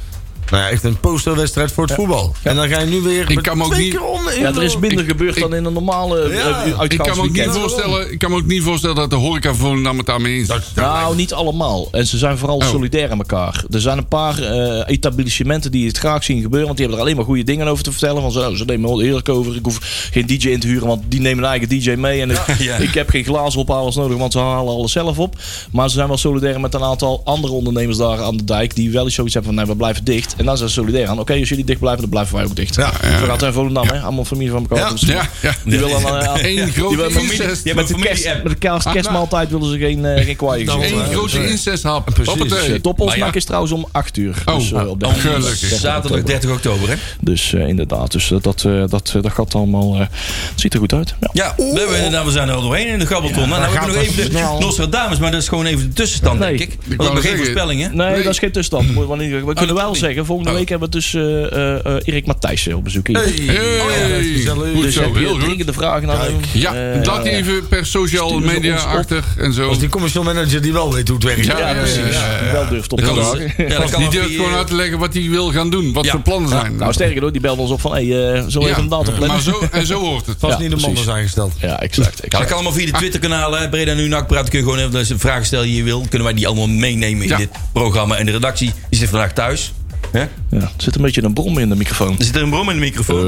Speaker 7: nou ja, echt een posterwedstrijd voor het voetbal. En dan ga je nu weer
Speaker 6: Ik
Speaker 7: met
Speaker 6: kan me ook
Speaker 7: twee
Speaker 6: niet-
Speaker 7: keer om.
Speaker 2: Ja, er
Speaker 6: nou,
Speaker 2: is minder gebeurd dan in een normale eh,
Speaker 7: Ja.
Speaker 2: eh,
Speaker 6: Ik kan, me ook niet
Speaker 2: uitgaansweekend.
Speaker 6: voorstellen, ik kan me ook niet voorstellen dat de horeca Volendam het daarmee eens is.
Speaker 2: Nou, niet allemaal. En ze zijn vooral solidair aan elkaar. Er zijn een paar eh, etablissementen die het graag zien gebeuren. Want die hebben er alleen maar goede dingen over te vertellen. Van zo, ze nemen wel heerlijk over. Ik hoef geen DJ in te huren, want die nemen een eigen DJ mee. En ik,
Speaker 4: ja.
Speaker 2: ik heb geen glazen ophalers nodig, want ze halen alles zelf op. Maar ze zijn wel solidair met een aantal andere ondernemers daar aan de dijk. Die wel eens zoiets hebben van, nee, we blijven dicht. En daar zijn ze solidair aan. Oké, als jullie dicht blijven, dan blijven wij ook dicht. Ja, Zo gaat het in Volendam, hè. Allemaal familie van elkaar.
Speaker 6: Ja,
Speaker 2: Dus
Speaker 6: ja, ja.
Speaker 2: Die willen dan... eh,
Speaker 6: Eén
Speaker 2: die
Speaker 6: grote
Speaker 2: willen-
Speaker 6: incest. Je hebt
Speaker 2: Met de
Speaker 4: een
Speaker 2: kerst-
Speaker 4: familie-app.
Speaker 2: met de kerst-
Speaker 6: Ah,
Speaker 2: kerstmaaltijd willen ze geen, eh, geen kwaai gezicht.
Speaker 6: Eén grote incesthap.
Speaker 2: Dus,
Speaker 6: Hoppatee.
Speaker 2: Toppelsnak
Speaker 4: Maar ja.
Speaker 2: eh, is trouwens om 8 uur.
Speaker 6: Oh,
Speaker 2: dus, eh, op
Speaker 4: Oh,
Speaker 2: 30
Speaker 6: gelukkig.
Speaker 4: Zaterdag 30 oktober, hè?
Speaker 2: Dus eh, inderdaad, dus, eh, dat, eh, dat, eh, dat gaat allemaal. eh, het ziet er goed uit. Ja.
Speaker 4: Ja, we, hebben inderdaad, we zijn er al doorheen in de gabbelton.
Speaker 7: maar
Speaker 4: nou, nou hebben we
Speaker 7: gaat
Speaker 4: nog even
Speaker 7: dat snel?
Speaker 4: de Nostradamus, maar dat is gewoon even de tussenstand,
Speaker 2: Nee.
Speaker 4: denk ik.
Speaker 6: wou
Speaker 4: Want we hebben geen
Speaker 6: zeggen- nou,
Speaker 4: voorspellingen.
Speaker 2: Nee, dat is geen tussenstand. Moet- want We
Speaker 4: dat
Speaker 2: kunnen wel
Speaker 4: niet.
Speaker 2: zeggen, volgende
Speaker 6: Oh.
Speaker 2: week hebben we dus eh, eh, eh, Erik Matthijssen op bezoek hier.
Speaker 7: Oh
Speaker 6: Hey, goed
Speaker 2: Dus
Speaker 6: zo,
Speaker 2: heb je
Speaker 6: heel goed.
Speaker 2: dringende vragen naar hem.
Speaker 6: Ja,
Speaker 2: Eh,
Speaker 6: dat even per social
Speaker 2: stuur ze
Speaker 6: media
Speaker 2: ons op.
Speaker 6: achtig en zo.
Speaker 7: Als die commercial manager die wel weet hoe het werkt.
Speaker 6: Ja,
Speaker 2: Ja, precies.
Speaker 6: ja, ja.
Speaker 2: Wel durft op
Speaker 6: Dat
Speaker 2: te
Speaker 6: kan
Speaker 2: vragen.
Speaker 6: ook.
Speaker 4: Ja, dat kan
Speaker 6: Die
Speaker 4: ook
Speaker 6: durft
Speaker 4: die,
Speaker 6: gewoon
Speaker 4: eh,
Speaker 6: uit te leggen wat hij wil gaan doen, wat
Speaker 4: Ja.
Speaker 6: zijn plannen zijn.
Speaker 2: Nou, sterker hoor, die belde ons op van, hé, hey, eh, zullen we
Speaker 6: Ja,
Speaker 2: even een datum
Speaker 6: maar
Speaker 2: plannen?
Speaker 6: zo, en zo hoort het.
Speaker 7: Pas
Speaker 2: Ja,
Speaker 7: niet de man
Speaker 2: precies.
Speaker 7: was aangesteld.
Speaker 2: Ja, exact.
Speaker 4: Ja, dat
Speaker 2: exact.
Speaker 4: kan allemaal
Speaker 6: ah.
Speaker 4: via de Twitter-kanalen. hè. Breda Nu Nak praat. Kun je gewoon even als je een vraag stellen die je wil. Kunnen wij die allemaal meenemen in
Speaker 6: Ja.
Speaker 4: dit programma. En de redactie die zit vandaag thuis. Hè? Er
Speaker 2: Ja, er zit een beetje een brom in de microfoon.
Speaker 4: zit er een brom in de microfoon.
Speaker 6: Eh.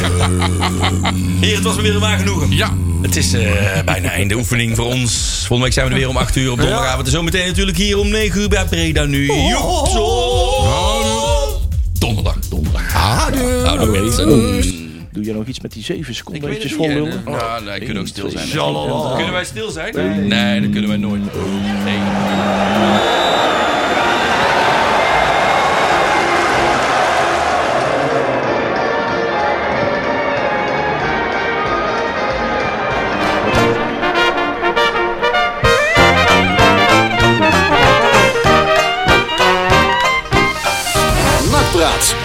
Speaker 4: Hier, het was me weer een waar genoegen.
Speaker 6: Ja.
Speaker 4: Het is eh, bijna einde oefening voor ons. Volgende week zijn we er weer om 8 uur op donderdagavond. En zometeen natuurlijk hier om 9 uur bij Breda Nu.
Speaker 6: Oh,
Speaker 4: Joepzo! Donderdag. Donderdag.
Speaker 2: Doe je nog iets met die 7 seconden?
Speaker 4: Ik weet het
Speaker 2: eventjes
Speaker 4: niet,
Speaker 2: volhulden?
Speaker 6: Oh,
Speaker 4: hè. Ja, nee, kunnen ook stil zijn.
Speaker 2: Eén, twee, drie,
Speaker 4: Kunnen wij stil zijn? Nee, dat kunnen wij nooit. Nee.
Speaker 5: Nakpraat.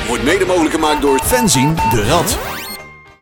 Speaker 3: Wordt mede mogelijk gemaakt door Fenzin de Rad.